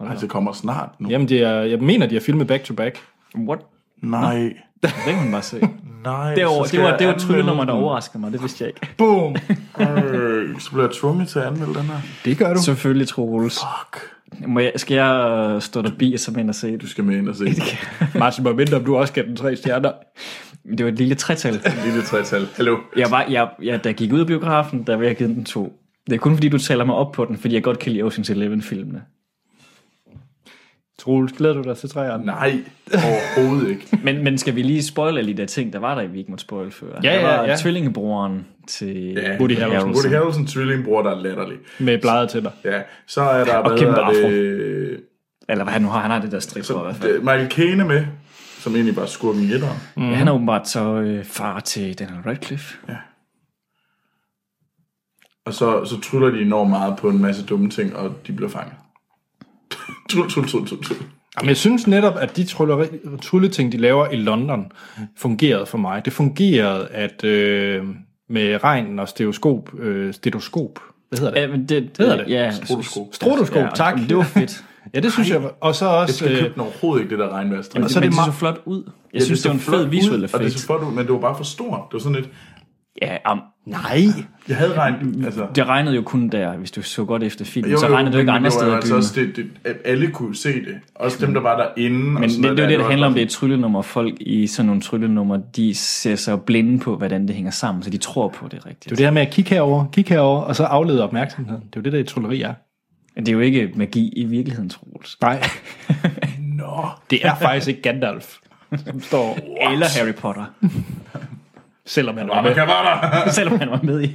det. Altså, det kommer snart nu.
Jamen, de er, jeg mener, de har filmet back-to-back.
What?
Nej,
Det kan man bare se.
nej.
Det var,
så skal
det var,
jeg
det var
anmelde
tryllenummer, der
den.
overraskede mig. Det vidste jeg ikke.
Boom!
Øh, så bliver jeg tvunget til at anmelde den her.
Det gør du.
Selvfølgelig, Troels.
Fuck.
Må jeg, skal jeg øh, stå derbi og så med ind og se
Du
det?
skal med ind og se det.
Martin må vente, om du også gav den tre stjerner.
Det var et lille tretal.
Lille tretal. Hallo.
Jeg var, jeg, jeg, da jeg gik ud af biografen, der ville jeg have givet den to. Det er kun fordi, du taler mig op på den, fordi jeg godt kan lide Ocean's Eleven-filmene.
Troels, glæder du dig til træerne?
Nej, overhovedet ikke.
Men, men skal vi lige spoile alle de der ting, der var der, vi ikke måtte spoil før?
Ja,
der
ja,
var
ja.
tvillingebroren til
Ja.
Woody Harrelson.
Woody Harrelson tvillingbror, der er latterlig.
Med bleget til dig.
Ja, så er der... hvad
kæmpe
hedder
afro.
det,
Eller hvad han nu har, han har det der strip for i hvert fald.
Altså, det, Michael Caine er med, som egentlig bare skurken i etteren.
Mm. Han er åbenbart så øh, far til Daniel Radcliffe. Ja.
Og så, så tryller de enormt meget på en masse dumme ting, og de bliver fanget. Tryl, tryl, tryl, tryl, tryl.
Jamen, jeg synes netop, at de trylleri- trylleting, de laver i London, fungerede for mig. Det fungerede, at øh, med regnen og stereoskop, øh, stetoskop, hvad hedder det?
men det, det,
hedder det?
Ja,
Stroboskop.
Stroboskop, tak.
Det var fedt.
Ja, det synes jeg. var- Og så
Jeg
også...
skal købe
Øh,
den overhovedet ikke, det der regnvejrstræk.
Men,
så
så
er
det,
det
men det
meget-
så flot ud. Jeg ja, synes, det, var en fed visuel
Og det
effekt.
så flot ud, men det var bare for stort. Det var sådan lidt...
Ja, um,
Nej.
Jeg havde regnet, altså...
det regnede jo kun der, hvis du så godt efter filmen, så
jo,
regnede det jo
men
ikke
var jo
andre steder i
altså
byen.
også det, det, at alle kunne se det. Også dem, der var derinde. og
Men
sådan
det, det
noget
er jo det,
der.
der handler om, det er et tryllenummer. Folk i sådan nogle tryllenummer, de ser sig blinde på, hvordan det hænger sammen, så de tror på det
Det er jo
rigtigt.
det her med at kigge herover, kigge herover, og så aflede opmærksomheden. Det er jo det, der et trolleri er.
Men det er jo ikke magi i virkeligheden, Troels.
Nej,
Nå,
det er faktisk ikke Gandalf, som står,
Eller Harry Potter,
selvom han var
Ramme
med.
Kamara!
selvom han var med,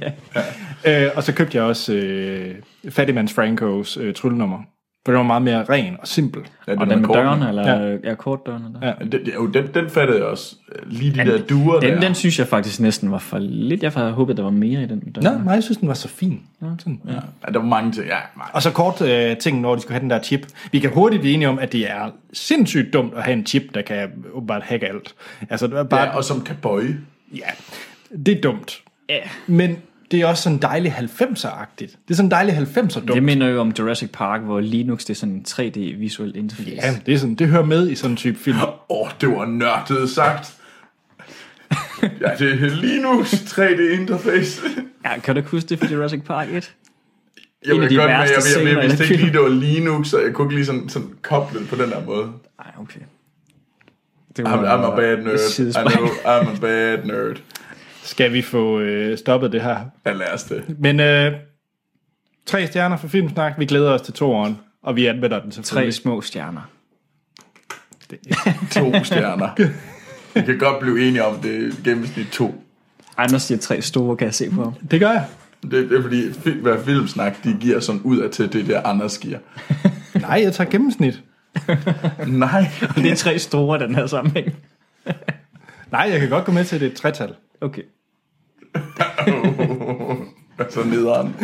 ja.
Øh, og så købte jeg også øh, Fattigmans Frankos øh, tryllenummer. For den var meget mere ren og simpel.
Ja,
Og den med
kortene.
døren, eller ja, ja kortdøren. Eller?
Ja.
Den, jo, den, den fattede jeg også. Lige de der duer der.
Den, den synes jeg faktisk næsten var for lidt. Jeg havde håbet, der var mere i den. med
Nå,
døren.
nej, jeg synes, den var så fin. Sådan. Ja.
Ja, der var mange ting. Ja, mange.
Og så kort øh, ting, når de skulle have den der chip. Vi kan hurtigt blive enige om, at det er sindssygt dumt at have en chip, der kan åbenbart hacke alt. Altså, det er bare,
Ja, og som kan bøje.
Ja, det er dumt. Ja. Men det er også sådan dejlig 90'er-agtigt. Det er sådan dejlig 90'er-dumt.
Det minder jo om Jurassic Park, hvor Linux det er sådan en 3D-visuel interface.
Ja, det, er sådan, det hører med i sådan en type film.
Åh, oh, det var nørdet sagt. Ja, det er Linux 3D-interface.
Ja, kan du ikke huske det fra Jurassic Park 1?
Jeg
En af
ved
de
godt, men jeg,
værste
jeg,
scener
jeg
i
vidste
den
ikke lige,
film.
det var Linux, og jeg kunne ikke lige sådan, sådan koblet på den der måde.
Nej, okay. Det
I'm, I'm a bad nerd. I
sidespejl.
know, I'm a bad nerd.
Skal vi få øh, stoppet det her?
Ja, lad os det.
Men øh, tre stjerner for Filmsnak. Vi glæder os til toeren, og vi anmelder den
Tre
selvfølgelig.
små stjerner.
To stjerner. Vi kan godt blive enige om, det er gennemsnit to.
Anders siger tre store, kan jeg se på ham.
Det gør jeg.
Det, det er fordi, fi- hvad filmsnak, de giver sådan ud af til det der, Anders giver.
Nej, jeg tager gennemsnit.
Nej.
Det er tre store, den her sammenhæng.
Nej, jeg kan godt gå med til at det er et tretal.
Okay.
Så nederen.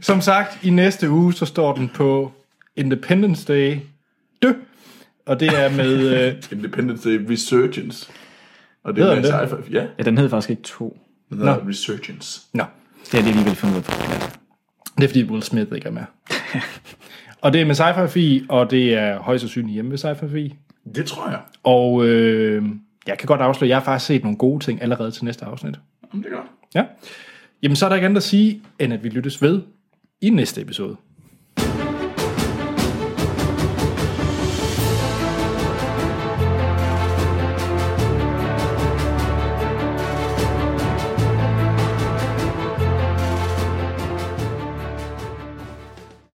Som sagt, i næste uge, så står den på Independence Day. Dø! Og det er med... Øh,
Independence Day Resurgence. Og det
Hedder
er en
den
sci-fi. Ja,
Ja, den hed faktisk ikke to.
den hedder Resurgence.
Nå,
Det er det, vi vil finde ud af.
det er fordi Will Smith ikke er med. og det er med sci-fi, og det er højst sandsynligt hjemme ved sci-fi.
Det tror jeg.
Og øh, jeg kan godt afsløre, at jeg har faktisk set nogle gode ting allerede til næste afsnit.
Jamen, det er godt.
Ja. Jamen, så er der ikke andet at sige, end at vi lyttes ved i næste episode.